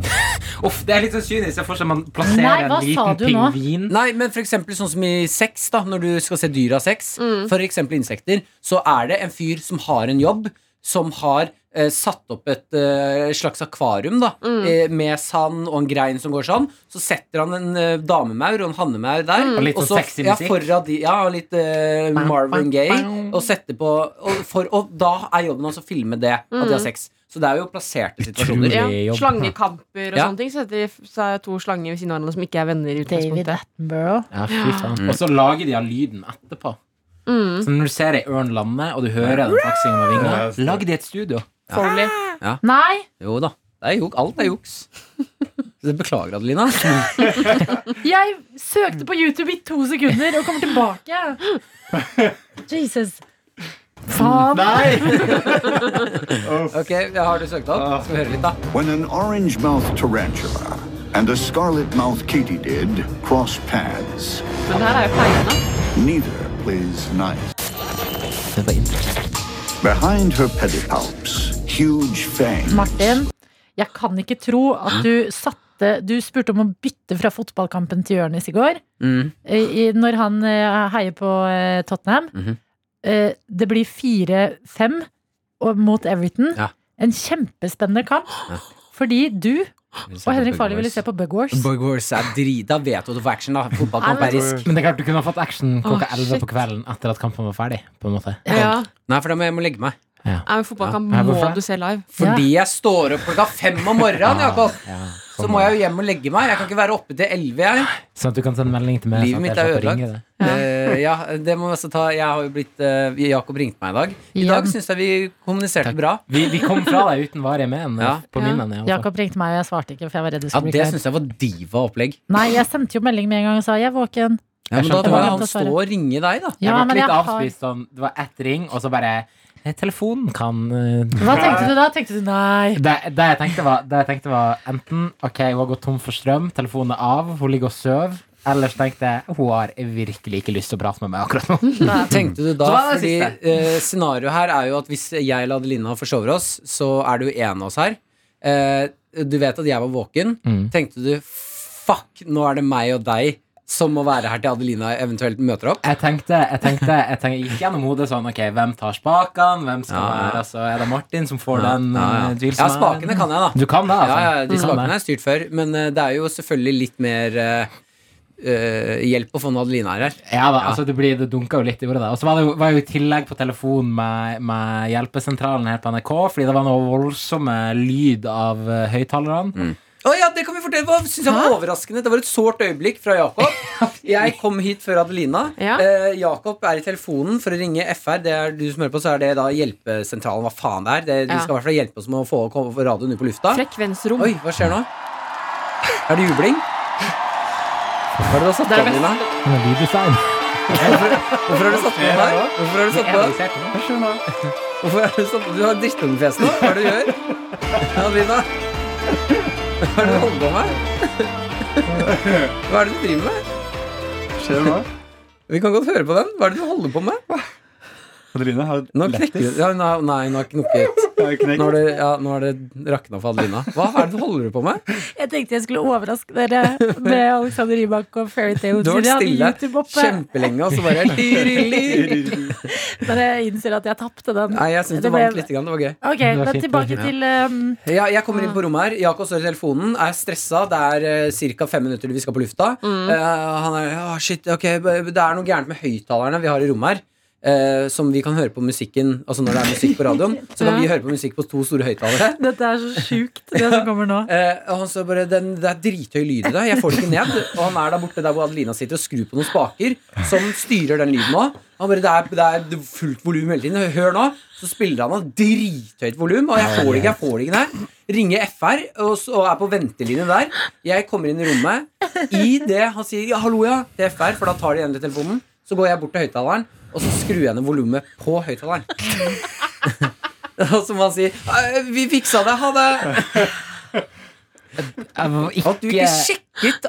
S7: Uff, det er litt sånn kynisk. Jeg får ikke man
S1: Nei,
S7: plasserer
S1: hva
S7: en
S1: sa
S7: liten
S1: du nå?
S4: Mm.
S7: pingvin
S5: Nei, men for eksempel sånn som i sex, da når du skal se dyr av sex, for eksempel insekter, så er det en fyr som har en jobb, som har eh, satt opp et eh, slags akvarium da, eh, med sand og en grein som går sånn. Så setter han en eh, damemaur og en hannemaur der.
S7: Og litt
S5: og
S7: sånn sexy
S5: ja,
S7: musikk.
S5: foran de, ja, og litt eh, Marvin Gaye. Og, setter på, og, for, og da er jobben hans å filme det, at de har sex. Så det er jo plasserte situasjoner.
S7: Utrolig.
S2: Ja,
S7: jobb.
S2: slangekamper og
S5: Ja.
S2: sånne ting. Så setter de f- seg to slanger ved siden av hverandre som ikke er venner. i
S1: David
S2: utgangspunktet
S1: Attenborough.
S7: Ja, fy faen. Og så lager de av lyden etterpå. Så når du ser ei ørn lande, og du hører den faksingen med
S3: Ja,
S7: vinger,
S3: stemmer.
S7: lag de et studio.
S2: Foley.
S1: Nei!
S5: Jo da. Det er juk, alt er
S4: *laughs*
S5: juks. Så Beklager, Adelina.
S1: Jeg søkte på YouTube i to sekunder og kommer tilbake.
S5: *laughs*
S1: Jesus. Faen.
S5: Ok, jeg har du søkt opp?
S4: Ah.
S5: Skal vi høre litt, da?
S8: When an orange mouthed tarantula and a scarlet mouthed katydid cross paths,
S2: Men det her er jo pleiende.
S8: neither plays nice. Behind her pedipalps, huge fangs.
S1: Martin, jeg kan ikke tro at du satte bytte Du spurte om å bytte fra fotballkampen til Jonis i går.
S5: Mm.
S1: I, i, når han eh, heier på eh, Tottenham.
S5: Mhm.
S1: Eh, det blir 4-5 og- mot Everton.
S5: Ja.
S1: En kjempespennende kamp. Fordi du og Henrik Farley ville se på Bug Wars.
S5: Borgwars er drit. Da vet du at du får action, da. Fotballkamp
S1: Nei,
S5: er risk.
S4: Men det er klart du kunne ha fått action klokka
S2: Åh,
S4: 11
S2: shit.
S4: på kvelden etter at kampen var ferdig. På en måte
S2: Ja,
S5: Nei, for da må jeg må legge meg.
S2: er en fotballkamp
S4: Ja,
S2: må
S4: hvorfor?
S2: du se live.
S5: Fordi jeg står opp klokka fem om morgenen, Jakob,
S4: Ah. ja,
S5: så må jeg jo hjem og legge meg. Jeg kan ikke være oppe til elleve, jeg.
S4: Sånn at du kan sende melding til meg.
S5: Livet
S4: sånn at
S5: mitt
S4: jeg
S5: er
S4: slipper å
S5: ødelagt.
S4: ringe deg.
S2: Ja.
S5: Eh, ja, det må vi også ta. Jeg har jo blitt eh, Jakob ringte meg i dag. I
S1: Igjen.
S5: dag syns jeg vi kommuniserte bra.
S4: Vi, vi kom fra deg uten varige men. eh,
S5: Ja.
S4: På
S2: Ja.
S4: min ende. i hvert fall.
S1: Jakob ringte meg, og jeg svarte ikke. For jeg var redd du
S5: Ja,
S1: skulle bli
S5: Det
S1: klar.
S5: syns jeg var diva-opplegg.
S1: Nei, jeg sendte jo melding med en gang og sa 'jeg er våken'.
S5: Ja, men da
S4: skjønte
S5: må
S1: det.
S5: han stå og ringe deg, da.
S1: Ja,
S4: jeg
S1: men
S4: ble litt
S1: har-
S4: avspist sånn. Det var ett ring, og så bare eh, Telefonen kan eh,
S1: Hva tenkte du da? Tenkte du nei?
S4: Det, det, jeg tenkte var, det jeg tenkte var enten Ok, hun har gått tom for strøm, telefonen er av, hun ligger og sover. Ellers tenkte jeg hun har virkelig ikke lyst til å prate med meg akkurat
S1: *laughs*
S4: nå.
S5: Tenkte du da,
S4: Så hva er
S5: fordi
S4: det siste?
S5: eh, Scenarioet her er jo at hvis jeg eller Adelina forsover oss, så er det jo en av oss her. Eh, du vet at jeg var våken.
S4: Mm.
S5: Tenkte du fuck, nå er det meg og deg som må være her til Adelina eventuelt møter opp?
S4: Jeg tenkte, jeg tenkte, jeg tenkte jeg gikk gjennom hodet sånn Ok, hvem tar spakene? Hvem skal
S5: Ja, ja.
S4: være altså, Er det Martin som får den
S5: Ja, ja.
S4: eh,
S5: ja, spakene kan jeg, da.
S4: Du kan det, altså.
S5: Ja, ja, de
S4: Du kan
S5: spakene
S4: det.
S5: har jeg styrt før, men eh, det er jo selvfølgelig litt mer eh, eh, hjelp å få når Adelina er her.
S4: Ja da, altså det, blir, det dunka jo litt i ordet der. Og så var det jo, var jeg jo i tillegg på telefon med, med hjelpesentralen her på NRK, fordi det var noe voldsomme lyd av eh, høyttalerne.
S5: Å ja, det kan vi fortelle Hva synes jeg var overraskende? Det var et sårt øyeblikk fra
S2: *laughs*
S5: Jakob. Jeg kom hit før Adelina.
S2: Ja.
S5: Eh, Jakob er i telefonen for å ringe FR. Det er du som hører på, så er det da hjelpesentralen. Hva faen det er. Det, de
S2: Ja.
S5: skal i hvert fall hjelpe oss med å få kom- få radioen ut på lufta.
S2: Frekvensrom.
S5: Oi, hva skjer nå? Er det jubling? Hva er det du har satt på,
S2: Det er
S5: Adelina?
S4: Men lyddesign.
S5: Hvorfor har du satt på den her? Hvorfor har du satt på den? Hvorfor er du sånn? Du har drittungefjes nå. Hva er det du gjør? Ja, Lina. Hva er det du holder på med? Hva er det du driver med?
S3: Skjer det
S5: *laughs*
S3: nå?
S5: Vi kan godt høre på den. Hva er det du holder på med?
S3: Adeline har
S5: Nå knekker du ja, Nei, nei, hun har knukket.
S3: Jeg har knekt.
S5: Nå har det, ja, nå har det rakna for Adelina. Hva er det du holder på med?
S1: Jeg tenkte jeg skulle overraske dere med Alexander Rybak og Fairytale.
S5: Du
S1: Siden
S5: har
S1: jeg
S5: vært
S1: hadde YouTube
S5: stille
S1: oppe.
S5: kjempelenge, og så bare *laughs* Nei,
S1: Men jeg innser at jeg tapte den.
S5: jeg syns det varmt lite grann. Det var gøy.
S1: Ok,
S4: Det var
S1: men
S4: fint,
S1: tilbake
S4: ja.
S1: til um,
S5: Ja, jeg kommer inn på rommet her. Jakob står i telefonen, er stressa. Det er uh, ca. fem minutter til vi skal på lufta. Eh, han er «Åh, shit, ok, b- Det er noe gærent med høyttalerne vi har i rommet her. eh, som vi kan høre på musikken Altså når det er musikk på radioen, så kan vi høre på musikk på to store høyttalere.
S1: Dette er så sjukt, det som kommer nå.
S5: Eh, og han står bare den, Det er drithøy lyd i det. Jeg får det ikke ned. Og han er der borte der hvor Adelina sitter og skrur på noen spaker som styrer den lyden nå. Han bare, det er, det er fullt volum hele tiden. Hør nå. Så spiller han av drithøyt volum, og jeg får det ikke. jeg får det ikke ned. Ringer FR og, så, og er på ventelinje der. Jeg kommer inn i rommet. I det han sier ja, 'hallo, ja' til FR, for da tar de endelig telefonen, så går jeg bort til høyttaleren, og så skrur jeg ned volumet på høyttaleren. *laughs* Og så må han si «Eh, 'vi fiksa det, ha det'.
S4: Jeg var
S5: At du ikke sjekket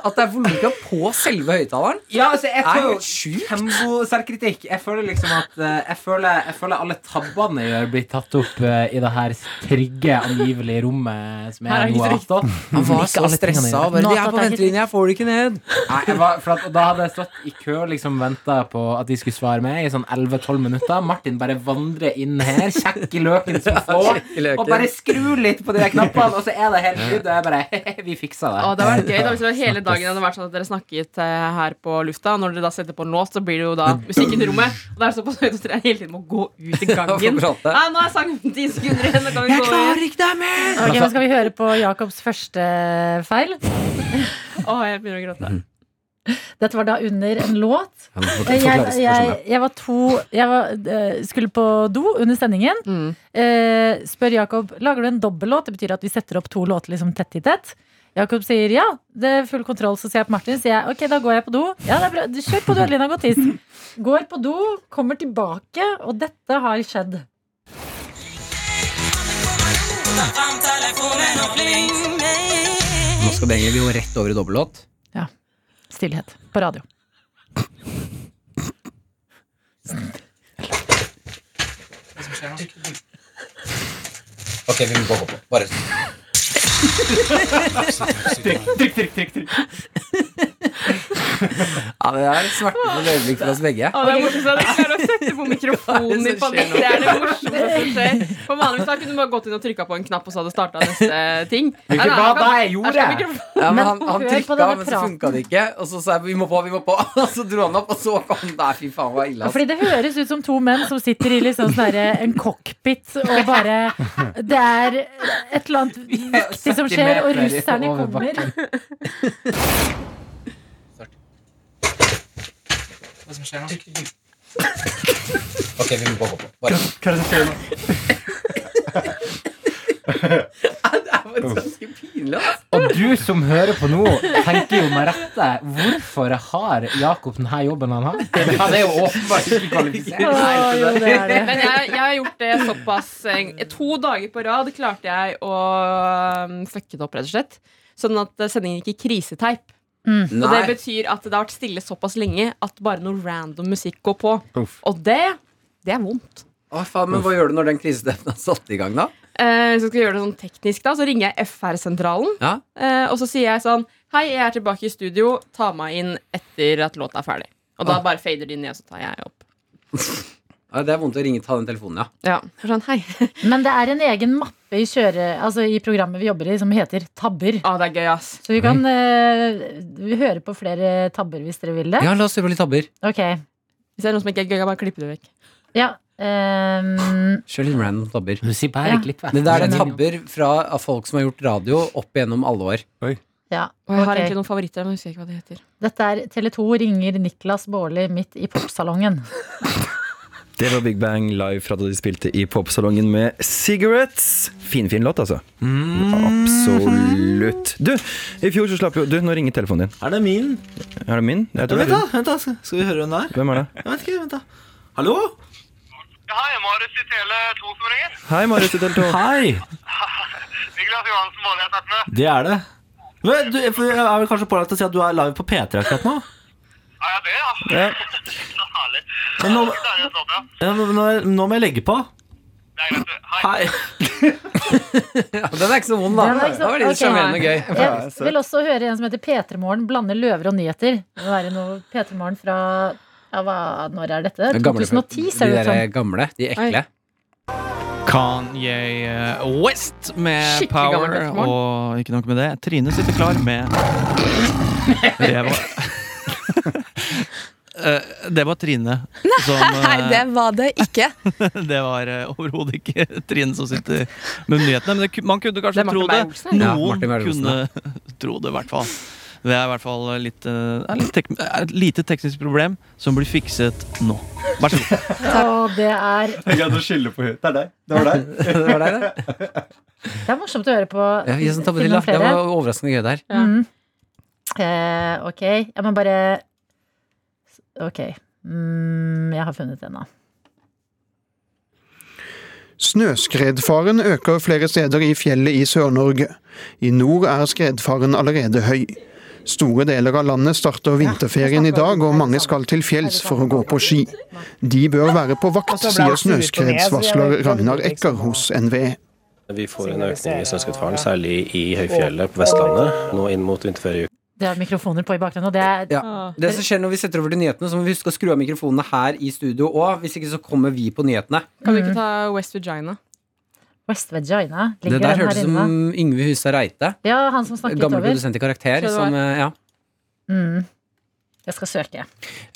S5: at det er volumknapp på selve høyttaleren?
S4: Ja, altså, jeg
S5: Er
S4: tar jo
S5: helt sjukt.
S4: kjempeselvkritikk. Jeg føler liksom at eh, jeg føler, jeg føler alle tabbene jeg gjør, blir tatt opp eh, i det her trygge, angivelige rommet som
S1: Her er
S4: jeg nå har
S1: ikke
S4: hatt.
S5: Han var
S4: altså,
S5: så stressa. og Bare,
S1: Nå
S5: de er
S1: tatt
S5: på
S1: jeg
S5: ventelinje, jeg får det ikke ned.
S4: Nei, jeg var, for at, og da hadde jeg stått i kø liksom venta på at de skulle svare meg i sånn 11-12 minutter. Martin bare vandrer inn her, sjekk i løken *laughs* som får,
S5: Sjekk i løken.
S4: og bare skru litt på de der knappene, og så er det helt good. Og jeg bare *laughs* Hehe, vi fiksa det.
S2: Å, det var gøy da hvis det var hele dagen hadde vært sånn at dere snakket eh, her på lufta. og Når dere da setter på en låt, så blir det jo da musikken i rommet. Og det er såpass høyt at dere hele tiden må gå
S5: *laughs*
S2: ut i gangen.
S5: For å prate.
S2: Nei, nå er sangen ti sekunder igjen. Nå kan vi gå ut.
S5: ikke deg mer!
S1: Ok, men Skal vi høre på Jacobs første feil?
S2: Å, jeg begynner å gråte.
S1: Dette var da under en låt. Jeg, jeg, jeg var to Jeg var, eh, skulle på do under sendingen.
S2: Mm.
S1: Eh, spør Jakob lager du en dobbellåt. Det betyr at vi setter opp to låter liksom tett i tett. Jakob sier ja, det er full kontroll. Så sier jeg på Martin sier jeg, ok, da går jeg på do. Ja, det er bra. Du, Kjør på do, Adelina. Gå og tiss. *laughs* Går på do, kommer tilbake, og dette har skjedd.
S5: Nå skal det egentlig vi gå rett over i dobbellåt.
S1: Stillhet på radio.
S5: Ok, vi må gå på. Bare
S4: Trykk, trykk, trykk, trykk.
S5: Ja, det er et smertefullt øyeblikk for oss begge.
S2: Å, det er morsomt at jeg klarer å
S5: *laughs*
S2: sette på mikrofonen i
S5: Hva er det som skjer
S2: panikk.
S5: nå?
S2: Det er det morsomste som skjer. For vanligvis da kunne du bare gått inn og trykka på en knapp, og så hadde det starta neste ting. Nei, nei,
S4: hva
S2: her kan-
S4: da jeg gjorde?
S2: her skal mikrofonen-
S5: Ja, men
S9: Men
S5: han han
S9: hør på
S5: trykka,
S9: denne
S5: men så
S9: praten.
S5: funka det ikke. Og så sa jeg 'vi må på, vi må på', *laughs* og så dro han opp, og så kom Nei, fy faen, det var ille.
S9: Ja,
S5: Altså.
S9: Fordi det høres ut som to menn som sitter i liksom sånn derre en cockpit og bare Det er et eller
S1: *laughs*
S9: annet viktig som skjer, og
S4: 70 meter
S9: russerne
S4: over
S9: kommer.
S5: Ok, vi må på, på, på. Bare.
S4: Hva er det
S5: Det var
S4: som skjer nå?
S5: ganske pinlig, altså.
S4: Og du som hører på nå, tenker jo med rette Hvorfor har Jakob denne jobben han har? Han er jo åpenbart *laughs* ikke kvalifisert.
S9: Å, jo, det er det.
S2: Men jeg, jeg har gjort det såpass eh, To dager på rad klarte jeg å um, fucke det opp, rett og slett. Sånn at eh, sendingen gikk i kriseteip. Og det
S5: Nei.
S2: betyr at det har vært stille såpass lenge at bare noe random musikk går på.
S10: Uff.
S2: Og det, det er vondt.
S5: Å, faen, men hva gjør du når den krisestemmen er satt i gang, da?
S2: Eh, Hvis jeg skal gjøre det sånn teknisk da Så ringer jeg FR-sentralen
S5: Ja.
S2: eh, Og så sier jeg sånn Hei, jeg er tilbake i studio Ta meg inn etter at låta er ferdig Og da bare fader de ned Og så tar jeg opp
S5: Ja, det er vondt å ringe ta den telefonen,
S2: Ja,
S5: ja.
S2: så sånn hei
S9: Men det er en egen mappe i, kjøre, altså i programmet vi jobber i som heter Tabber.
S2: ah, det er gøy ass
S9: Så vi kan eh, vi høre på flere tabber hvis dere vil det.
S5: Ja, la oss se på litt tabber.
S9: Ok.
S2: Hvis det er noe som ikke er gøy, jeg bare klipper det vekk
S9: Ja. ehm,
S5: Kjør litt random tabber.
S4: Du sier bare
S9: Ja.
S4: klipp vekk.
S5: Det der er tabber fra av folk som har gjort radio opp igjennom alle år.
S9: ja.
S2: Og jeg har
S9: ok.
S2: egentlig noen favoritter, men jeg husker ikke hva de heter
S9: Dette er Tele2 ringer Niklas Baarli midt i popsalongen.
S3: Det var Big Bang live fra da de spilte i popsalongen med Cigarettes. Finfin låt, altså. Absolutt. Du, i fjor så slapp jo Du, nå ringer telefonen din.
S11: Er det min?
S3: Er det min? Jeg
S11: Ja,
S3: tror det
S11: vent,
S3: er
S11: da.
S3: din.
S11: vent da, Skal skal vi høre hvem det er?
S3: Hvem er det?
S11: Jeg vet ikke, vent da. Hallo?
S12: Ja, Hei, Marius i Tele 2 som ringer.
S3: Hei, Marius i Del Toro.
S11: Hei!
S12: Niklas Johansen, hva har jeg snakket med?
S11: Det er det. Men Du, jeg jeg er vel kanskje pålagt å si at du er live på P3 akkurat nå?
S12: Ja, ja, det, ja.
S11: Ja.
S12: *laughs* Så herlig.
S11: Men nå,
S12: Det er jo sånn, ja.
S11: ja, men nå, nå må jeg legge på.
S12: Det er greit. du. Hei.
S11: Hei.
S5: Ja, den er ikke så vond, da.
S9: Den er ikke så-
S5: Da var det litt
S9: ok.
S5: sjarmerende og gøy.
S9: Jeg vil også høre en som heter P3morgen blander løver og nyheter. Det må være noe P3morgen fra ja, hva, Når er dette?
S5: Den gamle-
S9: 2010, ser det
S5: De
S9: ut som.
S5: der gamle, de ekle.
S11: Kanye eh, West med
S2: Skikkelig gammel Power, Petter Morn.
S11: og ikke nok med det. Trine sitter klar med Det
S2: *laughs*
S11: var Eh, Det var Trine som
S2: *laughs*
S11: eh,
S2: var det ikke
S11: *laughs* Det var eh, overhodet ikke Trine som sitter med nyhetene. Men det, ku- man kunne
S2: Det
S11: kanskje
S2: er Martin
S11: tro det.
S2: Beyer-Olsen,
S5: ja. Ja,
S11: Noen
S5: Martin Beyer-Olsen,
S11: kunne *laughs* tro det, i hvert fall. Det er i hvert fall litt, eh, er litt tek er et lite teknisk problem som blir fikset nå. Vær så god.
S9: Og det er,
S10: Jeg greide å skille på henne. Det er deg. Det var
S5: *laughs*
S10: deg.
S5: *laughs* Det var deg, det.
S9: det er morsomt å høre på.
S5: Ja, jeg som
S9: Finner
S5: tabber,
S9: flere?
S5: det var overraskende gøy der.
S9: Mm. Eh, ok, jeg må bare Ok. Mm, jeg har funnet en, da.
S12: Snøskredfaren øker flere steder i fjellet i Sør-Norge. I nord er skredfaren allerede høy. Store deler av landet starter vinterferien i dag, og mange skal til fjells for å gå på ski. De bør være på vakt, sier snøskredsvarsler Ragnar Ecker hos E. NVE.
S11: Vi får en økning i snøskredfaren, særlig i høyfjellet på Vestlandet. Nå inn mot vinterferie.
S9: Det er mikrofoner på i bakgrunnen, og det er
S5: Ja. Det som skjer når vi setter over til nyhetene, så må vi huske å skru av mikrofonene her i studio òg. Hvis ikke så kommer vi på nyhetene.
S2: Kan du ikke ta West Virginia?
S9: West Vagina.
S5: Det der
S9: Ligger den her
S5: hørtes ut
S9: inne?
S5: som Yngve Hustad Reite.
S9: Ja, han som snakket
S5: Gamle
S9: over.
S5: produsent i
S2: Tror
S5: Karakter.
S2: det var.
S5: Som, eh, ja.
S9: Mm. Jeg skal søke.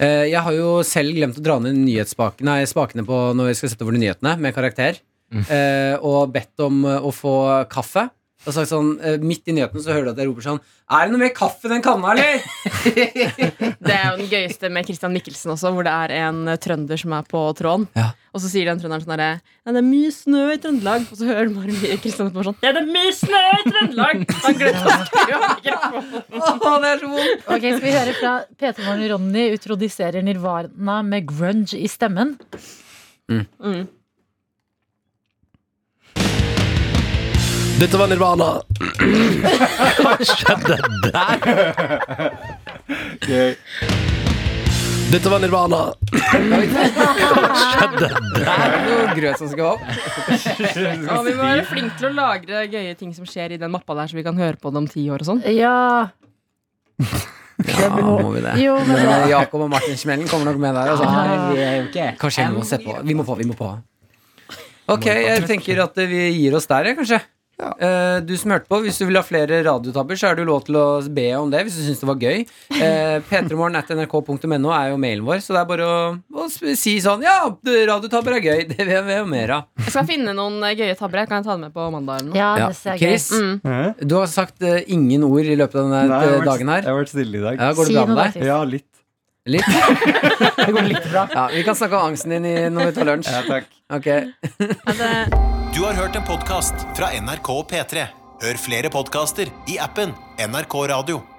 S5: Eh, Jeg har jo selv glemt å dra ned nyhetsspakene, nei, spakene på når jeg skal sette over de nyhetene med karakter.
S13: Mm.
S5: Eh, og bedt om eh, å få kaffe. Og sagt sånn, eh, Midt i nyheten så hører du at jeg roper sånn Er det noe mer kaffe i den kanna, *laughs* eller?
S2: Det er jo den gøyeste med Christian Mikkelsen også, hvor det er en eh, trønder som er på tråden.
S5: Ja.
S2: Og så sier den trønderen sånn herre Ja, det er mye snø i Trøndelag. Og så hører du bare mye Kristian etterpå sånn Ja, det er mye snø i Trøndelag! Han glemte å skru av mikrofonen.
S5: Å, det er så vondt!
S9: Ok, Skal vi høre fra PT-morgen Ronny utrodiserer Nirvana med grunge i stemmen?
S2: Mm.
S11: Dette var Nirvana. Hva skjedde der?
S13: Dette var Nirvana.
S5: *laughs*
S13: Skjedde
S5: Det er noe grøt som skal opp.
S2: Ja, vi må være flinke til å lagre gøye ting som skjer i den mappa der, så vi kan høre på det om ti år og sånn.
S4: Ja.
S5: Ja, må vi det?
S4: Jo, men-
S5: men eh, Jakob og Martin Smellen kommer nok med der. Altså.
S4: Ja.
S5: Vi er jo ikke Kanskje vi må se på. Vi må på, vi må på. Ok, jeg tenker at eh, vi gir oss der, jeg, kanskje. Eh, du som hørte på, Hvis du vil ha flere radiotabber, så er du lov til å be om det. Hvis du syns det var gøy. *laughs* Uh, P3morgen.nrk.no er jo mailen vår, så det er bare å, å sp- si sånn Ja, radiotabber er gøy! *laughs* Det vil jeg vil ha mer av.
S2: Jeg skal finne noen eh, gøye tabber. Jeg kan ta det med på mandag. eller noe
S4: Ja,
S5: Chris,
S2: Mm.
S5: du har sagt eh, ingen ord i løpet av denne
S3: Nei, jeg har
S5: eh,
S3: vært-
S5: dagen her.
S3: Jeg har vært stille i dag.
S5: Ja, går det bra med deg?
S3: Ja, litt.
S5: Litt? *laughs* det går litt bra. Ja, vi kan snakke om angsten din i- når vi tar lunsj.
S3: Ja, takk.
S5: Ok.
S11: Du har hørt en podkast fra NRK P3. Hør flere podkaster i appen NRK Radio.